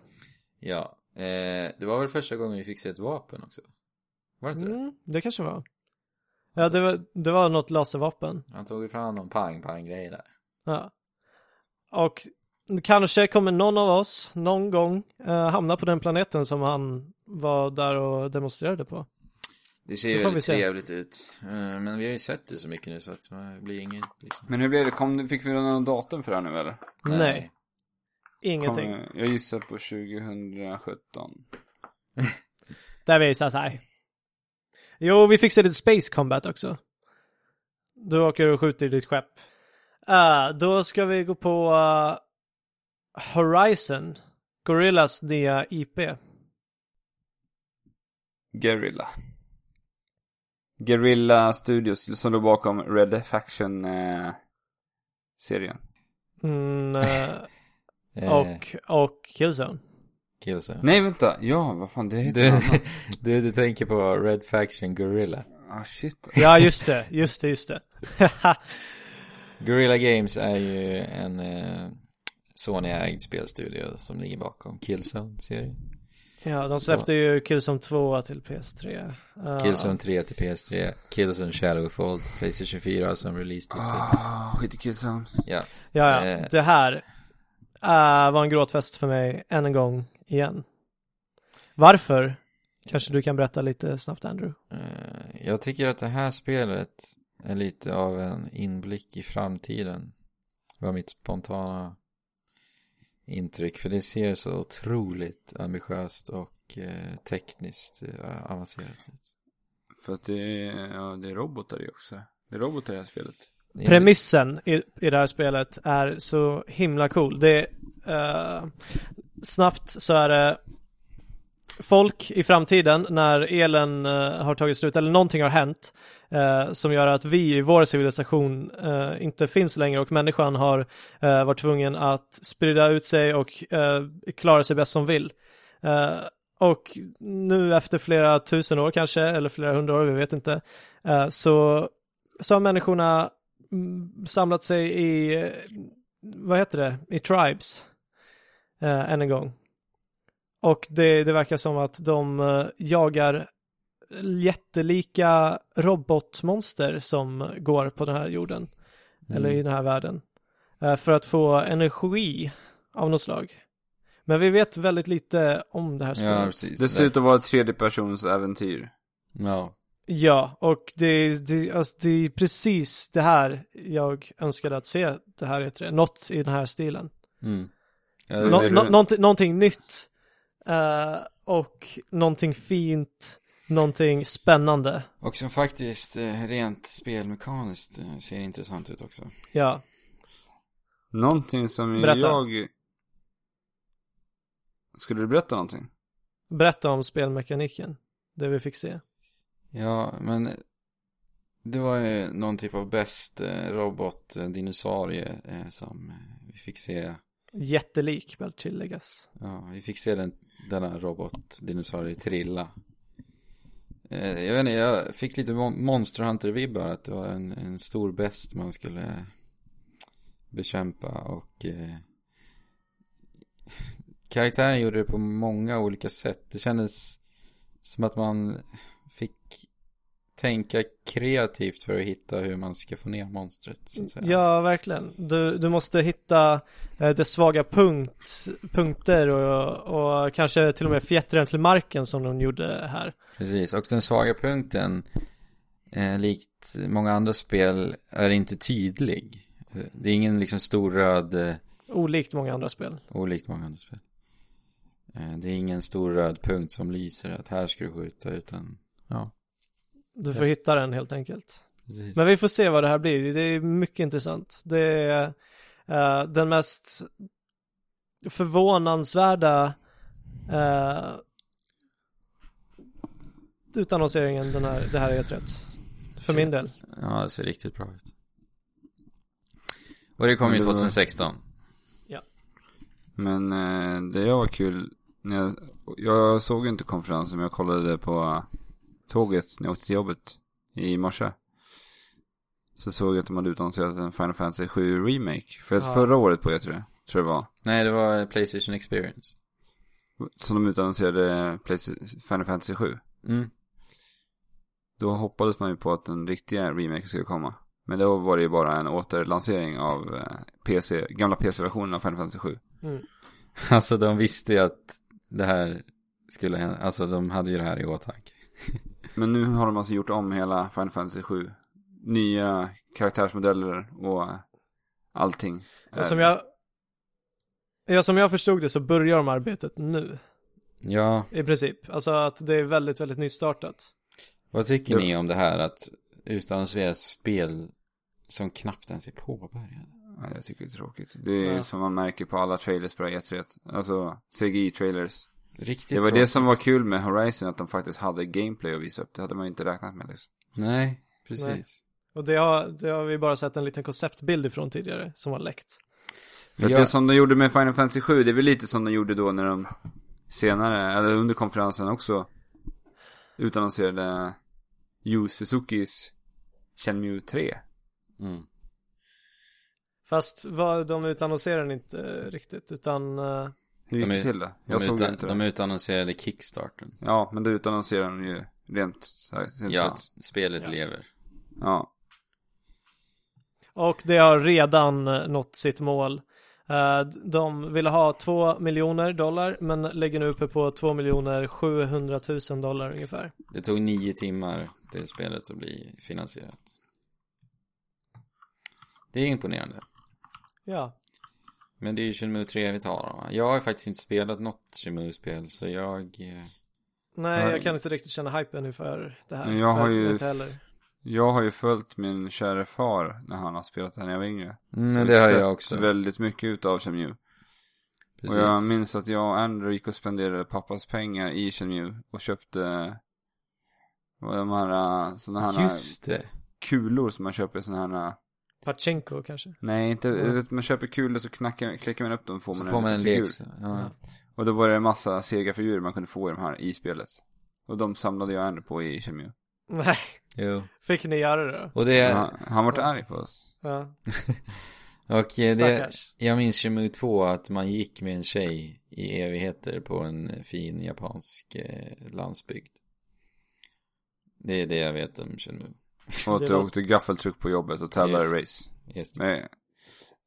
Speaker 2: Ja. Eh, det var väl första gången vi fick se ett vapen också? Var det inte det?
Speaker 1: Mm, det kanske var. Ja, det var, det var något laservapen.
Speaker 2: Han tog ju fram någon pang-pang-grej där.
Speaker 1: Ja. Och kanske kommer någon av oss någon gång eh, hamna på den planeten som han var där och demonstrerade på.
Speaker 4: Det ser
Speaker 1: Det
Speaker 4: ju
Speaker 1: får vi
Speaker 4: väldigt
Speaker 1: se.
Speaker 4: trevligt ut. Eh, Men vi har ju sett det så mycket nu så att det blir inget liksom.
Speaker 3: Men hur blev det? Kom, fick vi någon datum för det här nu eller?
Speaker 1: Nej, ingenting.
Speaker 3: Kom, jag gissar på 2017.
Speaker 1: Där vi så här. Jo, vi fixar lite space combat också. Du åker och skjuter i ditt skepp. Eh, då ska vi gå på eh, Horizon, Gorillas nya IP.
Speaker 3: Guerrilla. Guerrilla Studios som låg bakom Red Faction eh, serien.
Speaker 1: Mm, eh,
Speaker 2: Eh,
Speaker 1: och, Mm. och Killzone.
Speaker 2: Killzone.
Speaker 3: Nej vänta, ja vad fan det heter
Speaker 2: Du,
Speaker 3: något annat.
Speaker 2: du, du tänker på Red Faction Gorilla.
Speaker 3: Ah shit.
Speaker 1: Ja, just det, just det, just det.
Speaker 2: Gorilla Games är ju en eh, Sony-ägd spelstudio som ligger bakom Killzone-serien.
Speaker 1: ja, de släppte ju Killzone 2 till PS3. Eh,
Speaker 2: Killzone 3 till PS3, Killzone Shadowfall till Playstation 4 som release titel.
Speaker 3: Ah, skit i Killzone.
Speaker 2: Ja.
Speaker 1: Ja, ja.
Speaker 2: Eh.
Speaker 1: det här eh, var en gråtfest för mig än en gång igen. Varför? Kanske du kan berätta lite snabbt Andrew.
Speaker 2: Eh, Jag tycker att det här spelet är lite av en inblick i framtiden. var mitt spontana intryck. För det ser så otroligt ambitiöst och eh, tekniskt eh, avancerat ut.
Speaker 3: För att det är, ja, det är robotar i också. Det är robotar i det här spelet.
Speaker 2: Det är
Speaker 1: Premissen i, i det här spelet är så himla cool. Det är, eh, snabbt så är det folk i framtiden när elen eh, har tagit slut eller någonting har hänt eh, som gör att vi i vår civilisation eh, inte finns längre och människan har eh, varit tvungen att sprida ut sig och eh, klara sig bäst som vill. Eh, och nu efter flera tusen år kanske, eller flera hundra år, vi vet inte, eh, så, så har människorna mm, samlat sig i, eh, vad heter det, i tribes eh, än en gång. Och det, det verkar som att de eh, jagar jättelika robotmonster som går på den här jorden,
Speaker 2: Mm.
Speaker 1: eller i den här världen, eh, för att få energi av något slag. Men vi vet väldigt lite om det här spelet.
Speaker 2: Ja, precis.
Speaker 3: Det ser ut att vara ett tredjepersons äventyr.
Speaker 2: Ja.
Speaker 1: Ja, och det, det, alltså det är precis det här jag önskade att se det här heter det. Något i den här stilen.
Speaker 2: Mm. Ja, det-
Speaker 1: Nå,
Speaker 3: hur-
Speaker 1: nå, någonting, någonting nytt eh, och någonting fint, någonting spännande.
Speaker 2: Och som faktiskt eh, rent spelmekaniskt eh, ser intressant ut också.
Speaker 1: Ja,
Speaker 3: Någonting som
Speaker 1: Berätta.
Speaker 3: jag... Skulle du berätta någonting?
Speaker 1: berätta om spelmekaniken, det vi fick se.
Speaker 2: Ja, men det var ju någon typ av bäst eh, robot eh, dinosaurie eh, som eh, vi fick se.
Speaker 1: Jättelik, väl tilläggas.
Speaker 2: Ja, vi fick se den, denna robotdinosaurie trilla. Eh, jag vet inte, jag fick lite mon- Monster Hunter-vibbar att det var en, en stor best man skulle bekämpa och eh, karaktären gjorde det på många olika sätt. Det kändes som att man fick tänka kreativt för att hitta hur man ska få ner monstret så att säga.
Speaker 1: Ja, verkligen. Du, du måste hitta eh, det svaga punkt, punkter och, och kanske till och med fjättra den till marken som de gjorde här.
Speaker 2: Precis, och den svaga punkten, eh, likt många andra spel, är inte tydlig. Eh, Det är ingen liksom stor röd, eh,
Speaker 1: Olikt många andra spel.
Speaker 2: olikt många andra spel. Eh, det är ingen stor röd punkt som lyser att här ska du skjuta, utan ja,
Speaker 1: Du får hitta den helt enkelt.
Speaker 2: precis.
Speaker 1: Men vi får se vad det här blir. Det är mycket intressant. Det är eh, den mest förvånansvärda uh, utannonseringen den här, det här är rätt. För min del.
Speaker 2: Ja, det ser riktigt bra ut. Och det kom ju
Speaker 3: Men det var-
Speaker 2: 2016.
Speaker 3: Men eh, det jag var kul, när jag, jag såg inte konferensen men jag kollade på tåget när jag åkte till jobbet i morse. Så såg jag att de hade utannonserat en Final Fantasy 7 Remake. För
Speaker 1: Ja.
Speaker 3: förra året på E3, tror jag det var.
Speaker 2: Nej, det var Playstation Experience.
Speaker 3: Som de utannonserade Playsta- Final Fantasy 7.
Speaker 2: Mm.
Speaker 3: Då hoppades man ju på att den riktiga remaken skulle komma. Men då var det ju bara en återlansering av eh, PC, gamla PC-versionen av Final Fantasy 7.
Speaker 2: Alltså de visste ju att det här skulle hända. Alltså de hade ju det här i åtanke.
Speaker 3: Men nu har de alltså gjort om hela Final Fantasy 7. Nya karaktärsmodeller och allting.
Speaker 1: Ja, Som jag... Ja, som jag förstod det så börjar de arbetet nu.
Speaker 2: Ja,
Speaker 1: I princip. Alltså att det är väldigt, väldigt nystartat.
Speaker 2: vad tycker
Speaker 3: Ja.
Speaker 2: ni om det här att utan Sveas spel som knappt ens är påbörjade?
Speaker 3: Ja, jag tycker det är tråkigt. Det är
Speaker 1: Ja.
Speaker 3: som man märker på alla trailers på det här E3. Alltså, CGI-trailers.
Speaker 2: Riktigt
Speaker 3: Det, var det
Speaker 2: tråkigt.
Speaker 3: som var kul med Horizon, att de faktiskt hade gameplay att visa upp. Det hade man ju inte räknat med liksom.
Speaker 2: Nej, precis.
Speaker 1: Nej. Och det har, det har vi bara sett en liten konceptbild ifrån tidigare som har läckt.
Speaker 3: För att
Speaker 2: Jag-
Speaker 3: det som de gjorde med Final Fantasy 7, det är väl lite som de gjorde då när de senare, eller under konferensen också, utannonserade Yu Suzukis Shenmue 3.
Speaker 2: Mm.
Speaker 1: Fast vad de utannonserade inte eh, riktigt utan eh,
Speaker 3: Hur gick
Speaker 2: De är-
Speaker 3: det till då?
Speaker 2: De,
Speaker 3: Jag såg det
Speaker 2: utan,
Speaker 3: inte.
Speaker 2: de utannonserade Kickstarten.
Speaker 3: Ja, men då utannonserade de ju rent så här, rent
Speaker 2: Ja,
Speaker 3: sett.
Speaker 2: spelet lever.
Speaker 3: ja.
Speaker 1: och det har redan eh, nått sitt mål. Eh, De ville ha 2 miljoner dollar men lägger nu uppe på 2 miljoner 700 000 dollar ungefär.
Speaker 2: Det tog nio timmar till spelet att bli finansierat. Det är imponerande.
Speaker 1: Ja,
Speaker 2: Men det är ju Shenmue 3 vi talar om. va? Jag har faktiskt inte spelat något Shenmue-spel så jag... eh,
Speaker 3: Mm,
Speaker 1: nej
Speaker 3: Nej.
Speaker 1: jag kan inte riktigt känna hypen inför det här.
Speaker 3: Men jag
Speaker 1: för
Speaker 3: har ju-
Speaker 1: inte heller.
Speaker 3: Jag har ju följt min kära far när han har spelat det här när jag var yngre. Så
Speaker 2: Men Mm, det har
Speaker 3: sett
Speaker 2: jag också.
Speaker 3: väldigt mycket utav Shenmue. Och
Speaker 2: Precis.
Speaker 3: jag minns att jag och Andrew gick och spenderade pappas pengar i Shenmue och köpte vad de här sådana här
Speaker 2: Just det.
Speaker 3: kulor som man köper i sådana här
Speaker 1: Pachinko kanske.
Speaker 3: Nej, inte,
Speaker 1: Mm.
Speaker 3: vet, man köper kulor så knackar, klickar man upp dem får
Speaker 2: Så
Speaker 3: man
Speaker 2: får man en
Speaker 3: figur.
Speaker 2: lek. så- Ja.
Speaker 3: Och då var det en massa sega figurer man kunde få i de här i spelet. Och de samlade jag Andrew på i Shenmue.
Speaker 1: Nej,
Speaker 2: Jo.
Speaker 1: fick ni göra det då?
Speaker 2: Och det...
Speaker 3: Han, han vart arg på oss.
Speaker 1: Ja,
Speaker 2: Och eh, det,
Speaker 1: stackars.
Speaker 2: jag minns Shenmue 2 att man gick med en tjej i evigheter på en fin japansk eh, landsbygd. Det är det jag vet om Shenmue.
Speaker 3: Och att
Speaker 1: Det
Speaker 3: du
Speaker 1: var-
Speaker 3: åkte gaffeltruck på jobbet och tävlade i
Speaker 2: Just.
Speaker 3: race.
Speaker 2: Just det.
Speaker 3: Nej,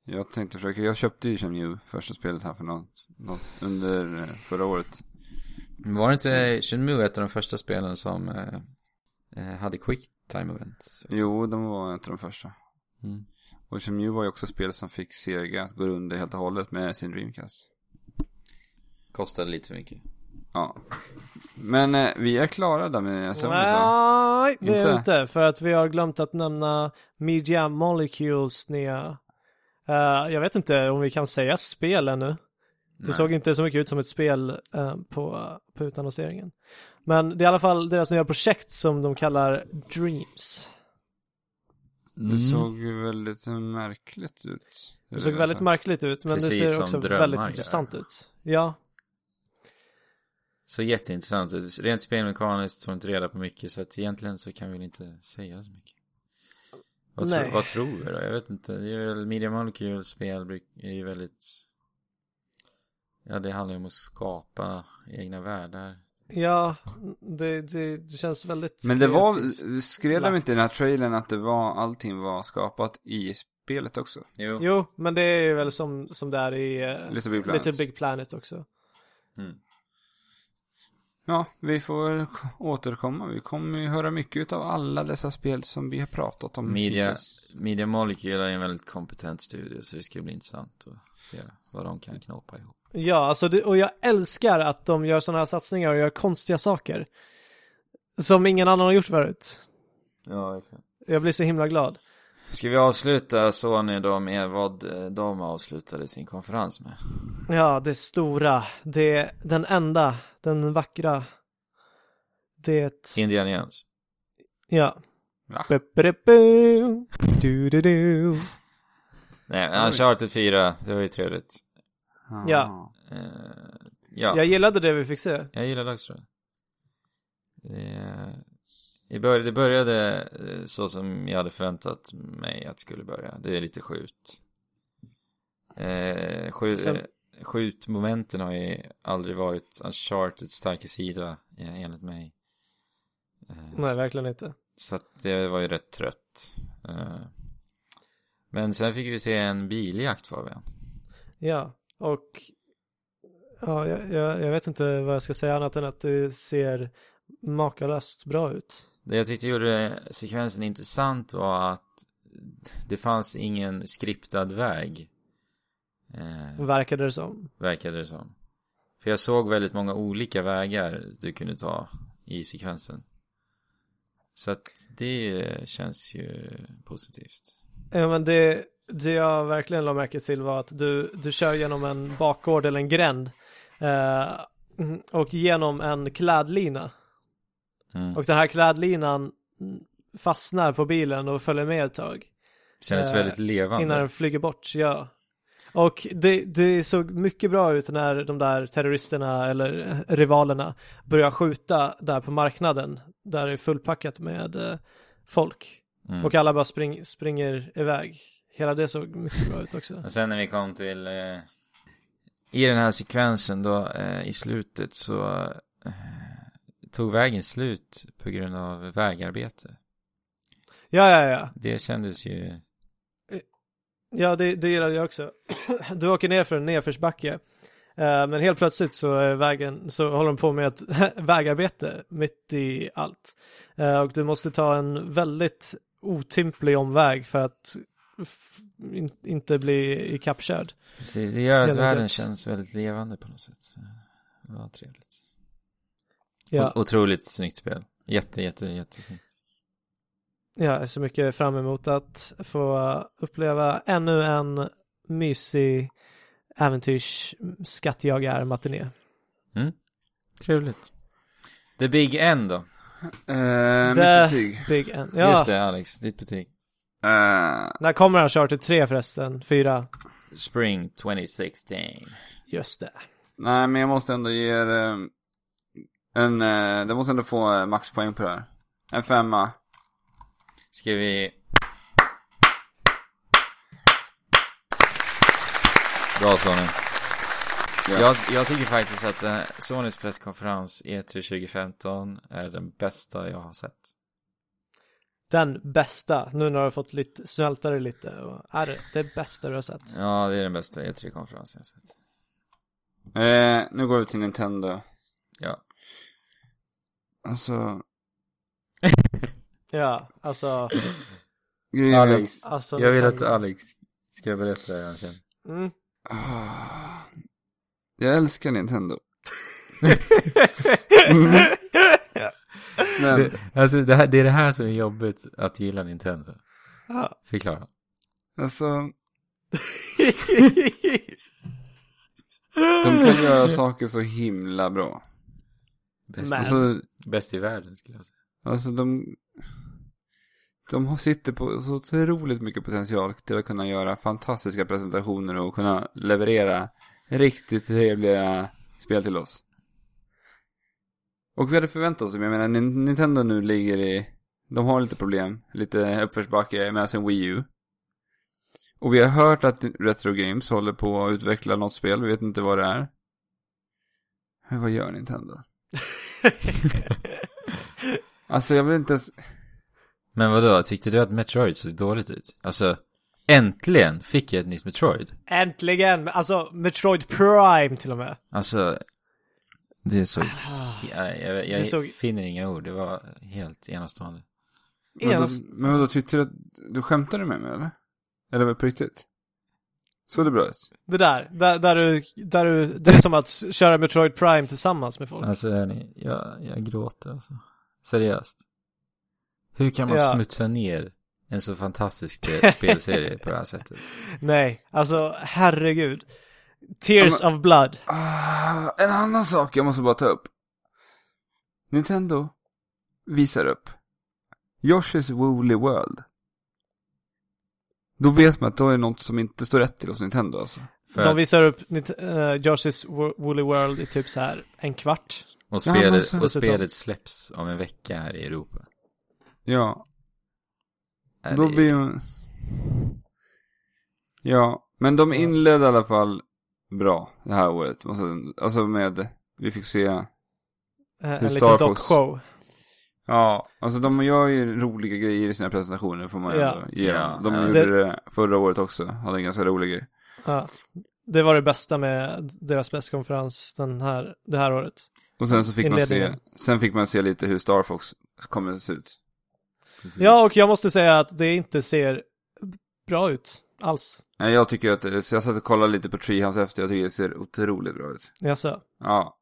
Speaker 3: jag tänkte försöka, jag köpte ju Shenmue första spelet här för någon, någon under eh, förra året.
Speaker 2: Var inte Shenmue ett av de första spelen som eh, eh, hade quick time events? också?
Speaker 3: Jo, de var inte de första.
Speaker 2: Mm.
Speaker 3: Och Shenmue var ju också spelet som fick Sega att gå under helt och hållet med sin Dreamcast.
Speaker 2: Kostade lite för mycket.
Speaker 3: Ja. Men eh, vi är klara där med Assemblies.
Speaker 1: Nej, det är
Speaker 3: alltså. Inte?
Speaker 1: inte. inte. För att vi har glömt att nämna Media Molecules nya. Eh, jag vet inte om vi kan säga spel ännu. Det såg inte så mycket ut som ett spel eh, på, på utannonseringen. Men det är i alla fall deras nya projekt som de kallar Dreams.
Speaker 3: Det såg ju väldigt eh, märkligt ut.
Speaker 1: Det såg väldigt
Speaker 3: alltså
Speaker 1: märkligt ut men
Speaker 2: Precis
Speaker 1: det ser
Speaker 2: som
Speaker 1: också
Speaker 2: drömmar
Speaker 1: väldigt
Speaker 2: gör.
Speaker 1: intressant ut. Ja,
Speaker 2: Så jätteintressant ut. Rent spelmekaniskt får inte reda på mycket så att egentligen så kan vi väl inte säga så mycket. Vad, tro,
Speaker 1: Nej.
Speaker 2: vad tror vi då? Jag vet inte. Det är väl Media Molecule spel bruk- är ju väldigt... Ja, det handlar ju om att skapa egna världar.
Speaker 1: ja det, det, det känns väldigt
Speaker 3: Men det var,
Speaker 1: kreativt.
Speaker 3: skrev de inte i den här trailern att det var, allting var skapat i spelet också?
Speaker 1: Jo, men det är ju väl som, som det är i eh,
Speaker 3: Little Big Planet.
Speaker 1: Little Big Planet också.
Speaker 3: Ja, vi får väl k- återkomma. Vi kommer ju höra mycket av alla dessa spel som vi har pratat om
Speaker 2: Media,
Speaker 3: hittills.
Speaker 2: Media Molecule är en väldigt kompetent studio så det ska bli intressant att se vad de kan knåpa ihop.
Speaker 1: Ja, alltså det, och jag älskar att de gör sådana här satsningar och gör konstiga saker. Som ingen annan har gjort förut.
Speaker 2: Ja, verkligen.
Speaker 1: Jag blir så himla glad.
Speaker 2: Ska vi avsluta Sony då med vad eh, de avslutade sin konferens med?
Speaker 1: Ja, det stora, det, den enda, den vackra. Det,
Speaker 2: Indiana Jones.
Speaker 1: ja.
Speaker 3: Va?
Speaker 1: Ba-ba-da-bu. Du-du-du.
Speaker 2: Nej, Uncharted 4, det var ju trevligt.
Speaker 1: Ja.
Speaker 2: Eh, ja,
Speaker 1: Jag
Speaker 2: jag,
Speaker 1: gillade det vi fick se.
Speaker 2: gillade också det. Det- Det, började, det började eh, så som jag hade förväntat mig att det skulle börja. Det är lite skjut. Eh, skjut
Speaker 1: Sen-
Speaker 2: Skjutmomenten har ju aldrig varit Uncharteds starka sida, eh, enligt mig. Eh,
Speaker 1: Nej, verkligen inte.
Speaker 2: så att det var ju rätt trött. Eh, Men sen fick vi se en biljakt Fabian.
Speaker 1: Ja, och ja, jag, jag, jag vet inte vad jag ska säga annat än att det ser makalöst bra ut.
Speaker 2: Det jag tyckte gjorde sekvensen intressant var att det fanns ingen skriptad väg. Eh,
Speaker 1: Verkade det som.
Speaker 2: verkade det som. För jag såg väldigt många olika vägar du kunde ta i sekvensen. Så att det känns ju positivt.
Speaker 1: Ja, men det, det jag verkligen la märke till var att du, du kör genom en bakgård eller en gränd eh, och genom en klädlina.
Speaker 2: Mm.
Speaker 1: Och den här klädlinan fastnar på bilen och följer med ett tag
Speaker 2: Kändes
Speaker 1: eh,
Speaker 2: väldigt levande.
Speaker 1: innan den flyger bort, ja. Och det, det såg mycket bra ut när de där terroristerna eller eh, rivalerna börjar skjuta där på marknaden där det är fullpackat med eh, folk.
Speaker 2: Mm.
Speaker 1: Och alla bara spring, springer iväg. Hela det såg mycket bra ut också.
Speaker 2: Och sen när vi kom till eh, i den här sekvensen då eh, i slutet så eh, tog vägen slut på grund av vägarbete.
Speaker 1: Ja, ja, ja.
Speaker 2: Det kändes ju
Speaker 1: Ja, det, det gillade jag också. Du åker ner för en nedförsbacke. Eh, Men helt plötsligt så är vägen, så håller de på med ett vägarbete mitt i allt. Eh, Och du måste ta en väldigt otymplig omväg för att f- in, inte bli ikappkörd.
Speaker 2: Precis, det gör att
Speaker 1: Hela
Speaker 2: världen
Speaker 1: döds-
Speaker 2: känns väldigt levande på något sätt. Så Det var trevligt.
Speaker 1: Ja,
Speaker 2: O- Otroligt snyggt spel. Jätte, jätte, jättesnyggt.
Speaker 1: jag är så mycket fram emot att få uppleva ännu en mysig äventyrs skattjagar-matiné.
Speaker 2: Trevligt. The Big N då.
Speaker 3: Eh,
Speaker 1: Det-
Speaker 3: mitt betyg.
Speaker 1: Big N. Ja,
Speaker 2: Just det, Alex. Ditt betyg.
Speaker 3: Eh,
Speaker 1: när kommer Uncharted 3 förresten? 4?
Speaker 2: Spring 2016.
Speaker 1: Just det.
Speaker 3: nej, men jag måste ändå ge er eh, en, eh, det måste ändå få eh, maxpoäng på det här. En femma.
Speaker 2: Ska vi... Bra Sony.
Speaker 3: Ja.
Speaker 2: Jag, jag tycker faktiskt att eh, Sonys presskonferens E3 2015 är den bästa jag har sett.
Speaker 1: Den bästa, nu när du har fått lite, svälta dig lite och är det det bästa du har sett?
Speaker 2: Ja, det är den bästa E3-konferensen jag sett.
Speaker 3: Eh, nu går vi till Nintendo.
Speaker 2: Ja.
Speaker 3: Alltså,
Speaker 1: Ja, alltså,
Speaker 3: grejen är-
Speaker 2: Alex,
Speaker 1: alltså
Speaker 2: jag vill att Alex ska berätta hur han känner.
Speaker 1: mm.
Speaker 3: Ah. Jag älskar Nintendo. Men,
Speaker 2: Alltså, det, här, det är det här som är jobbigt, att gilla Nintendo.
Speaker 1: ja.
Speaker 2: Förklara.
Speaker 3: alltså, de kan göra saker så himla bra.
Speaker 2: Bäst,
Speaker 1: Men-
Speaker 3: Alltså,
Speaker 2: bäst i världen, skulle jag säga.
Speaker 3: alltså de... De har- sitter på så otroligt mycket potential till att kunna göra fantastiska presentationer och kunna leverera riktigt trevliga spel till oss. Och vi hade förväntat oss, men jag menar Nin- Nintendo nu ligger i, de har lite problem, lite uppförsbacke med sin Wii U. Och vi har hört att Retro Games håller på att utveckla något spel, vi vet inte vad det är. Men vad gör Nintendo? alltså jag vill inte ens,
Speaker 2: Men vadå, tyckte du att Metroid såg dåligt ut? Alltså, äntligen fick jag ett nytt Metroid.
Speaker 1: Äntligen! Alltså, Metroid Prime till och med.
Speaker 2: Alltså, det såg... Jag, jag, jag
Speaker 1: Ah. Det såg-
Speaker 2: finner inga ord, det var helt enastående.
Speaker 3: men då,
Speaker 1: Enast-
Speaker 3: men då tyckte du att, du skämtade med mig eller? Eller var det på riktigt? Såg det bra ut?
Speaker 1: Det där, där, där du, där du, det är som att s- köra Metroid Prime tillsammans med folk.
Speaker 2: Alltså hörni, jag, jag gråter alltså. Seriöst. Hur kan man
Speaker 1: Ja.
Speaker 2: smutsa ner en så fantastisk spe- spelserie på det här sättet?
Speaker 1: Nej, alltså herregud. Tears of Blood.
Speaker 3: Ah, en annan sak jag måste bara ta upp. Nintendo visar upp Yoshi's Woolly World. Då vet man att då är det något som inte står rätt till hos Nintendo alltså.
Speaker 2: För
Speaker 1: De
Speaker 2: att-
Speaker 1: visar upp uh, Josh's Wo- Woolly World i typ så här en kvart.
Speaker 2: och,
Speaker 3: Ja, men
Speaker 2: spelet,
Speaker 3: så-
Speaker 2: och spelet släpps om en vecka här i Europa.
Speaker 3: Ja,
Speaker 2: Är
Speaker 3: då
Speaker 2: det-
Speaker 3: blir ju... Ja, men de inledde i alla fall bra det här året. Alltså, alltså med, vi fick se
Speaker 1: Eh,
Speaker 3: Hur
Speaker 1: en liten
Speaker 3: Star Fox-
Speaker 1: dockshow.
Speaker 3: Ja, alltså de gör ju roliga grejer i sina presentationer får man ju
Speaker 1: Ja.
Speaker 3: ändå ge dem.
Speaker 4: Ja,
Speaker 3: De
Speaker 4: ja.
Speaker 3: gjorde
Speaker 1: Det-
Speaker 3: det förra året också, hade en ganska rolig grej.
Speaker 1: Ja. Det var det bästa med deras presskonferens den här, det här året.
Speaker 3: Och sen så fick man se,
Speaker 1: Inledningen.
Speaker 3: sen fick man se lite hur Star Fox kommer att se ut.
Speaker 1: Ja, och jag måste säga att det inte ser bra ut alls.
Speaker 3: Nej, jag tycker att, det- så jag satt och kollade lite på Treehouse efter, jag tycker det ser otroligt bra ut.
Speaker 1: Jaså?
Speaker 3: Ja.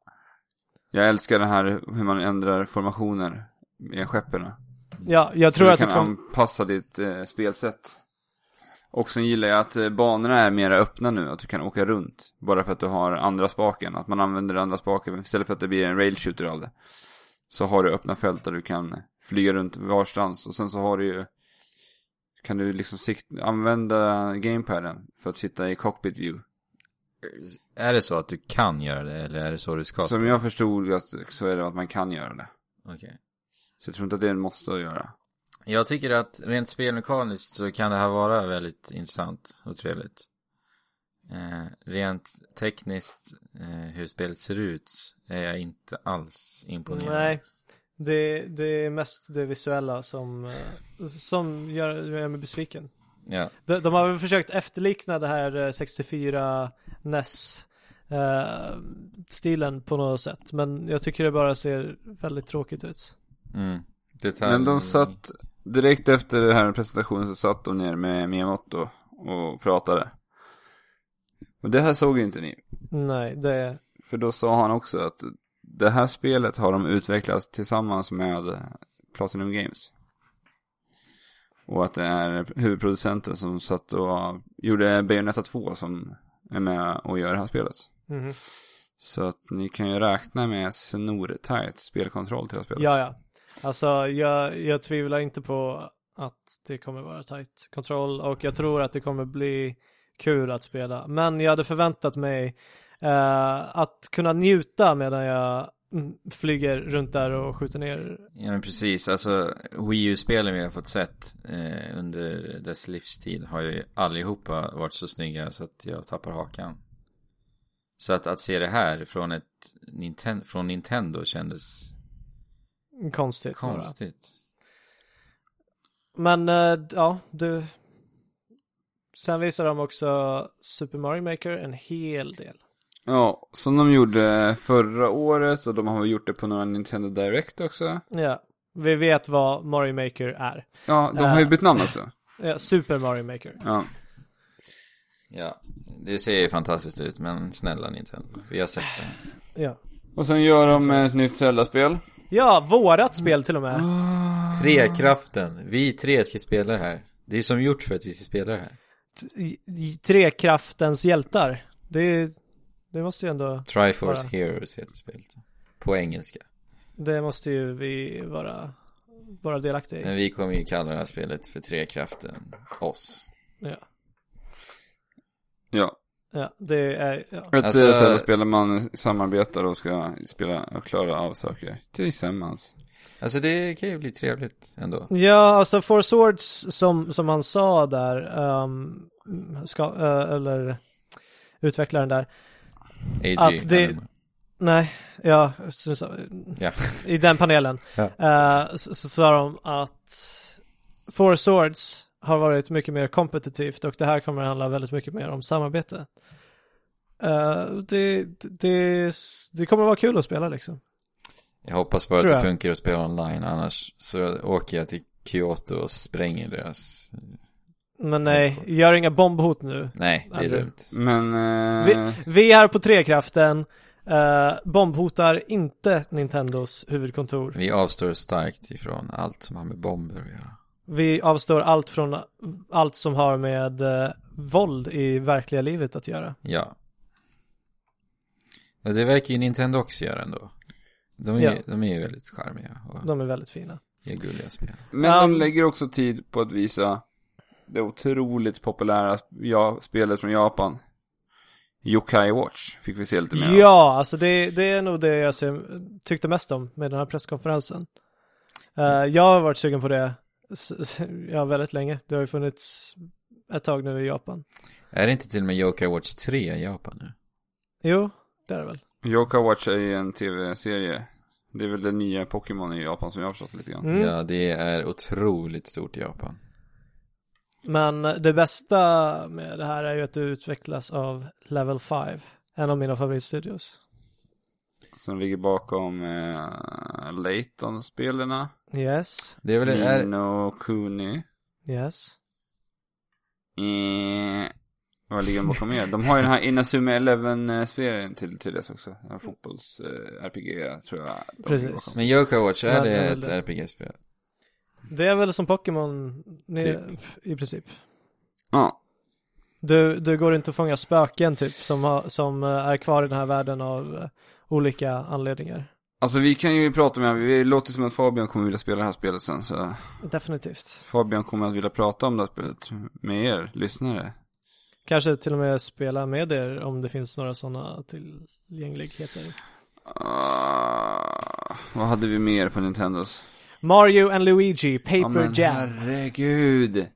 Speaker 3: Jag älskar den här hur man ändrar formationer med skeppen.
Speaker 1: Ja, jag tror
Speaker 3: du
Speaker 1: att det
Speaker 3: kan
Speaker 1: kom...
Speaker 3: anpassa ditt eh, spelsätt. Och sen gillar jag att eh, banorna är mera öppna nu, att du kan åka runt. Bara för att du har andra spaken, att man använder andra spaken istället för att det blir en rail shooter av det. Så har du öppna fält där du kan flyga runt varstans och sen så har du ju kan du liksom sikt- använda gamepaden för att sitta i cockpit view.
Speaker 2: Är det så att du kan göra det eller är det så du ska?
Speaker 3: Som jag förstod att, så är det att man kan göra det.
Speaker 2: Okej.
Speaker 3: Så jag tror inte att det är en måste att göra.
Speaker 2: Jag tycker att rent spelmekaniskt så kan det här vara väldigt intressant och trevligt. Eh, rent tekniskt, eh, hur spelet ser ut, är jag inte alls imponerad.
Speaker 1: Nej. Det, det är mest det visuella som, eh, som gör, gör mig besviken.
Speaker 2: Ja.
Speaker 1: De, de har väl försökt efterlikna det här eh, 64 NES eh, stilen på något sätt. Men jag tycker det bara ser väldigt tråkigt ut.
Speaker 2: Mm. Detalj...
Speaker 3: Men de satt, direkt efter den här presentationen så satt de ner med Miyamoto och pratade. Och det här såg ju inte ni.
Speaker 1: Nej, det...
Speaker 3: För då sa han också att det här spelet har de utvecklat tillsammans med Platinum Games. Och att det är huvudproducenten som satt och gjorde Bayonetta 2 som är med och gör det här spelet.
Speaker 1: Mhm.
Speaker 3: Så att ni kan ju räkna med snortajt spelkontroll till det här spelet.
Speaker 1: Ja, ja. Alltså, jag, jag tvivlar inte på att det kommer vara tight kontroll och jag tror att det kommer bli kul att spela. Men jag hade förväntat mig eh, att kunna njuta medan jag mm, flyger runt där och skjuter ner.
Speaker 2: Ja men precis, alltså Wii U-spelen vi har fått sett eh, under dess livstid har ju allihopa varit så snygga så att jag tappar hakan. Så att, att se det här från ett Ninten- från Nintendo kändes
Speaker 1: Konstigt. bara.
Speaker 2: konstigt.
Speaker 1: Men eh, ja, du. Sen visar de också Super Mario Maker en hel del.
Speaker 3: Ja, som de gjorde förra året och de har gjort det på några Nintendo Direct också.
Speaker 1: Ja, vi vet vad Mario Maker är.
Speaker 3: Ja, de har ju bytt namn också.
Speaker 1: Ja, Super Mario Maker.
Speaker 3: Ja.
Speaker 2: Ja, det ser ju fantastiskt ut men snälla Nintendo, vi har sett det.
Speaker 1: Ja,
Speaker 3: Och sen gör de ett nytt Zelda-spel.
Speaker 1: ja vårat spel till och med.
Speaker 2: Trekraften, vi tre ska spela det här. Det är som gjort för att vi ska spela det här.
Speaker 1: i- i Trekraftens hjältar. Det, det måste ju ändå,
Speaker 2: Triforce
Speaker 1: Bara.
Speaker 2: Heroes heter spelet. På engelska.
Speaker 1: det måste ju vi vara, vara delaktiga i.
Speaker 2: Men vi kommer ju kalla det här spelet för Trekraften, oss.
Speaker 1: Ja,
Speaker 3: Ja.
Speaker 1: ja det är, ja.
Speaker 3: Ett
Speaker 2: Alltså-
Speaker 3: eh, Zelda-spel där man samarbetar och ska spela och klara av saker tillsammans.
Speaker 2: Alltså det kan ju bli trevligt ändå.
Speaker 1: Ja, alltså Four Swords som, som han sa där, ehm, ska, eh, eller utvecklaren där,
Speaker 2: AG,
Speaker 1: Att det-
Speaker 2: Animal.
Speaker 1: nej, ja, så- så-
Speaker 2: Ja.
Speaker 1: i den panelen,
Speaker 2: Ja.
Speaker 1: eh, så, så sa de att Four Swords har varit mycket mer kompetitivt och det här kommer handla väldigt mycket mer om samarbete. Eh, det, det, det kommer vara kul att spela liksom.
Speaker 2: Jag hoppas bara att
Speaker 1: Tror
Speaker 2: det
Speaker 1: jag.
Speaker 2: funkar att spela online, annars så åker jag till Kyoto och spränger deras...
Speaker 1: Men nej, gör inga bombhot nu.
Speaker 2: Nej, det är
Speaker 1: Aldrig.
Speaker 2: dumt.
Speaker 3: Men... Eh,
Speaker 1: Vi, vi är på Trekraften, eh, bombhotar inte Nintendos huvudkontor.
Speaker 2: Vi avstår starkt ifrån allt som har med bomber att göra.
Speaker 1: Vi avstår allt från allt som har med eh, våld i verkliga livet att göra.
Speaker 2: Ja. Och det verkar ju Nintendo också göra ändå. De är,
Speaker 1: Ja.
Speaker 2: de är ju väldigt charmiga och
Speaker 1: De är väldigt fina.
Speaker 2: är gulliga spel.
Speaker 3: Men de
Speaker 1: Um,
Speaker 3: lägger också tid på att visa det otroligt populära ja, spelet från Japan. Yokai Watch fick vi se lite mer av.
Speaker 1: Ja, alltså det, det är nog det jag ser, tyckte mest om med den här presskonferensen. Eh, jag har varit sugen på det s- s- ja, väldigt länge. Det har ju funnits ett tag nu i Japan.
Speaker 2: Är det inte till och med Yokai Watch 3 i Japan nu?
Speaker 1: Jo, det är det väl.
Speaker 3: Yokai Watch är ju en tv-serie Det är väl den nya Pokémon i Japan som jag har förstått lite grann.
Speaker 1: Mm.
Speaker 2: Ja, det är otroligt stort i Japan.
Speaker 1: Men det bästa med det här är ju att det utvecklas av Level 5, en av mina favoritstudios.
Speaker 3: Som ligger bakom eh, Layton-spelarna.
Speaker 1: Yes,
Speaker 2: Det är väl,
Speaker 3: Mm.
Speaker 2: är,
Speaker 3: Nino Kuni.
Speaker 1: yes.
Speaker 3: Eh, vad ligger de bakom mer? De har ju den här Inazuma Eleven-spelen till 3DS också. Den här Fotbolls-RPG tror jag. de ligger
Speaker 1: Precis.
Speaker 2: men Yoko Watch, är
Speaker 1: Men-
Speaker 2: det
Speaker 1: men-
Speaker 2: ett RPG-spel?
Speaker 1: Det är väl som Pokémon ni-
Speaker 2: Typ.
Speaker 1: i princip.
Speaker 3: bakom. Ja.
Speaker 1: Du, du går inte att fånga spöken typ som, har, som eh, är kvar i den här världen av eh, olika anledningar.
Speaker 3: Alltså vi kan ju prata med vi låter som att Fabian kommer vilja spela det här spelet sen så
Speaker 1: Definitivt.
Speaker 3: Fabian kommer att vilja prata om det här spelet med er lyssnare.
Speaker 1: Kanske till och med spela med er om det finns några sådana tillgängligheter.
Speaker 3: Ah, vad hade vi mer på Nintendos?
Speaker 1: Mario and Luigi, Paper
Speaker 3: Ja, men
Speaker 1: Jam.
Speaker 3: herregud.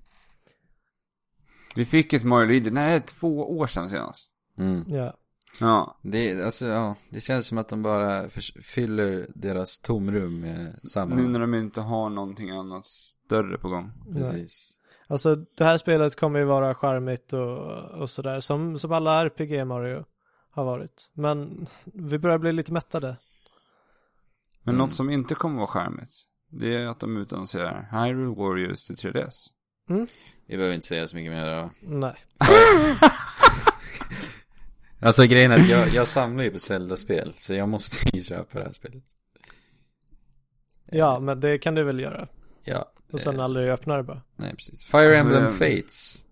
Speaker 3: Vi fick ett Mario Luigi, nej det är två år sedan senast.
Speaker 2: Mm.
Speaker 1: Ja.
Speaker 3: Ja,
Speaker 2: Det, alltså, ja, det känns som att de bara förs- fyller deras tomrum med samma.
Speaker 3: nu när de inte har någonting annat större på gång.
Speaker 2: Precis.
Speaker 1: Alltså det här spelet kommer ju vara charmigt och, och sådär som, som alla RPG Mario har varit. Men vi börjar bli lite mättade.
Speaker 3: Men något som inte kommer vara charmigt, det är att de utannonserar Hyrule Warriors till 3DS.
Speaker 2: Vi behöver inte säga så mycket mer då.
Speaker 1: Nej.
Speaker 2: Alltså grejen är att jag, jag samlar ju på Zelda-spel, så jag måste ju köpa det här spelet.
Speaker 1: Ja, men det kan du väl göra.
Speaker 2: Ja,
Speaker 1: Och sen
Speaker 2: eh,
Speaker 1: aldrig öppna det bara.
Speaker 2: nej precis. Fire
Speaker 3: Alltså,
Speaker 2: Emblem
Speaker 3: jag-
Speaker 2: Fates.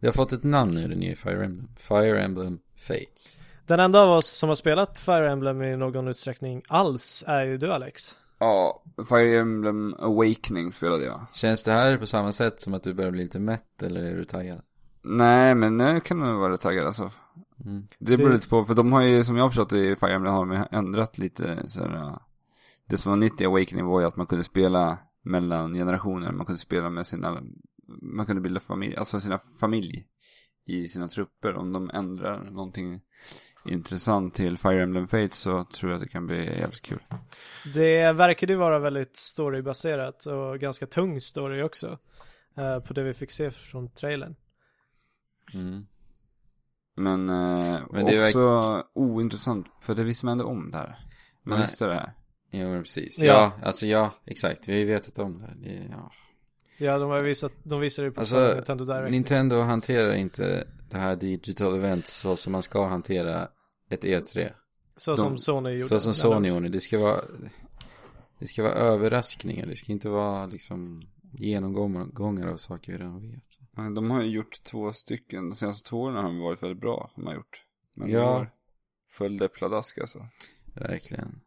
Speaker 2: Det har fått ett namn nu, det nya Fire Emblem. Fire Emblem Fates.
Speaker 1: Den enda av oss som har spelat Fire Emblem i någon utsträckning alls är ju du Alex.
Speaker 3: Ja, Fire Emblem Awakening spelade jag.
Speaker 2: Känns det här på samma sätt som att du börjar bli lite mätt, eller är du taggad?
Speaker 3: Nej, men nu kan man vara taggad alltså.
Speaker 2: Mm.
Speaker 3: Det beror
Speaker 1: Det-
Speaker 3: lite på, för de har ju, som jag har förstått i Fire Emblem har de ändrat lite så här. äh, Det som var nytt i Awakening var ju att man kunde spela mellan generationer, man kunde spela med sina, man kunde bilda familj, alltså sina familj i sina trupper. Om de ändrar någonting intressant till Fire Emblem Fates så tror jag att det kan bli jävligt kul.
Speaker 1: Det verkade ju vara väldigt storybaserat och ganska tung story också. eh, På det vi fick se från trailern.
Speaker 2: Mm.
Speaker 3: Men, eh,
Speaker 2: Men det är
Speaker 3: också ointressant, för det visste man ändå om där. Man
Speaker 2: Nej.
Speaker 3: visste det här.
Speaker 2: Jo, men precis.
Speaker 1: Ja.
Speaker 2: Ja. alltså ja, exakt. Vi har ju vetat om det här. Det, ja.
Speaker 1: Ja, de har visat, de visade det på
Speaker 2: Alltså,
Speaker 1: Nintendo Direct.
Speaker 2: Nintendo hanterar inte det här digital event så som man ska hantera ett E3.
Speaker 1: så som Sony gjorde.
Speaker 2: Så som
Speaker 1: när
Speaker 2: Sony
Speaker 1: de-
Speaker 2: gjorde. Det ska vara, det ska vara överraskningar. Det ska inte vara liksom genomgångar av saker vi redan vet.
Speaker 3: Nej, De har ju gjort två stycken. De senaste två åren har de varit väldigt bra. De har gjort. Men
Speaker 2: Ja.
Speaker 3: i år Följde pladask alltså.
Speaker 2: Verkligen.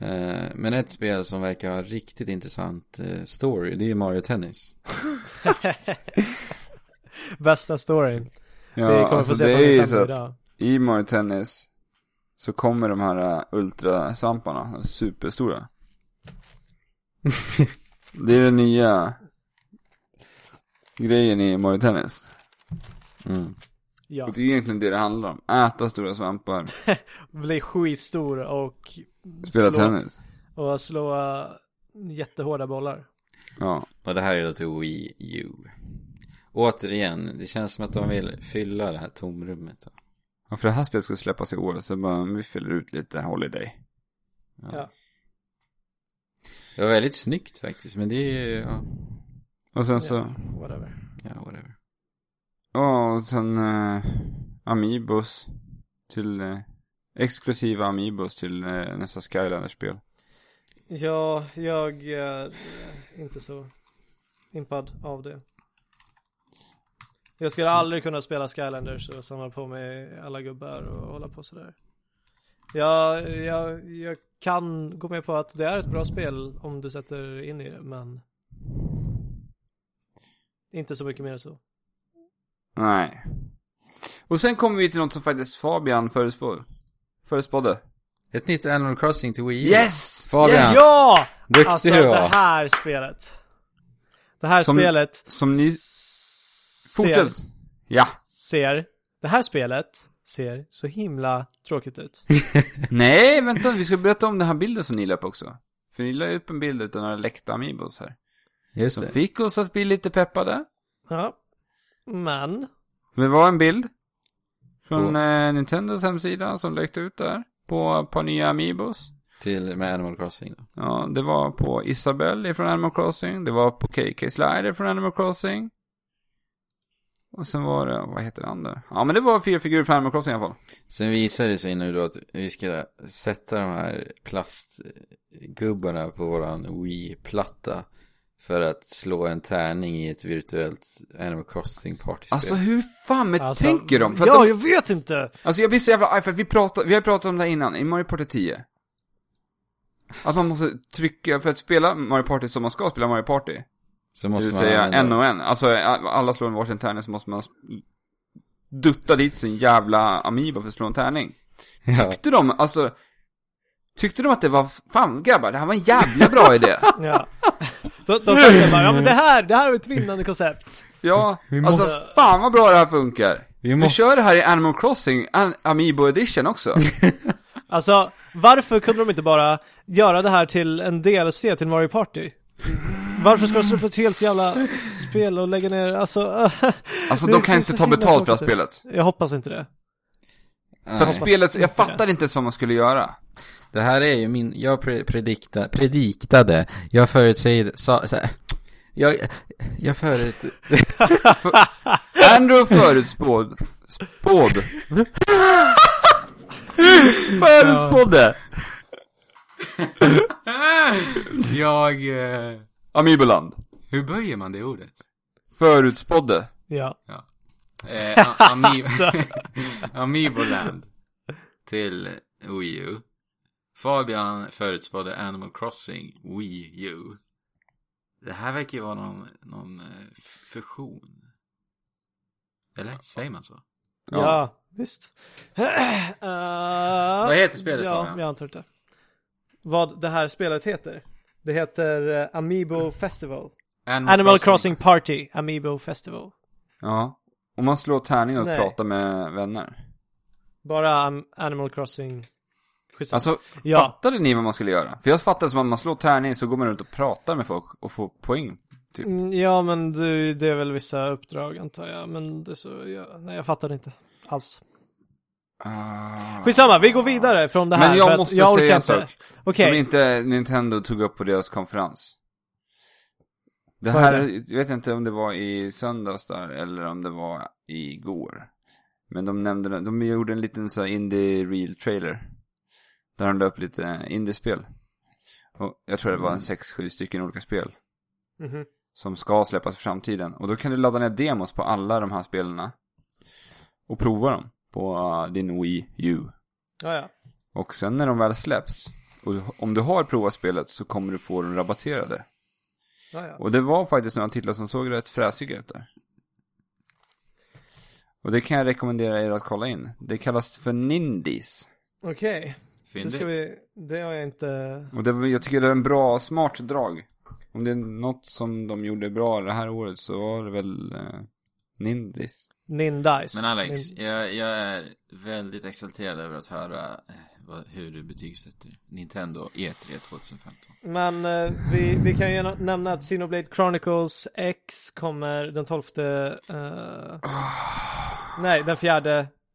Speaker 2: Eh, Men ett spel som verkar ha en riktigt intressant eh, story, det är ju Mario Tennis.
Speaker 1: Bästa storyn.
Speaker 3: Ja,
Speaker 1: vi kommer få
Speaker 3: alltså,
Speaker 1: se
Speaker 3: det
Speaker 1: på
Speaker 3: är ju
Speaker 1: Nintendo
Speaker 3: så att
Speaker 1: idag.
Speaker 3: i Mario Tennis så kommer de här äh, ultrasvamparna, de superstora. det är den nya grejen i Mario Tennis.
Speaker 2: Mm.
Speaker 1: Ja.
Speaker 3: Och det är egentligen det det handlar om. Äta stora svampar,
Speaker 1: Bli skitstor och
Speaker 3: spela
Speaker 1: slå,
Speaker 3: tennis.
Speaker 1: Och slå eh, jättehårda bollar.
Speaker 3: Ja.
Speaker 2: Och det här är då till Wii U. Återigen, det känns som att de vill fylla det här tomrummet. då.
Speaker 3: Ja, för det här spelet ska släppas i år så bara, vi fyller ut lite Holiday.
Speaker 1: Ja.
Speaker 2: Det var väldigt snyggt faktiskt, men det är ju, ja,
Speaker 3: Och sen så...
Speaker 1: Whatever.
Speaker 2: ja whatever.
Speaker 3: Ja, och sen eh, Amiibos till eh, exklusiva Amiibos till eh, nästa Skylanders-spel.
Speaker 1: Ja, jag är inte så impad av det. Jag skulle aldrig kunna spela Skylanders och samla på mig alla gubbar och hålla på sådär. Jag, jag, jag kan gå med på att det är ett bra spel om du sätter in i det, men inte så mycket mer än så.
Speaker 3: Nej. Och sen kommer vi till något som faktiskt Fabian förutspådde. Förutspådde.
Speaker 2: Ett nytt Animal Crossing till Wii U.
Speaker 3: Yes!
Speaker 2: Fabian!
Speaker 3: Yes!
Speaker 1: Ja!
Speaker 2: Duktig
Speaker 1: alltså
Speaker 2: du var.
Speaker 1: det här spelet. Det här
Speaker 3: Som-
Speaker 1: spelet
Speaker 3: Som ni...
Speaker 1: s- ser-
Speaker 3: Fortsätt! Ja.
Speaker 1: ser det här spelet ser så himla tråkigt ut.
Speaker 3: Nej, vänta, vi ska berätta om den här bilden som ni la upp också. För ni la upp en bild utan några läckta Amiibos här.
Speaker 2: Just
Speaker 3: Som
Speaker 2: det.
Speaker 3: fick oss att bli lite peppade.
Speaker 1: Ja. Men,
Speaker 3: Det var en bild från eh, Nintendos hemsida som läckte ut där. På ett par nya Amiibos.
Speaker 2: Till, med Animal Crossing då.
Speaker 3: Ja, det var på Isabelle från Animal Crossing. Det var på KK Slider från Animal Crossing. Och sen var det, vad heter han där? Ja, men det var fyra figurer från Animal Crossing i alla fall.
Speaker 4: Sen visar det sig nu då att vi ska sätta de här plastgubbarna på våran Wii-platta för att slå en tärning i ett virtuellt Animal Crossing party
Speaker 3: Alltså hur fan men
Speaker 1: alltså,
Speaker 3: tänker de? För att
Speaker 1: Ja,
Speaker 3: de...
Speaker 1: jag vet inte!
Speaker 3: Alltså jag blir så jävla arg för att vi, pratar, vi har pratat om det här innan, i Mario Party 10. Att man måste trycka, för att spela Mario Party som man ska spela Mario Party.
Speaker 4: så
Speaker 3: Det
Speaker 4: måste
Speaker 3: vill
Speaker 4: man
Speaker 3: säga en
Speaker 4: använda-
Speaker 3: och en. Alltså alla slår en varsin tärning så måste man dutta dit sin jävla Amiibo för att slå en tärning.
Speaker 4: ja.
Speaker 3: Tyckte de, alltså, tyckte de att det var, fan grabbar, det här var en jävla bra idé.
Speaker 1: Ja. De, de sa det bara, ja men det här, det här är ett vinnande koncept.
Speaker 3: Ja, alltså
Speaker 1: måste-
Speaker 3: fan vad bra det här funkar.
Speaker 2: Vi
Speaker 3: Vi,
Speaker 2: måste-
Speaker 3: kör det här i Animal Crossing, An- Amiibo edition också.
Speaker 1: Alltså, varför kunde de inte bara göra det här till en DLC till Mario Party? Varför ska de slå på ett helt jävla spel och lägga ner, alltså...
Speaker 3: Alltså
Speaker 1: det
Speaker 3: de
Speaker 1: ser
Speaker 3: kan inte
Speaker 1: så
Speaker 3: ta
Speaker 1: himla
Speaker 3: betalt för det här
Speaker 1: tråkigt ut.
Speaker 3: spelet.
Speaker 1: Jag hoppas inte det.
Speaker 3: För att
Speaker 2: Nej.
Speaker 3: spelet, jag fattar inte ens vad man skulle göra.
Speaker 2: Det här är ju min, jag pre- predikta, prediktade, jag förutsäger, sa, så här, jag, jag förut,
Speaker 3: Andrew förutspådd. Spådd. Förutspådde.
Speaker 5: Jag... Eh,
Speaker 3: Amiiboland.
Speaker 5: hur böjer man det ordet?
Speaker 3: Förutspådde.
Speaker 1: Ja.
Speaker 5: Eh, a- ami
Speaker 1: Alltså.
Speaker 5: Amiiboland. Till Wii U. Fabian förutspådde Animal Crossing Wii U. Det här verkar ju vara någon, någon eh, f- fusion. Eller? Säger man så?
Speaker 1: Ja, visst. Vad
Speaker 4: Vad heter spelet,
Speaker 1: Ja,
Speaker 4: Fabian?
Speaker 1: jag antar inte. Vad det här spelet heter? Det heter eh, Amiibo Festival.
Speaker 5: Animal,
Speaker 1: Animal Crossing Party Amiibo Festival.
Speaker 3: Ja. Om man slår tärning och
Speaker 1: Nej.
Speaker 3: pratar med vänner.
Speaker 1: Bara um, Animal Crossing. Skitsamma.
Speaker 3: Alltså,
Speaker 1: Ja.
Speaker 3: fattade ni vad man skulle göra? För jag fattade som att man slår tärning så går man runt och pratar med folk och får poäng. typ.
Speaker 1: Mm, ja, men du, det är väl vissa uppdrag antar jag. Men det är så, jag, nej jag fattar inte alls. Skitsamma, vi går vidare från det här.
Speaker 3: Men jag
Speaker 1: för att
Speaker 3: måste
Speaker 1: jag orkar
Speaker 3: säga en
Speaker 1: inte.
Speaker 3: sak.
Speaker 1: Okej.
Speaker 3: Som inte Nintendo tog upp på deras konferens. Det
Speaker 1: Vad är
Speaker 3: här,
Speaker 1: det?
Speaker 3: jag vet inte om det var i söndags där, eller om det var igår. Men de nämnde, de gjorde en liten så här indie reel trailer. Där de la upp lite indiespel. Och jag tror det var en 6-7 stycken olika spel.
Speaker 1: Mm. Mhm.
Speaker 3: Som ska släppas i framtiden. Och då kan du ladda ner demos på alla de här spelarna. Och prova dem på eh, din Wii U.
Speaker 1: Ja, ja.
Speaker 3: Och sen när de väl släpps, och du- om du har provat spelet så kommer du få dem rabatterade.
Speaker 1: Ja, ja.
Speaker 3: Och det var faktiskt några titlar som såg rätt fräsiga ut där. Och det kan jag rekommendera er att kolla in. Det kallas för Nindies.
Speaker 1: Okej. Det
Speaker 5: Fyndigt.
Speaker 1: ska vi, det har jag inte
Speaker 3: Och det, var- jag tycker det är en bra, smart drag. Om det är något som de gjorde bra det här året så var det väl eh, Nindies.
Speaker 1: Nindice.
Speaker 5: Men Alex,
Speaker 1: Nin-
Speaker 5: jag, jag är väldigt exalterad över att höra eh, vad, hur du betygsätter Nintendo E E3 2015.
Speaker 1: Men eh, vi, vi kan ju nämna att Xenoblade Chronicles X kommer den 12... eh, nej, den 4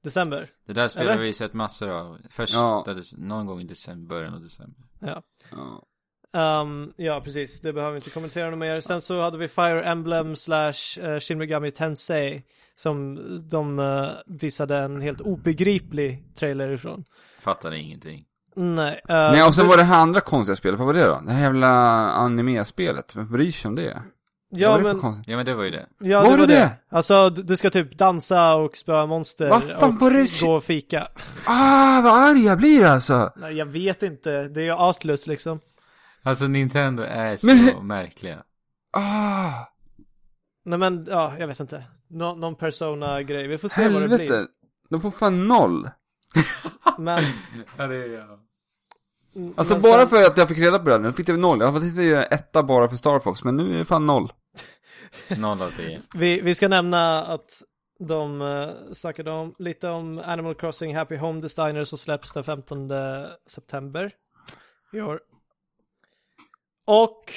Speaker 1: december.
Speaker 5: Det där spelar
Speaker 1: Eller?
Speaker 5: vi sett massor av. Första,
Speaker 3: Ja.
Speaker 5: dec- någon gång i december, början av december.
Speaker 1: Ja.
Speaker 3: Ja.
Speaker 1: Ehm, ja, precis. Det behöver vi inte kommentera något mer. Sen så hade vi Fire Emblem slash eh, Shin Megami Tensei som de eh, visade en helt obegriplig trailer ifrån.
Speaker 5: Fattade ingenting.
Speaker 1: Nej. eh,
Speaker 3: Nej, och sen var det här andra konstiga spelet. Vad var det då? Det här jävla anime-spelet. Vem bryr sig om det? Vad
Speaker 1: ja,
Speaker 3: var det för
Speaker 1: men,
Speaker 3: konstigt?
Speaker 5: Ja men det var ju det.
Speaker 1: ja, det
Speaker 3: Var
Speaker 1: var
Speaker 3: det
Speaker 1: det.
Speaker 3: det?
Speaker 1: Alltså, du, du ska typ dansa och spöa monster
Speaker 3: Vad fan
Speaker 1: och
Speaker 3: var det?
Speaker 1: gå och fika.
Speaker 3: Ah, vad arg jag blir alltså!
Speaker 1: Nej, jag vet inte. Det är ju Atlus liksom.
Speaker 5: Alltså Nintendo är så
Speaker 3: Men hur-
Speaker 5: märkliga.
Speaker 3: Ah,
Speaker 1: Nej men, ja, jag vet inte. Nå- någon persona-grej. Vi får se vad det blir.
Speaker 3: helvete! De får fan noll.
Speaker 1: Men,
Speaker 5: Ja det är jag.
Speaker 3: Alltså
Speaker 1: Men
Speaker 3: bara
Speaker 1: sen-
Speaker 3: för att jag fick reda på det, här, nu fick jag noll. Jag var tänkte göra etta bara för Star Fox, men nu är det fan noll.
Speaker 5: Noll av tio.
Speaker 1: vi, vi ska nämna att De eh, snackade om, lite om Animal Crossing Happy Home Designer som släpps den 15 september i år. Och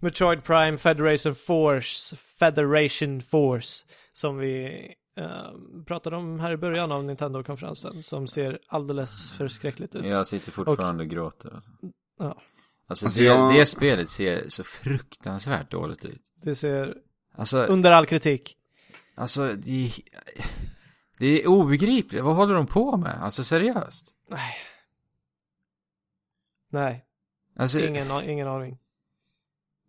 Speaker 1: Metroid Prime Federation Force, Federation Force, som vi eh, pratade om här i början av Nintendo-konferensen, som ser alldeles förskräckligt ut.
Speaker 2: Jag sitter fortfarande och gråter. Alltså,
Speaker 1: Ja,
Speaker 2: alltså,
Speaker 3: Alltså,
Speaker 2: det,
Speaker 3: jag-
Speaker 2: det spelet ser så fruktansvärt dåligt ut.
Speaker 1: det ser
Speaker 2: Alltså,
Speaker 1: under all kritik.
Speaker 2: alltså det, det är obegripligt. Vad håller de på med? Alltså seriöst?
Speaker 1: Nej,
Speaker 2: Alltså,
Speaker 1: ingen, a- ingen aning.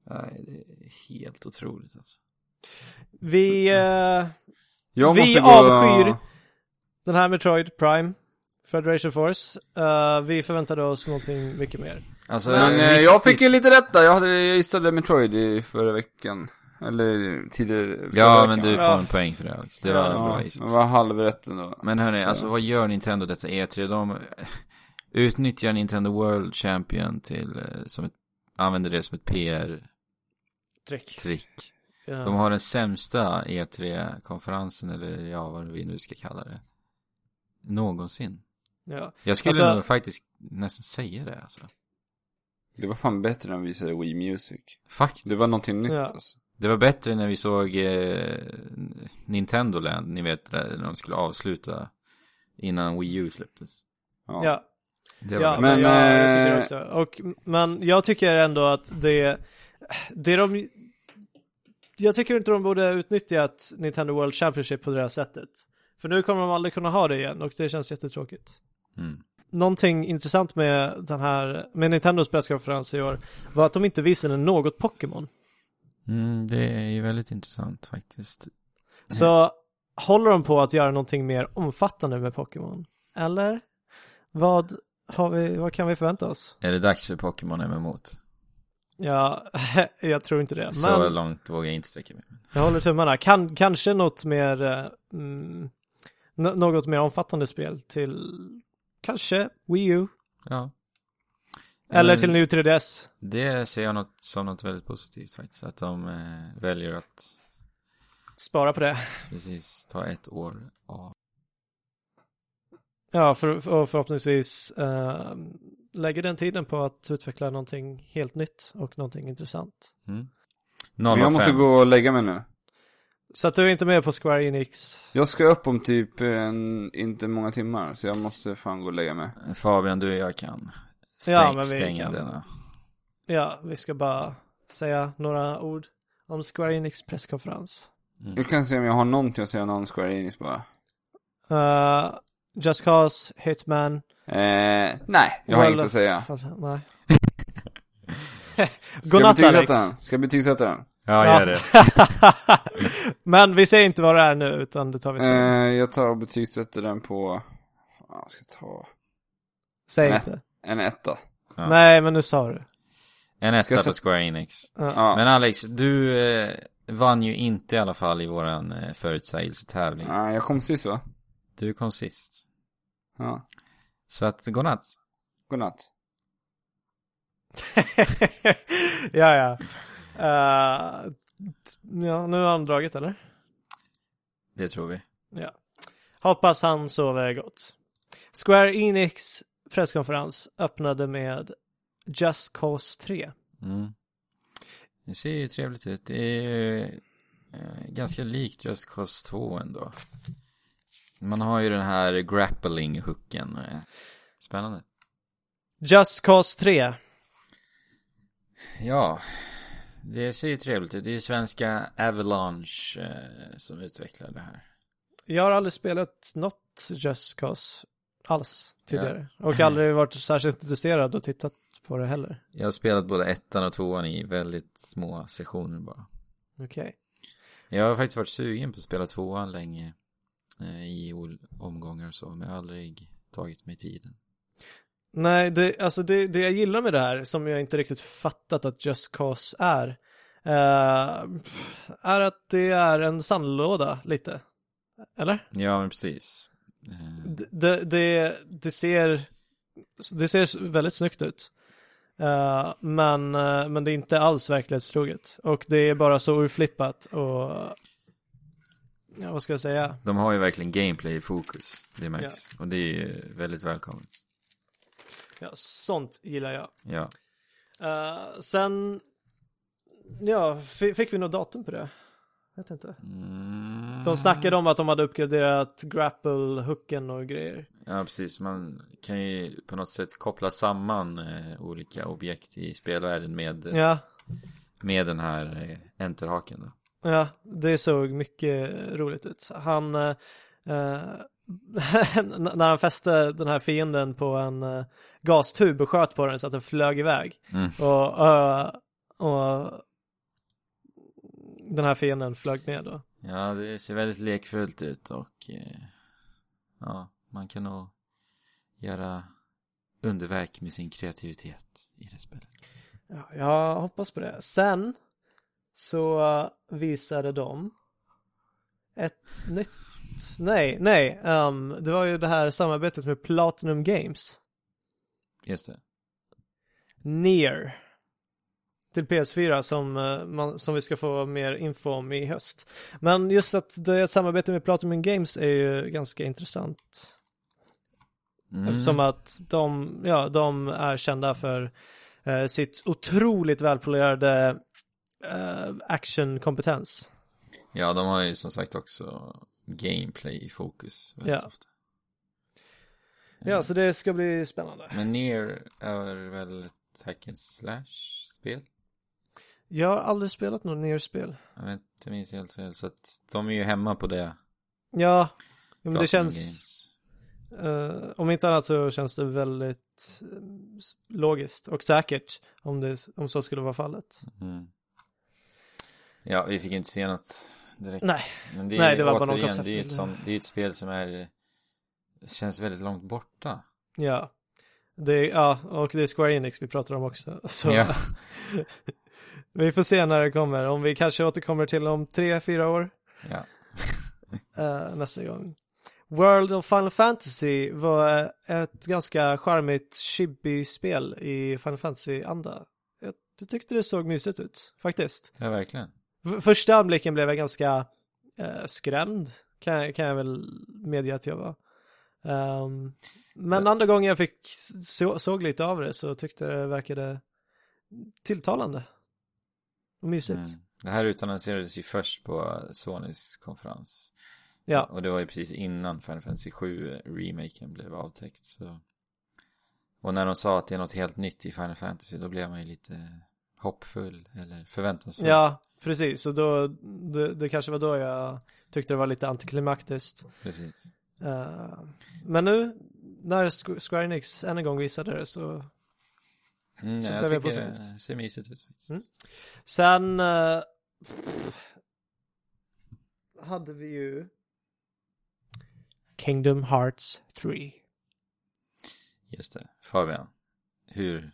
Speaker 2: Nej, det är helt otroligt alltså.
Speaker 1: Vi, eh,
Speaker 3: Jag
Speaker 1: Vi
Speaker 3: måste gå...
Speaker 1: avskyr- den här Metroid Prime, Federation Force, eh, vi förväntade oss någonting mycket mer.
Speaker 2: Alltså,
Speaker 3: Men eh,
Speaker 2: riktigt-
Speaker 3: jag fick ju lite rätt där. Jag, hade, jag gissade Metroid i förra veckan. Eller tidigare förra
Speaker 2: Ja,
Speaker 3: veckan.
Speaker 2: men du får
Speaker 1: Ja.
Speaker 2: en poäng för det Alex. Det var bra
Speaker 3: Ja,
Speaker 2: gissat.
Speaker 3: det var halvrätt ändå.
Speaker 2: Men hörni,
Speaker 3: Så.
Speaker 2: alltså vad gör Nintendo detta E3? De utnyttjar Nintendo World Champion till, eh, som ett, använder det som ett PR-trick.
Speaker 1: Trick. Ja.
Speaker 2: De har den sämsta E3-konferensen, eller ja, vad vi nu ska kalla det, någonsin.
Speaker 1: ja.
Speaker 2: Jag skulle
Speaker 1: Alltså-
Speaker 2: nog faktiskt nästan säga det alltså.
Speaker 3: Det var fan bättre när de visade Wii Music.
Speaker 2: Faktiskt.
Speaker 3: Det var någonting nytt
Speaker 1: Ja.
Speaker 3: alltså.
Speaker 2: Det var bättre när vi såg eh, Nintendo Land, ni vet, där när de skulle avsluta innan Wii U släpptes.
Speaker 3: Ja.
Speaker 1: ja.
Speaker 2: Det var
Speaker 1: Ja,
Speaker 2: bättre.
Speaker 1: men,
Speaker 3: Men,
Speaker 1: jag, jag tycker
Speaker 3: eh,
Speaker 1: också. Och, men jag tycker ändå att det, det de, jag tycker inte de borde utnyttjat Nintendo World Championship på det här sättet. För nu kommer de aldrig kunna ha det igen och det känns jättetråkigt.
Speaker 2: Mm.
Speaker 1: Någonting intressant med den här, med Nintendos presskonferens i år var att de inte visade något Pokémon.
Speaker 2: Mm, det är ju väldigt intressant faktiskt.
Speaker 1: Så håller de på att göra någonting mer omfattande med Pokémon? Eller? Vad har vi, vad kan vi förvänta oss?
Speaker 2: Är det dags för Pokémon emot?
Speaker 1: Ja, jag tror inte det.
Speaker 2: Så
Speaker 1: Men
Speaker 2: långt vågar jag inte sträcka mig.
Speaker 1: jag håller tummarna. Kan, kanske något mer, eh, mm, nå- något mer omfattande spel till kanske Wii U
Speaker 2: Ja.
Speaker 1: eller
Speaker 2: Mm.
Speaker 1: till nu 3DS.
Speaker 2: Det ser jag något, som något väldigt positivt faktiskt. Att de eh, väljer att
Speaker 1: Spara på det.
Speaker 2: precis ta ett år av.
Speaker 1: Ja, för, för, och förhoppningsvis eh, lägger den tiden på att utveckla någonting helt nytt och någonting intressant.
Speaker 2: Noll
Speaker 3: Men
Speaker 2: Mm. av
Speaker 3: jag måste
Speaker 2: fem.
Speaker 3: gå och lägga mig nu.
Speaker 1: Så att du är inte med på Square Enix
Speaker 3: Jag ska upp om typ en, inte många timmar, så jag måste fan gå och lägga mig.
Speaker 2: Fabian, du och jag kan. Stäng,
Speaker 1: Ja, men vi
Speaker 2: stäng
Speaker 1: kan.
Speaker 2: denna.
Speaker 1: Ja, vi ska bara säga några ord om Square Enix presskonferens.
Speaker 3: Jag kan se om jag har någonting att säga någon Square Enix bara.
Speaker 1: Eh, Just Cause, Hitman.
Speaker 3: Eh, nej, jag har
Speaker 1: Well,
Speaker 3: inget att säga. Ska
Speaker 1: fan, Nej.
Speaker 3: jag
Speaker 1: Godnatt Alex.
Speaker 3: betygsätta den? Ska jag betygsätta den?
Speaker 2: Ja,
Speaker 1: Ja.
Speaker 2: gör det.
Speaker 1: Men vi säger inte vad det är nu, utan det tar vi sen.
Speaker 3: Eh, jag tar och betygsätter den på... Fan, jag ska ta...
Speaker 1: Säg
Speaker 3: nej.
Speaker 1: inte.
Speaker 3: En etta.
Speaker 2: Ja.
Speaker 1: Nej, men nu sa du.
Speaker 2: En
Speaker 3: Ska jag
Speaker 2: etta på
Speaker 3: sätta-
Speaker 2: Square Enix.
Speaker 3: Ja.
Speaker 2: Men Alex, du eh, vann ju inte i alla fall i våran eh, förutsägelsetävling.
Speaker 3: Nej, jag kom sist va?
Speaker 2: Du kom sist.
Speaker 3: Ja.
Speaker 2: Så att, godnatt.
Speaker 3: Godnatt.
Speaker 1: ja, ja. Eh, t- ja, nu har han dragit, eller?
Speaker 2: Det tror vi.
Speaker 1: Ja. Hoppas han sover gott. Square Enix presskonferens öppnade med Just Cause 3.
Speaker 2: Mm. Det ser ju trevligt ut. Det är ju eh, ganska likt Just Cause 2 ändå. Man har ju den här grappling-hooken. eh. Spännande.
Speaker 1: Just Cause 3.
Speaker 2: Ja, det ser ju trevligt ut. Det är ju svenska Avalanche eh, som utvecklar det här.
Speaker 1: Jag har aldrig spelat något Just Cause alls tidigare. Och aldrig varit särskilt intresserad och tittat på det heller.
Speaker 2: Jag har spelat både ettan och tvåan i väldigt små sessioner bara.
Speaker 1: Okej.
Speaker 2: Jag har faktiskt varit sugen på att spela tvåan länge eh, i ol- omgångar och så, men jag har aldrig tagit mig tiden.
Speaker 1: Nej, det, alltså det, det jag gillar med det här, som jag inte riktigt fattat att Just Cause är, eh, är att det är en sandlåda lite. Eller?
Speaker 2: Ja, men precis. Eh,
Speaker 1: D- det, det, det ser det ser väldigt snyggt ut. Eh, men, eh, men det är inte alls verklighetstroget. Och det är bara så urflippat och ja, vad ska jag säga?
Speaker 2: De har ju verkligen gameplay i fokus, det märks. Och det är ju väldigt välkommet.
Speaker 1: Ja, sånt gillar jag.
Speaker 2: Ja.
Speaker 1: Eh, sen, ja, fi- fick vi något datum på det? Vet inte. De snackade om att de hade uppgraderat grapple-hooken och grejer.
Speaker 2: ja, precis. Man kan ju på något sätt koppla samman eh, olika objekt i spelvärlden med,
Speaker 1: Ja,
Speaker 2: med den här eh, enterhaken. Då.
Speaker 1: ja, det såg mycket roligt ut. Han, eh, eh, n- när han fäste den här fienden på en eh, gastub och sköt på den så att den flög iväg.
Speaker 2: Mm.
Speaker 1: Och, eh, och den här fienden flög ner då.
Speaker 2: Ja, det ser väldigt lekfullt ut och eh, ja, man kan nog göra underverk med sin kreativitet i det spelet.
Speaker 1: Ja, jag hoppas på det. Sen så eh, visade de ett nytt... Nej, nej. ehm, det var ju det här samarbetet med Platinum Games.
Speaker 2: Just det.
Speaker 1: Near. Till PS4 som, eh, man, som vi ska få mer info om i höst. Men just att det samarbetet med Platinum Games är ju ganska intressant.
Speaker 2: Mm.
Speaker 1: Eftersom att de, ja, de är kända för eh, sitt otroligt välpolerade eh, actionkompetens.
Speaker 2: Ja, de har ju som sagt också gameplay i fokus väldigt
Speaker 1: Ja.
Speaker 2: ofta. Mm.
Speaker 1: Ja, så det ska bli spännande.
Speaker 2: Men Nier är väl ett hack and slash-spel?
Speaker 1: Jag har aldrig spelat något nerspel.
Speaker 2: Jag vet inte, minns helt fel. Så att de är ju hemma på det.
Speaker 1: Ja, men
Speaker 2: Platinum
Speaker 1: det känns,
Speaker 2: Games.
Speaker 1: eh, om inte annat så känns det väldigt eh, s- logiskt och säkert om, det, om så skulle vara fallet.
Speaker 2: Mm. Ja, vi fick inte se något direkt.
Speaker 1: Nej,
Speaker 2: Men det är
Speaker 1: Nej,
Speaker 2: ju
Speaker 1: det var bara någon
Speaker 2: återigen,
Speaker 1: koncept-
Speaker 2: det är ju ett, sånt, det är ett spel som är känns väldigt långt borta.
Speaker 1: ja. Det, är- ja, och det är Square Enix vi pratar om också. Så
Speaker 2: Ja.
Speaker 1: vi får se när det kommer. Om vi kanske återkommer till om tre, fyra år.
Speaker 2: ja.
Speaker 1: eh, nästa gång. World of Final Fantasy var eh, ett ganska charmigt chibi-spel i Final Fantasy-anda. Jag jag tyckte det såg mysigt ut, faktiskt.
Speaker 2: ja, verkligen.
Speaker 1: F- första anblicken blev jag ganska eh, skrämd, kan, jag- kan jag väl medge att jag var. Ehm, men andra gången jag fick så, såg lite av det så tyckte jag det verkade tilltalande. Och mysigt.
Speaker 2: Mm. Det här utannonserades ju först på Sonys konferens.
Speaker 1: Ja,
Speaker 2: Och det var ju precis innan Final Fantasy 7 remaken blev avtäckt. Så. Och när de sa att det är något helt nytt i Final Fantasy då blev man ju lite hoppfull eller förväntansfull.
Speaker 1: ja precis. Och då, det, det kanske var då jag tyckte det var lite antiklimaktiskt.
Speaker 2: Precis.
Speaker 1: Eh, men nu när Squ- Square Enix än en gång visade det så...
Speaker 2: Mm,
Speaker 1: Så
Speaker 2: jag
Speaker 1: blev jag
Speaker 2: tycker
Speaker 1: positivt.
Speaker 2: det ser mysigt ut faktiskt.
Speaker 1: Mm. Sen... eh, hade vi ju... Kingdom Hearts 3.
Speaker 2: Just det. Fabian, hur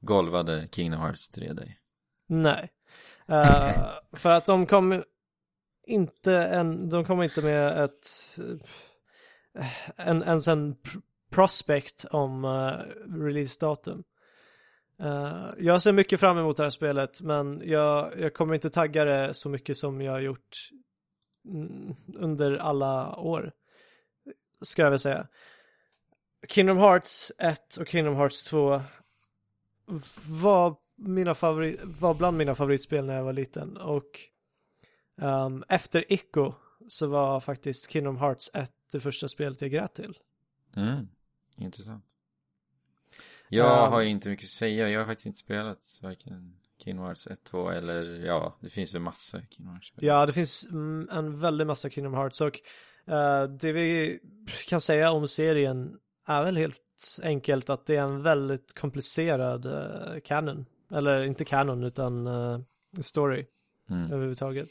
Speaker 2: golvade Kingdom Hearts 3 dig?
Speaker 1: Nej. Eh, för att de kom inte en, de kom inte med ett, eh, en, ens en pr- prospect om eh, releasedatum. Eh, jag ser mycket fram emot det här spelet men jag, jag kommer inte tagga det så mycket som jag har gjort mm, under alla år. Ska jag väl säga. Kingdom Hearts 1 och Kingdom Hearts 2 var, mina favori- var bland mina favoritspel när jag var liten och ehm, efter Ico så var faktiskt Kingdom Hearts 1 det första spelet jag grät till.
Speaker 2: Mm. Intressant. Jag
Speaker 1: Um,
Speaker 2: har ju inte mycket att säga. Jag har faktiskt inte spelat varken Kingdom Hearts 1, 2 eller ja, det finns väl massa Kingdom Hearts-spel.
Speaker 1: Ja, det finns mm, en väldig massa Kingdom Hearts och eh, det vi kan säga om serien är väl helt enkelt att det är en väldigt komplicerad eh, canon. Eller inte canon utan eh, story
Speaker 2: Mm.
Speaker 1: överhuvudtaget.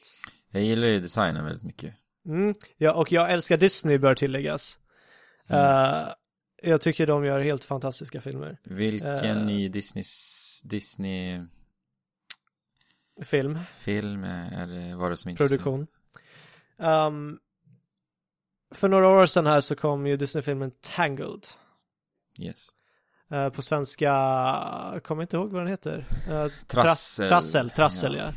Speaker 2: Jag gillar ju designen väldigt mycket.
Speaker 1: Mm. Ja, och jag älskar Disney bör tilläggas.
Speaker 2: Mm.
Speaker 1: Eh, jag tycker de gör helt fantastiska filmer.
Speaker 2: Vilken
Speaker 1: Eh.
Speaker 2: ny Disneys, Disney-film
Speaker 1: Film,
Speaker 2: eh, eller var det som inte
Speaker 1: produktion. Ehm, för några år sedan här så kom ju Disney-filmen Tangled.
Speaker 2: Yes.
Speaker 1: Eh, på svenska, jag kommer inte ihåg vad den heter. Eh,
Speaker 2: Trassel.
Speaker 1: Trassel, trassel ja.
Speaker 2: Ja.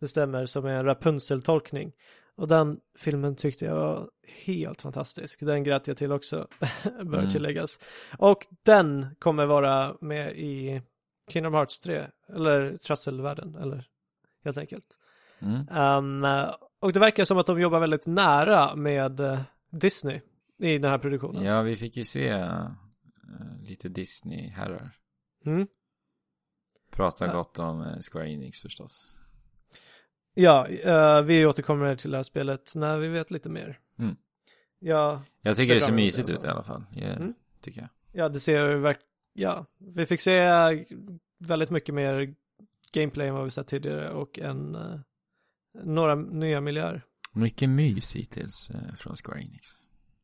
Speaker 1: Det stämmer, som är en Rapunzel-tolkning. Och den filmen tyckte jag var helt fantastisk. Den grät jag till också, bör
Speaker 2: Mm.
Speaker 1: tilläggas. Och den kommer vara med i Kingdom Hearts 3, eller Trusselvärlden, eller helt enkelt.
Speaker 2: Mm.
Speaker 1: Ehm, och det verkar som att de jobbar väldigt nära med eh, Disney i den här produktionen.
Speaker 2: Ja, vi fick ju se eh, lite Disney-herrar.
Speaker 1: Mm.
Speaker 2: Prata gott om eh, Square Enix förstås.
Speaker 1: Ja, eh, vi återkommer till det här spelet när vi vet lite mer.
Speaker 2: Mm.
Speaker 1: Ja,
Speaker 2: Jag
Speaker 1: Ser
Speaker 2: tycker det ser
Speaker 1: fram emot
Speaker 2: mysigt
Speaker 1: det.
Speaker 2: ut i alla fall. Ja,
Speaker 1: Mm.
Speaker 2: Tycker jag.
Speaker 1: ja, det ser ju verk... Ja, vi fick se väldigt mycket mer gameplay än vad vi sett tidigare och en... eh, några nya miljöer.
Speaker 2: Mycket mys hittills eh, från Square Enix.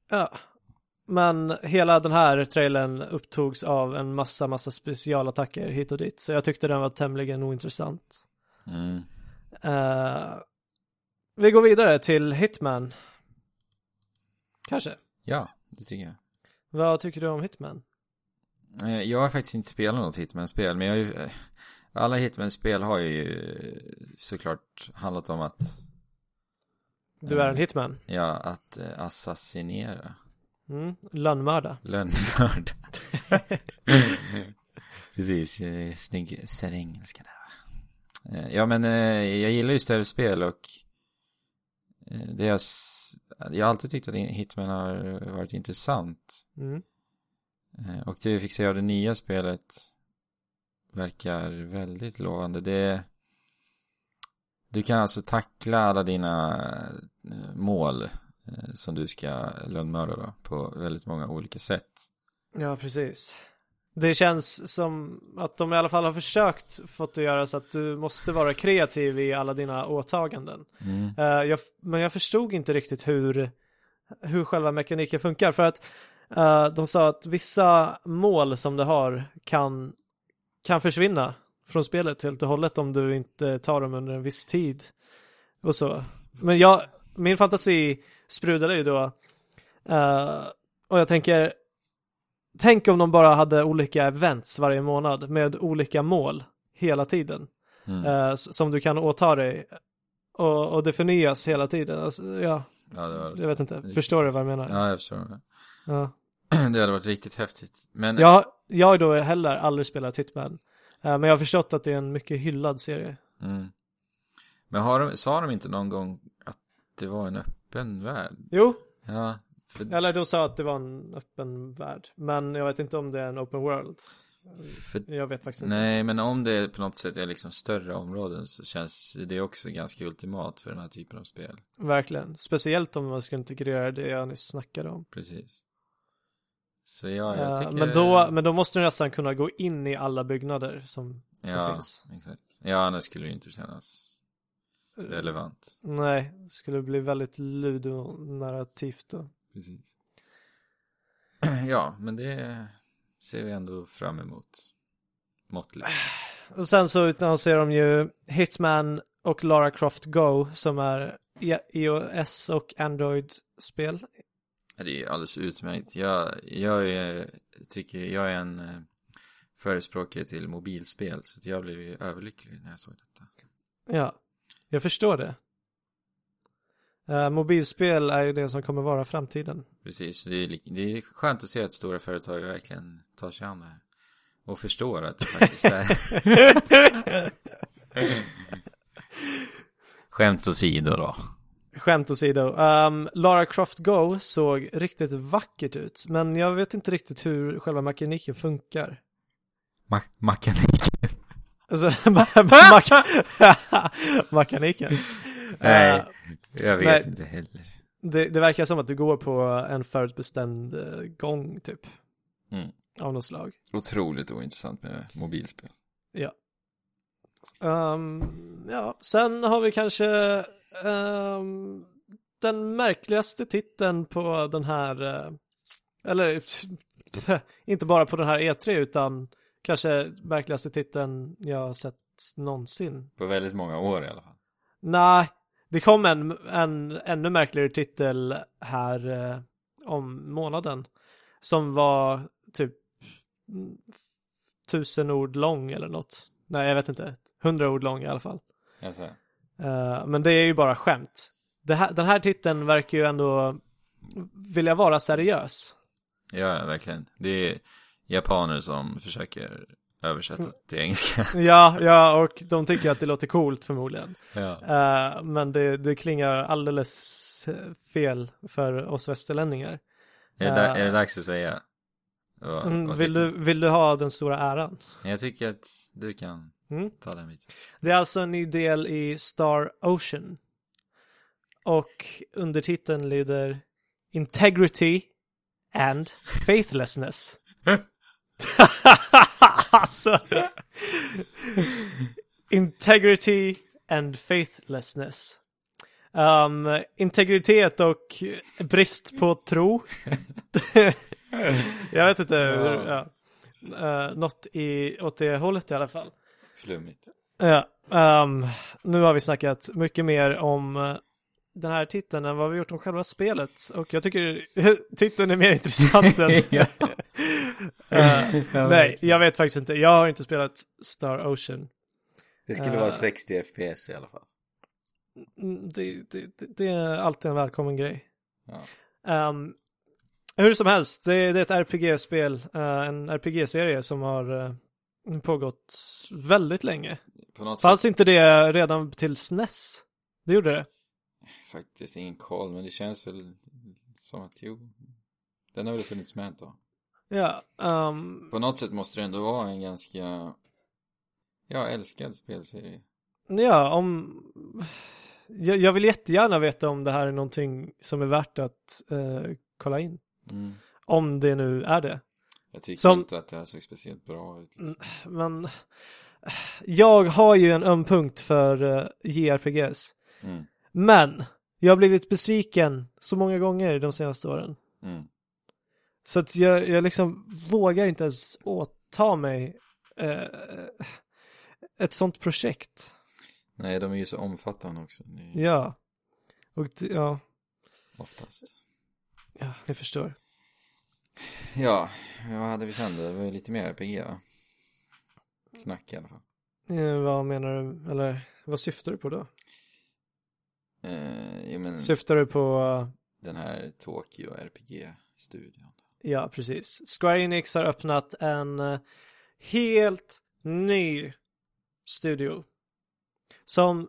Speaker 1: Ja. Men hela den här trailern upptogs av en massa, massa specialattacker hit och dit. Så jag tyckte den var tämligen ointressant.
Speaker 2: Mm.
Speaker 1: Eh, vi går vidare till Hitman. Kanske.
Speaker 2: Ja, det tycker jag.
Speaker 1: Vad tycker du om Hitman?
Speaker 2: Eh, Jag har faktiskt inte spelat något Hitman-spel, men jag har ju... eh, Alla Hitman-spel har ju eh, såklart handlat om att,
Speaker 1: Du är en hitman.
Speaker 2: ja, att eh, assassinera.
Speaker 1: Mm. Lönnmörda.
Speaker 2: Lönnmörd. Precis, eh, snygg svengelska där. va? Eh, Ja, men eh, jag gillar ju ställspel och eh, det jag, s- jag har alltid tyckt att Hitman har varit intressant.
Speaker 1: Mm.
Speaker 2: Eh, Och det vi fick se av det nya spelet verkar väldigt lovande. Det... Du kan alltså tackla alla dina eh, mål eh, som du ska lönnmörda då, på väldigt många olika sätt.
Speaker 1: Ja, precis. Det känns som att de i alla fall har försökt fått det att göra så att du måste vara kreativ i alla dina åtaganden.
Speaker 2: Mm.
Speaker 1: Eh, jag, f- men jag förstod inte riktigt hur, hur själva mekaniken funkar för att eh, de sa att vissa mål som du har kan, kan försvinna från spelet helt och hållet om du inte tar dem under en viss tid och så. Men jag, min fantasi sprudade ju då eh, och jag tänker Tänk om de bara hade olika events varje månad med olika mål hela tiden
Speaker 2: Mm.
Speaker 1: eh, s- som du kan åta dig och, och det förnyas hela tiden. Alltså, ja,
Speaker 2: Ja, det var...
Speaker 1: jag vet inte. Förstår du vad jag menar?
Speaker 2: ja, jag förstår. det.
Speaker 1: Ja.
Speaker 2: Det hade varit riktigt häftigt. Men ja.
Speaker 1: Jag, jag har då heller aldrig spelat Hitman. eh, Men jag har förstått att det är en mycket hyllad serie.
Speaker 2: mm. Men har de, sa de inte någon gång att det var en öppen värld?
Speaker 1: Jo,
Speaker 2: Ja, för
Speaker 1: eller de sa att det var en öppen värld. Men jag vet inte om det är en open world.
Speaker 2: För-
Speaker 1: Jag vet faktiskt inte.
Speaker 2: Nej, men om det på något sätt är liksom större områden så känns det också ganska ultimat för den här typen av spel.
Speaker 1: Verkligen. Speciellt om man ska integrera det jag nyss snackade om.
Speaker 2: Precis. Så ja, jag
Speaker 1: Eh,
Speaker 2: tycker...
Speaker 1: men, då, men då måste du nästan kunna gå in i alla byggnader som, som
Speaker 2: ja,
Speaker 1: finns.
Speaker 2: exakt. Ja, annars skulle det inte kännas relevant.
Speaker 1: Nej, det skulle bli väldigt ludonarrativt då.
Speaker 2: Precis. Ja, men det ser vi ändå fram emot. Måttligt.
Speaker 1: Och sen så utannonserar de ju Hitman och Lara Croft Go som är E- i- iOS och Android-spel.
Speaker 2: Ja, Det är alldeles utmärkt. Jag, jag är, tycker, jag är en eh, förespråkare till mobilspel, så att jag blev ju överlycklig när jag såg detta.
Speaker 1: Ja, jag förstår det. Eh, mobilspel är ju det som kommer vara framtiden.
Speaker 2: Precis, det är, li- det är skönt att se att stora företag verkligen tar sig an det här. Och förstår att det faktiskt är... Skämt åsido då.
Speaker 1: Skämt åsido. Um, Lara Croft Go såg riktigt vackert ut, men jag vet inte riktigt hur själva mekaniken funkar.
Speaker 2: Ma- Mackan.
Speaker 1: Alltså, ma- ma- makaniken.
Speaker 2: Nej,
Speaker 1: Eh,
Speaker 2: jag vet
Speaker 1: nej.
Speaker 2: inte heller.
Speaker 1: det, det verkar som att du går på en förutbestämd eh, gång, typ.
Speaker 2: Mm.
Speaker 1: Av något slag.
Speaker 2: Otroligt ointressant med mobilspel.
Speaker 1: Ehm, ja, sen har vi kanske ehm, den märkligaste titeln på den här, eh, eller inte bara på den här E3 utan kanske märkligaste titeln jag har sett någonsin.
Speaker 2: På väldigt många år i alla fall.
Speaker 1: Nej, det kom en, en ännu märkligare titel här eh, om månaden. Som var typ mm, tusen ord lång eller något. Nej, jag vet inte. Hundra ord lång i alla fall.
Speaker 2: Alltså,
Speaker 1: Eh, men det är ju bara skämt. det här, den här titeln verkar ju ändå vilja vara seriös.
Speaker 2: Ja, ja, verkligen. Det är japaner som försöker översätta till engelska.
Speaker 1: Ja, ja, och de tycker att det låter coolt förmodligen.
Speaker 2: ja.
Speaker 1: Eh, men det, det klingar alldeles eh, fel för oss västerlänningar.
Speaker 2: är, det, da- är det dags att säga? Vad-
Speaker 1: Mm,
Speaker 2: vad
Speaker 1: Vill
Speaker 2: titeln-
Speaker 1: du, vill du ha den stora äran?
Speaker 2: Jag tycker att du kan
Speaker 1: Mm.
Speaker 2: ta den biten.
Speaker 1: Det är alltså en ny del i Star Ocean. Och undertiteln lyder Integrity and Faithlessness. alltså. Integrity and Faithlessness. Um, integritet och brist på tro. Jag vet inte hur, ja. Eh, något i, åt det hållet i alla fall.
Speaker 2: Flummigt.
Speaker 1: Ja, ehm, nu har vi snackat mycket mer om eh, den här titeln än vad vi gjort om själva spelet och jag tycker titeln är mer intressant än... Eh, nej, jag vet faktiskt inte. Jag har inte spelat Star Ocean.
Speaker 4: Det skulle
Speaker 1: Eh.
Speaker 4: vara 60 FPS i alla fall.
Speaker 1: Mm, Det, det, det- det är alltid en välkommen grej.
Speaker 4: Ja.
Speaker 1: Ehm, hur som helst, det, det är ett RPG-spel, eh, en RPG-serie som har eh, pågått väldigt länge.
Speaker 4: På något sätt
Speaker 1: Fanns inte det redan till SNES? Det gjorde det?
Speaker 4: faktiskt ingen koll, men det känns väl som att jo. Den har väl funnits med ett tag.
Speaker 1: Ja, ehm,
Speaker 4: På något sätt måste det ändå vara en ganska, ja, älskad spelserie.
Speaker 1: Ja, om... Jag, jag vill jättegärna veta om det här är någonting som är värt att eh, kolla in.
Speaker 4: Mm.
Speaker 1: Om det nu är det.
Speaker 4: Jag tycker
Speaker 1: Som-
Speaker 4: inte att det här såg speciellt bra ut. Liksom.
Speaker 1: Men eh, jag har ju en öm punkt för eh, JRPGs.
Speaker 4: Mm.
Speaker 1: Men jag har blivit besviken så många gånger de senaste åren.
Speaker 4: Mm.
Speaker 1: Så att jag, jag liksom vågar inte ens åta mig eh, ett sånt projekt.
Speaker 4: Nej, de är ju så omfattande också. Det är
Speaker 1: Ja. Och det- ja,
Speaker 4: Oftast.
Speaker 1: ja, jag förstår.
Speaker 4: Ja, vad hade vi sen då? Det var ju lite mer RPG va? Snack i alla fall.
Speaker 1: Eh, Vad menar du, eller vad syftar du på då?
Speaker 4: Eh, jo men
Speaker 1: Syftar du på, eh,
Speaker 4: den här Tokyo RPG-studion.
Speaker 1: ja precis. Square Enix har öppnat en eh, helt ny studio som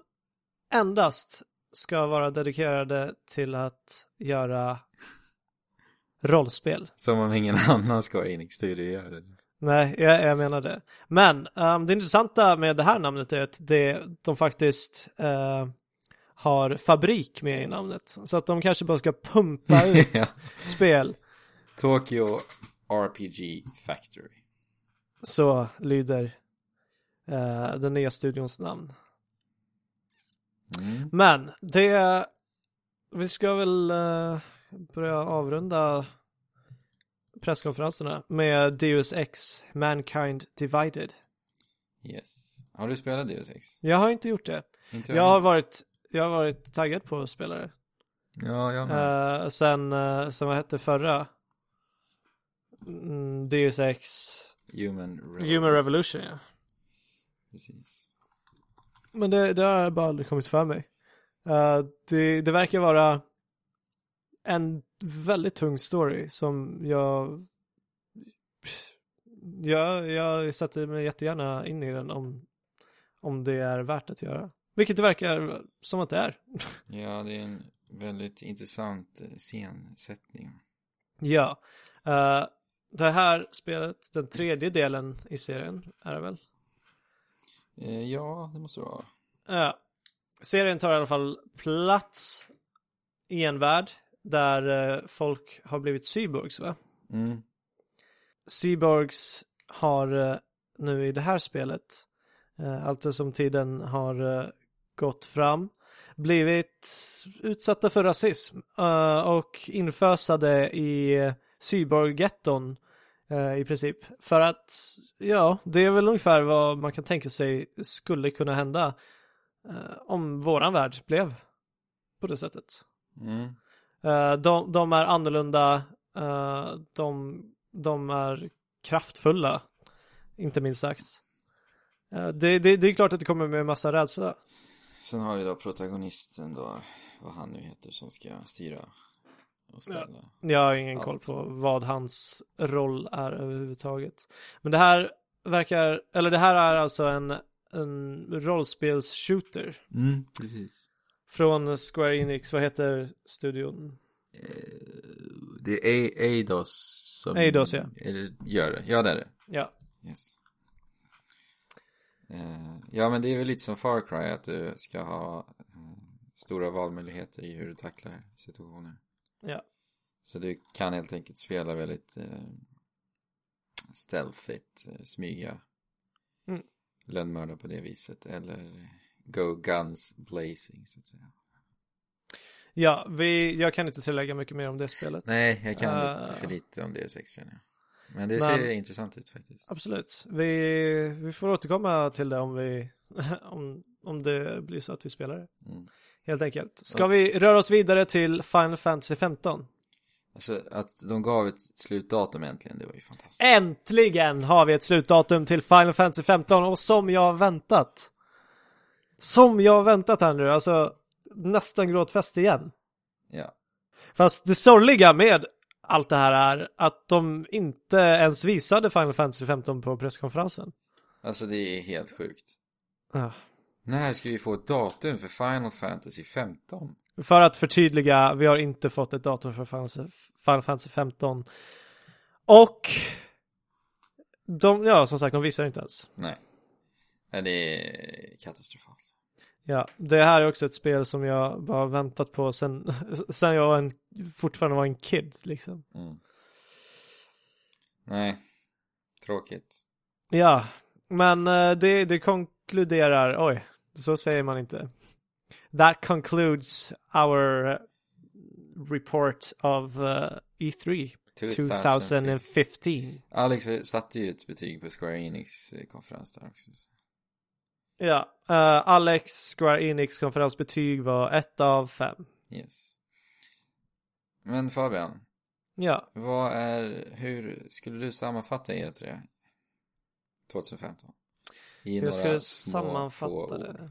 Speaker 1: endast ska vara dedikerade till att göra rollspel.
Speaker 2: Som om ingen annan ska in i studio gör det.
Speaker 1: Nej, jag, jag menar det. Men ehm, det intressanta med det här namnet är att det, de faktiskt eh, har fabrik med i namnet. Så att de kanske bara ska pumpa ut spel.
Speaker 4: Tokyo RPG Factory.
Speaker 1: Så lyder eh, den nya studions namn. Men det, vi ska väl eh, börja avrunda presskonferenserna med Deus Ex Mankind Divided.
Speaker 4: Yes. Har du spelat Deus Ex?
Speaker 1: Jag har inte gjort det.
Speaker 4: Inte
Speaker 1: Jag har varit, jag har varit taggad på spelare.
Speaker 2: Ja, jag med.
Speaker 1: Eh, sen, eh, sen vad hette förra? Mm, Deus Ex
Speaker 4: Human Revolution.
Speaker 1: Human Revolution ja.
Speaker 4: Precis.
Speaker 1: Men det, det har bara aldrig kommit för mig. Eh, det, det verkar vara en väldigt tung story som jag jag, jag sätter mig jättegärna in i den om, om det är värt att göra. Vilket det verkar som att det är.
Speaker 4: Ja, det är en väldigt intressant eh, scensättning.
Speaker 1: Ja. Eh, det här spelet, den tredje delen i serien, är det väl?
Speaker 4: Eh, ja, det måste det vara.
Speaker 1: Ja. Serien tar i alla fall plats i en värld där eh, folk har blivit cyborgs, va?
Speaker 4: Mm.
Speaker 1: Cyborgs har eh, nu i det här spelet, eh, allt som tiden har eh, gått fram, blivit utsatta för rasism eh, och infösade i eh, cyborggetton eh, i princip. För att, ja, det är väl ungefär vad man kan tänka sig skulle kunna hända eh, om våran värld blev på det sättet.
Speaker 4: Mm.
Speaker 1: Eh, de, de är annorlunda, eh, de, de är kraftfulla, inte minst sagt. Eh, det, det, det är klart att det kommer med massa rädsla.
Speaker 4: Sen har vi då protagonisten då,
Speaker 2: vad han nu heter som ska styra och ställa.
Speaker 1: Jag har ingen
Speaker 2: Allt.
Speaker 1: koll på vad hans roll är överhuvudtaget. Men det här verkar, eller det här är alltså en, en rollspels-shooter
Speaker 6: Mm.
Speaker 7: Precis.
Speaker 1: från Square Enix, vad heter studion?
Speaker 2: Eh, Det är Eidos som
Speaker 1: Eidos, ja.
Speaker 2: eller, gör det. Ja, det är det.
Speaker 1: Ja,
Speaker 2: Yes. Eh, ja, men det är väl lite som Far Cry att du ska ha eh, stora valmöjligheter i hur du tacklar situationer.
Speaker 1: Ja.
Speaker 2: Så du kan helt enkelt spela väldigt eh, stealthigt, eh, smyga,
Speaker 1: Mm.
Speaker 2: lönnmörda på det viset eller go guns blazing så att säga.
Speaker 1: ja vi, jag kan inte tillägga mycket mer om det spelet.
Speaker 2: Nej, jag kan
Speaker 1: Eh.
Speaker 2: lite för lite om det 6 nu. Men det
Speaker 1: Men-
Speaker 2: ser intressant ut faktiskt.
Speaker 1: Absolut. Vi, vi får återkomma till det om, vi, om, om det blir så att vi spelar det.
Speaker 2: Mm.
Speaker 1: Helt enkelt. Ska vi röra oss vidare till Final Fantasy 15?
Speaker 2: Alltså att de gav ett slutdatum äntligen, det var ju fantastiskt.
Speaker 1: Äntligen har vi ett slutdatum till Final Fantasy 15 och som jag har väntat. Som jag har väntat här nu, alltså nästan gråtfest igen.
Speaker 2: Ja.
Speaker 1: Fast det sorgliga med allt det här är att de inte ens visade Final Fantasy 15 på presskonferensen.
Speaker 2: Alltså det är helt sjukt.
Speaker 1: Ah.
Speaker 2: När ska vi få ett datum för Final Fantasy 15?
Speaker 1: För att förtydliga, vi har inte fått ett datum för Final Fantasy- Final Fantasy 15. Och de, ja som sagt, de visar inte ens.
Speaker 2: Nej. Nej, det är katastrofalt.
Speaker 1: Ja, det här är också ett spel som jag bara har väntat på sen, sen jag var en, fortfarande var en kid liksom.
Speaker 2: Mm. Nej. Tråkigt.
Speaker 1: Ja, men eh, det, det konkluderar, oj, så säger man inte. That concludes our eh, report of eh, E3 2015.
Speaker 2: Alex satte ju ett betyg på Square Enix eh, konferens där också. så.
Speaker 1: Ja, eh, Alex Square Enix konferensbetyg var ett av fem.
Speaker 2: Yes. Men Fabian,
Speaker 1: Ja,
Speaker 2: vad är, hur skulle du sammanfatta E E3 2015? I några
Speaker 1: jag skulle
Speaker 2: små, få
Speaker 1: sammanfatta
Speaker 2: ord.
Speaker 1: det.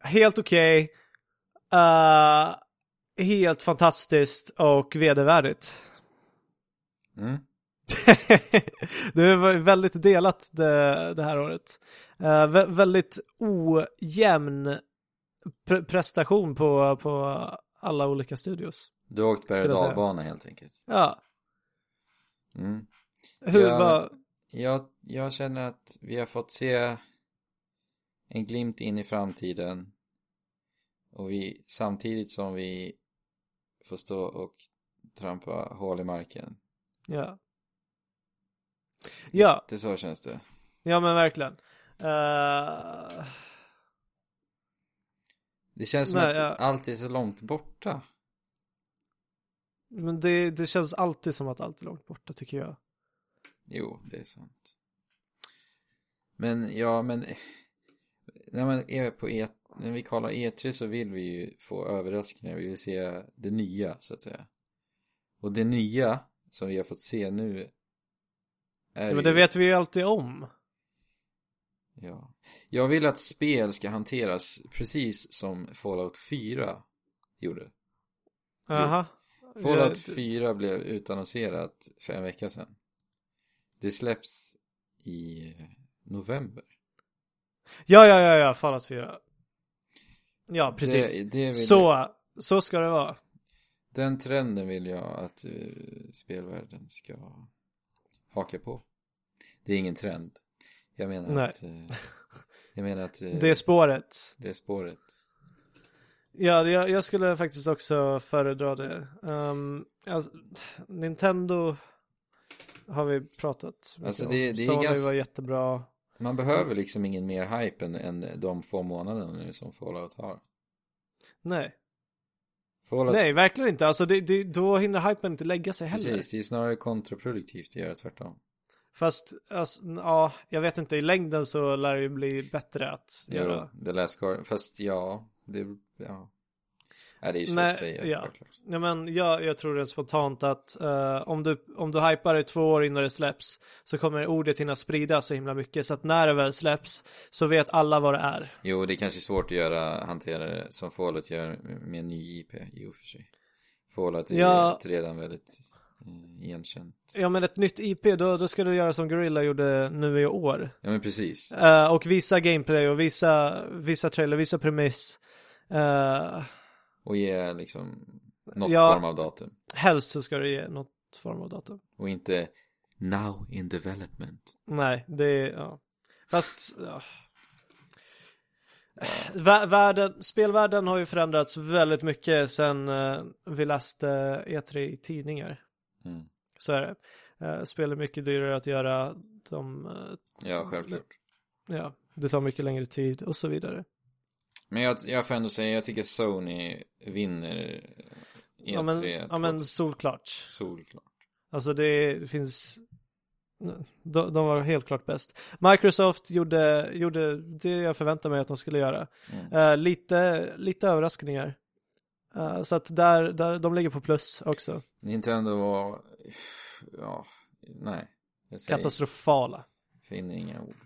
Speaker 1: Helt okej. Eh, helt fantastiskt och vedervärdigt.
Speaker 2: Mm.
Speaker 1: det var väldigt delat det, det här året. Eh, vä- väldigt ojämn pre- prestation på, på alla olika studios.
Speaker 2: Du har åkt berg och
Speaker 1: Skulle jag säga.
Speaker 2: dalbana helt enkelt.
Speaker 1: Ja,
Speaker 2: Mm.
Speaker 1: hur
Speaker 2: Ja,
Speaker 1: var...
Speaker 2: Jag, jag känner att vi har fått se en glimt in i framtiden och vi, samtidigt som vi får stå och trampa hål i marken.
Speaker 1: Ja. Ja,
Speaker 2: Det så känns det.
Speaker 1: ja men verkligen. Eh,
Speaker 2: Det känns som
Speaker 1: Nej,
Speaker 2: att
Speaker 1: ja.
Speaker 2: allt är så långt borta.
Speaker 1: men det, det känns alltid som att allt är långt borta tycker jag.
Speaker 2: Jo, det är sant. Men ja, men när man är på E, när vi kollar E3 så vill vi ju få överraskningar, vi vill se det nya så att säga. Och det nya som vi har fått se nu är
Speaker 1: Ja, men det
Speaker 2: ju-
Speaker 1: vet vi ju alltid om.
Speaker 2: ja. Jag vill att spel ska hanteras precis som Fallout 4 gjorde.
Speaker 1: Aha.
Speaker 2: Fallout
Speaker 1: Ja,
Speaker 2: 4 blev utannonserat för en vecka sedan. Det släpps i november.
Speaker 1: Ja, ja, ja, ja, Fallout 4. Ja, precis.
Speaker 2: Det, det vill Eh. Jag,
Speaker 1: så, så ska det vara.
Speaker 2: den trenden vill jag att eh, spelvärlden ska haka på. Det är ingen trend. Jag menar
Speaker 1: Nej.
Speaker 2: att... eh, jag menar att eh,
Speaker 1: Det är spåret.
Speaker 2: det är spåret.
Speaker 1: Ja, det- jag, jag skulle faktiskt också föredra det. Ehm, alltså, Nintendo har vi pratat mycket
Speaker 2: Alltså, det-
Speaker 1: om.
Speaker 2: det är
Speaker 1: Sony
Speaker 2: ganska-
Speaker 1: var jättebra.
Speaker 2: Man behöver liksom ingen mer hype än, än de få månaderna nu som Fallout har.
Speaker 1: Nej.
Speaker 2: Fallout,
Speaker 1: Nej, verkligen inte. Alltså, det, det, då hinner hypen inte lägga sig heller.
Speaker 2: precis. Det är snarare kontraproduktivt att göra tvärtom.
Speaker 1: Fast, alltså, ja, jag vet inte. I längden så lär det ju bli bättre att göra.
Speaker 2: Jo, The Last Guardian. Fast ja, det... Ja. Ja, det är ju svårt
Speaker 1: Nej,
Speaker 2: att säga.
Speaker 1: ja.
Speaker 2: självklart.
Speaker 1: Nej men jag, jag tror rent spontant att eh, om, du, om du hypar det två år innan det släpps så kommer ordet hinna spridas så himla mycket så att när det väl släpps så vet alla vad det är.
Speaker 2: Jo, det är kanske svårt att göra, hantera det som Fallout gör med en ny IP, jo för sig. Fallout är
Speaker 1: Ja.
Speaker 2: ju redan väldigt eh, igenkänt.
Speaker 1: Ja men ett nytt IP, då, då ska du göra som Gorilla gjorde nu i år.
Speaker 2: Ja, men precis.
Speaker 1: Eh, och visa gameplay och visa, visa trailer, visa premiss. Eh,
Speaker 2: Och ge liksom något
Speaker 1: Ja.
Speaker 2: form av datum.
Speaker 1: helst så ska du ge något form av datum.
Speaker 2: Och inte now in development.
Speaker 1: Nej, det är, ja. Fast, ja. Vä- Världen, spelvärlden har ju förändrats väldigt mycket sen eh, vi läste E3 i tidningar.
Speaker 2: Mm.
Speaker 1: Så är det. Eh, spel är mycket dyrare att göra, de, eh,
Speaker 2: Ja, självklart.
Speaker 1: ja, det tar mycket längre tid och så vidare.
Speaker 2: Men jag, jag får ändå säga, jag tycker Sony vinner eh, E3
Speaker 1: Ja men, ja, men
Speaker 2: 2000.
Speaker 1: solklart.
Speaker 2: Solklart.
Speaker 1: Alltså det finns, de, de var helt klart bäst. Microsoft gjorde, gjorde det jag förväntade mig att de skulle göra.
Speaker 2: Mm.
Speaker 1: Eh, lite, lite överraskningar. Eh, så att där, där, de ligger på plus också.
Speaker 2: Nintendo var... Ja, nej. Jag säger,
Speaker 1: Katastrofala.
Speaker 2: finner inga ord.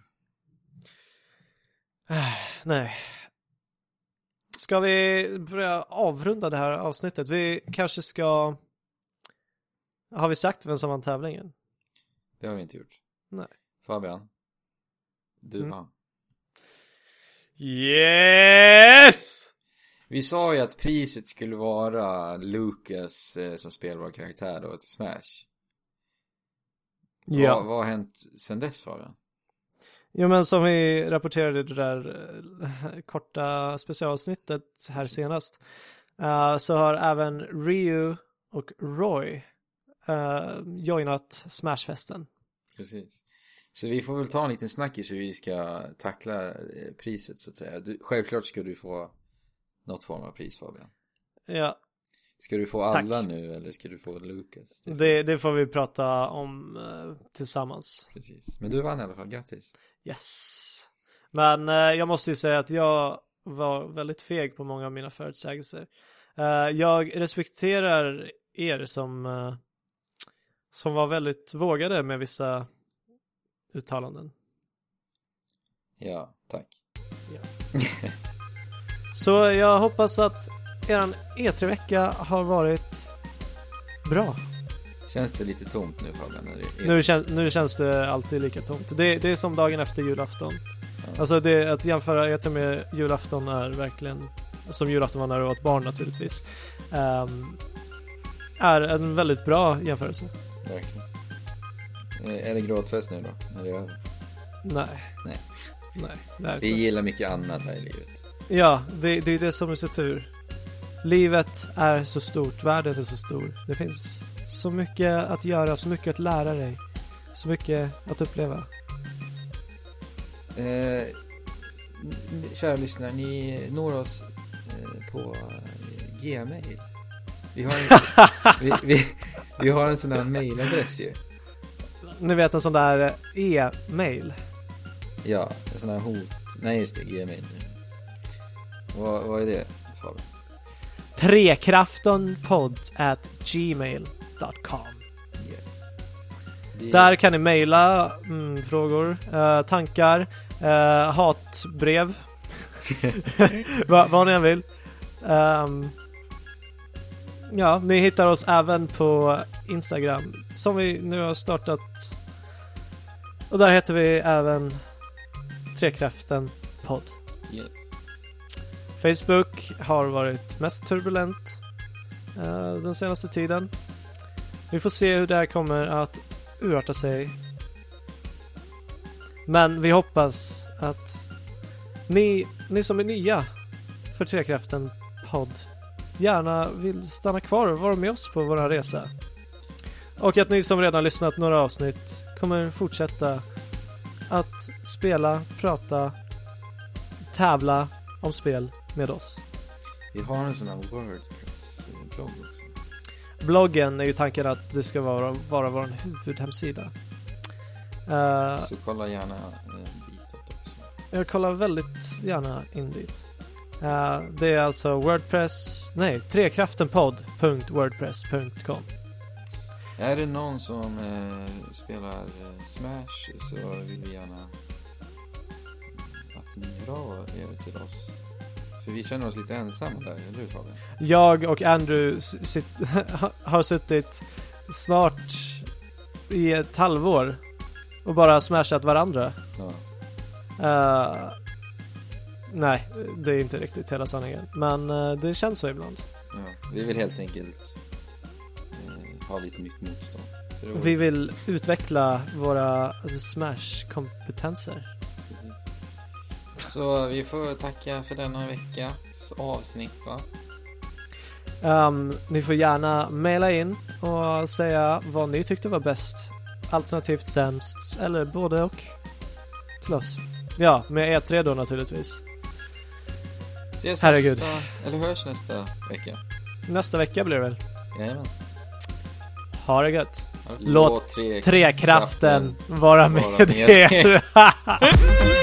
Speaker 1: Nej. Ska vi börja avrunda det här avsnittet? Vi kanske ska... Har vi sagt vem som vann tävlingen?
Speaker 2: Det har vi inte gjort.
Speaker 1: Nej.
Speaker 2: Fabian. Du
Speaker 1: Mm.
Speaker 2: vann.
Speaker 1: Yes!
Speaker 2: Vi sa ju att priset skulle vara Lucas eh, som spelbar karaktär då till Smash.
Speaker 1: Ja.
Speaker 2: Vad, vad har hänt sen dess Fabian?
Speaker 1: Jo men som vi rapporterade i det där eh, korta specialavsnittet här senast eh, så har även Ryu och Roy eh, joinat Smashfesten.
Speaker 2: Precis. Så vi får väl ta en liten snackis hur vi ska tackla eh, priset så att säga. Du, självklart ska du få något form av pris Fabian.
Speaker 1: Ja,
Speaker 2: Ska du få
Speaker 1: Tack.
Speaker 2: alla nu eller ska du få Lucas? Det-
Speaker 1: det, det får vi prata om eh, tillsammans.
Speaker 2: Precis. Men du vann i alla fall, grattis.
Speaker 1: Yes. Men eh, jag måste ju säga att jag var väldigt feg på många av mina förutsägelser. Eh, jag respekterar er som, eh, som var väldigt vågade med vissa uttalanden.
Speaker 2: Ja, tack.
Speaker 1: Så jag hoppas att eran E3-vecka har varit bra.
Speaker 2: Känns det lite tomt nu Fabian? När det är
Speaker 1: Nu, kän, nu känns det alltid lika tomt. Det, det är som dagen efter julafton. Alltså det, att jämföra E3 med julafton är verkligen, som julafton var när du var ett barn naturligtvis, ehm, är en väldigt bra jämförelse.
Speaker 2: Verkligen. Eh, Är det gråtfest nu då? När det är över?
Speaker 1: Nej.
Speaker 2: Nej.
Speaker 1: Nej. det är
Speaker 2: Vi
Speaker 1: klart.
Speaker 2: gillar mycket annat här i livet.
Speaker 1: Ja, det, det är det som är så tur. Livet är så stort, världen är så stor. Det finns så mycket att göra, så mycket att lära dig, så mycket att uppleva.
Speaker 2: Eh, n- n- kära lyssnare, ni når oss eh, på eh, Gmail. Vi har en, vi, vi, vi har en sån där mailadress ju.
Speaker 1: Ni vet en sån där eh, e-mail.
Speaker 2: Ja, en sån här hot... Nej, just det, Gmail. Vad, vad är det Fabian?
Speaker 1: Trekraftenpodd at gmail.com
Speaker 2: Yes. Det-
Speaker 1: Där kan ni mejla mm, frågor, eh, tankar, eh, hatbrev, Va, vad ni än vill. Ehm, ja, ni hittar oss även på Instagram som vi nu har startat. Och där heter vi även Trekraften podd.
Speaker 2: Yes.
Speaker 1: Facebook har varit mest turbulent eh, den senaste tiden. Vi får se hur det här kommer att urarta sig. Men vi hoppas att ni, ni som är nya för Trekraften podd gärna vill stanna kvar och vara med oss på vår resa. Och att ni som redan lyssnat några avsnitt kommer fortsätta att spela, prata, tävla om spel med oss.
Speaker 2: Vi har en sån här Wordpress-blogg också.
Speaker 1: Bloggen är ju tanken att det ska vara, vara vår huvudhemsida. Eh,
Speaker 2: Så kolla gärna eh, ditåt också.
Speaker 1: jag kollar väldigt gärna in dit. Eh, det är alltså Wordpress, nej, trekraftenpodd.wordpress.com.
Speaker 2: Är det någon som eh, spelar eh, Smash så vill vi gärna att ni hör av er till oss. För vi känner oss lite ensamma där, eller hur Fabian?
Speaker 1: Jag och Andrew s- sit, har suttit snart i ett halvår och bara smashat varandra.
Speaker 2: Ja.
Speaker 1: Eh, nej, det är inte riktigt hela sanningen. Men eh, det känns så ibland.
Speaker 2: Ja, vi vill helt enkelt eh, ha lite nytt motstånd. Så det vore-
Speaker 1: Vi vill utveckla våra Smash-kompetenser.
Speaker 2: Så vi får tacka för denna veckas avsnitt va?
Speaker 1: Ehm, ni får gärna mejla in och säga vad ni tyckte var bäst, alternativt sämst, eller både och. Till oss. Ja, med E3 då naturligtvis.
Speaker 2: Ses
Speaker 1: Herregud.
Speaker 2: nästa, eller hörs nästa vecka.
Speaker 1: Nästa vecka blir det väl.
Speaker 2: Jajamän.
Speaker 1: Ha det gött.
Speaker 2: Ha det.
Speaker 1: Låt
Speaker 2: tre
Speaker 1: Trekraften vara med,
Speaker 2: vara med.
Speaker 1: er.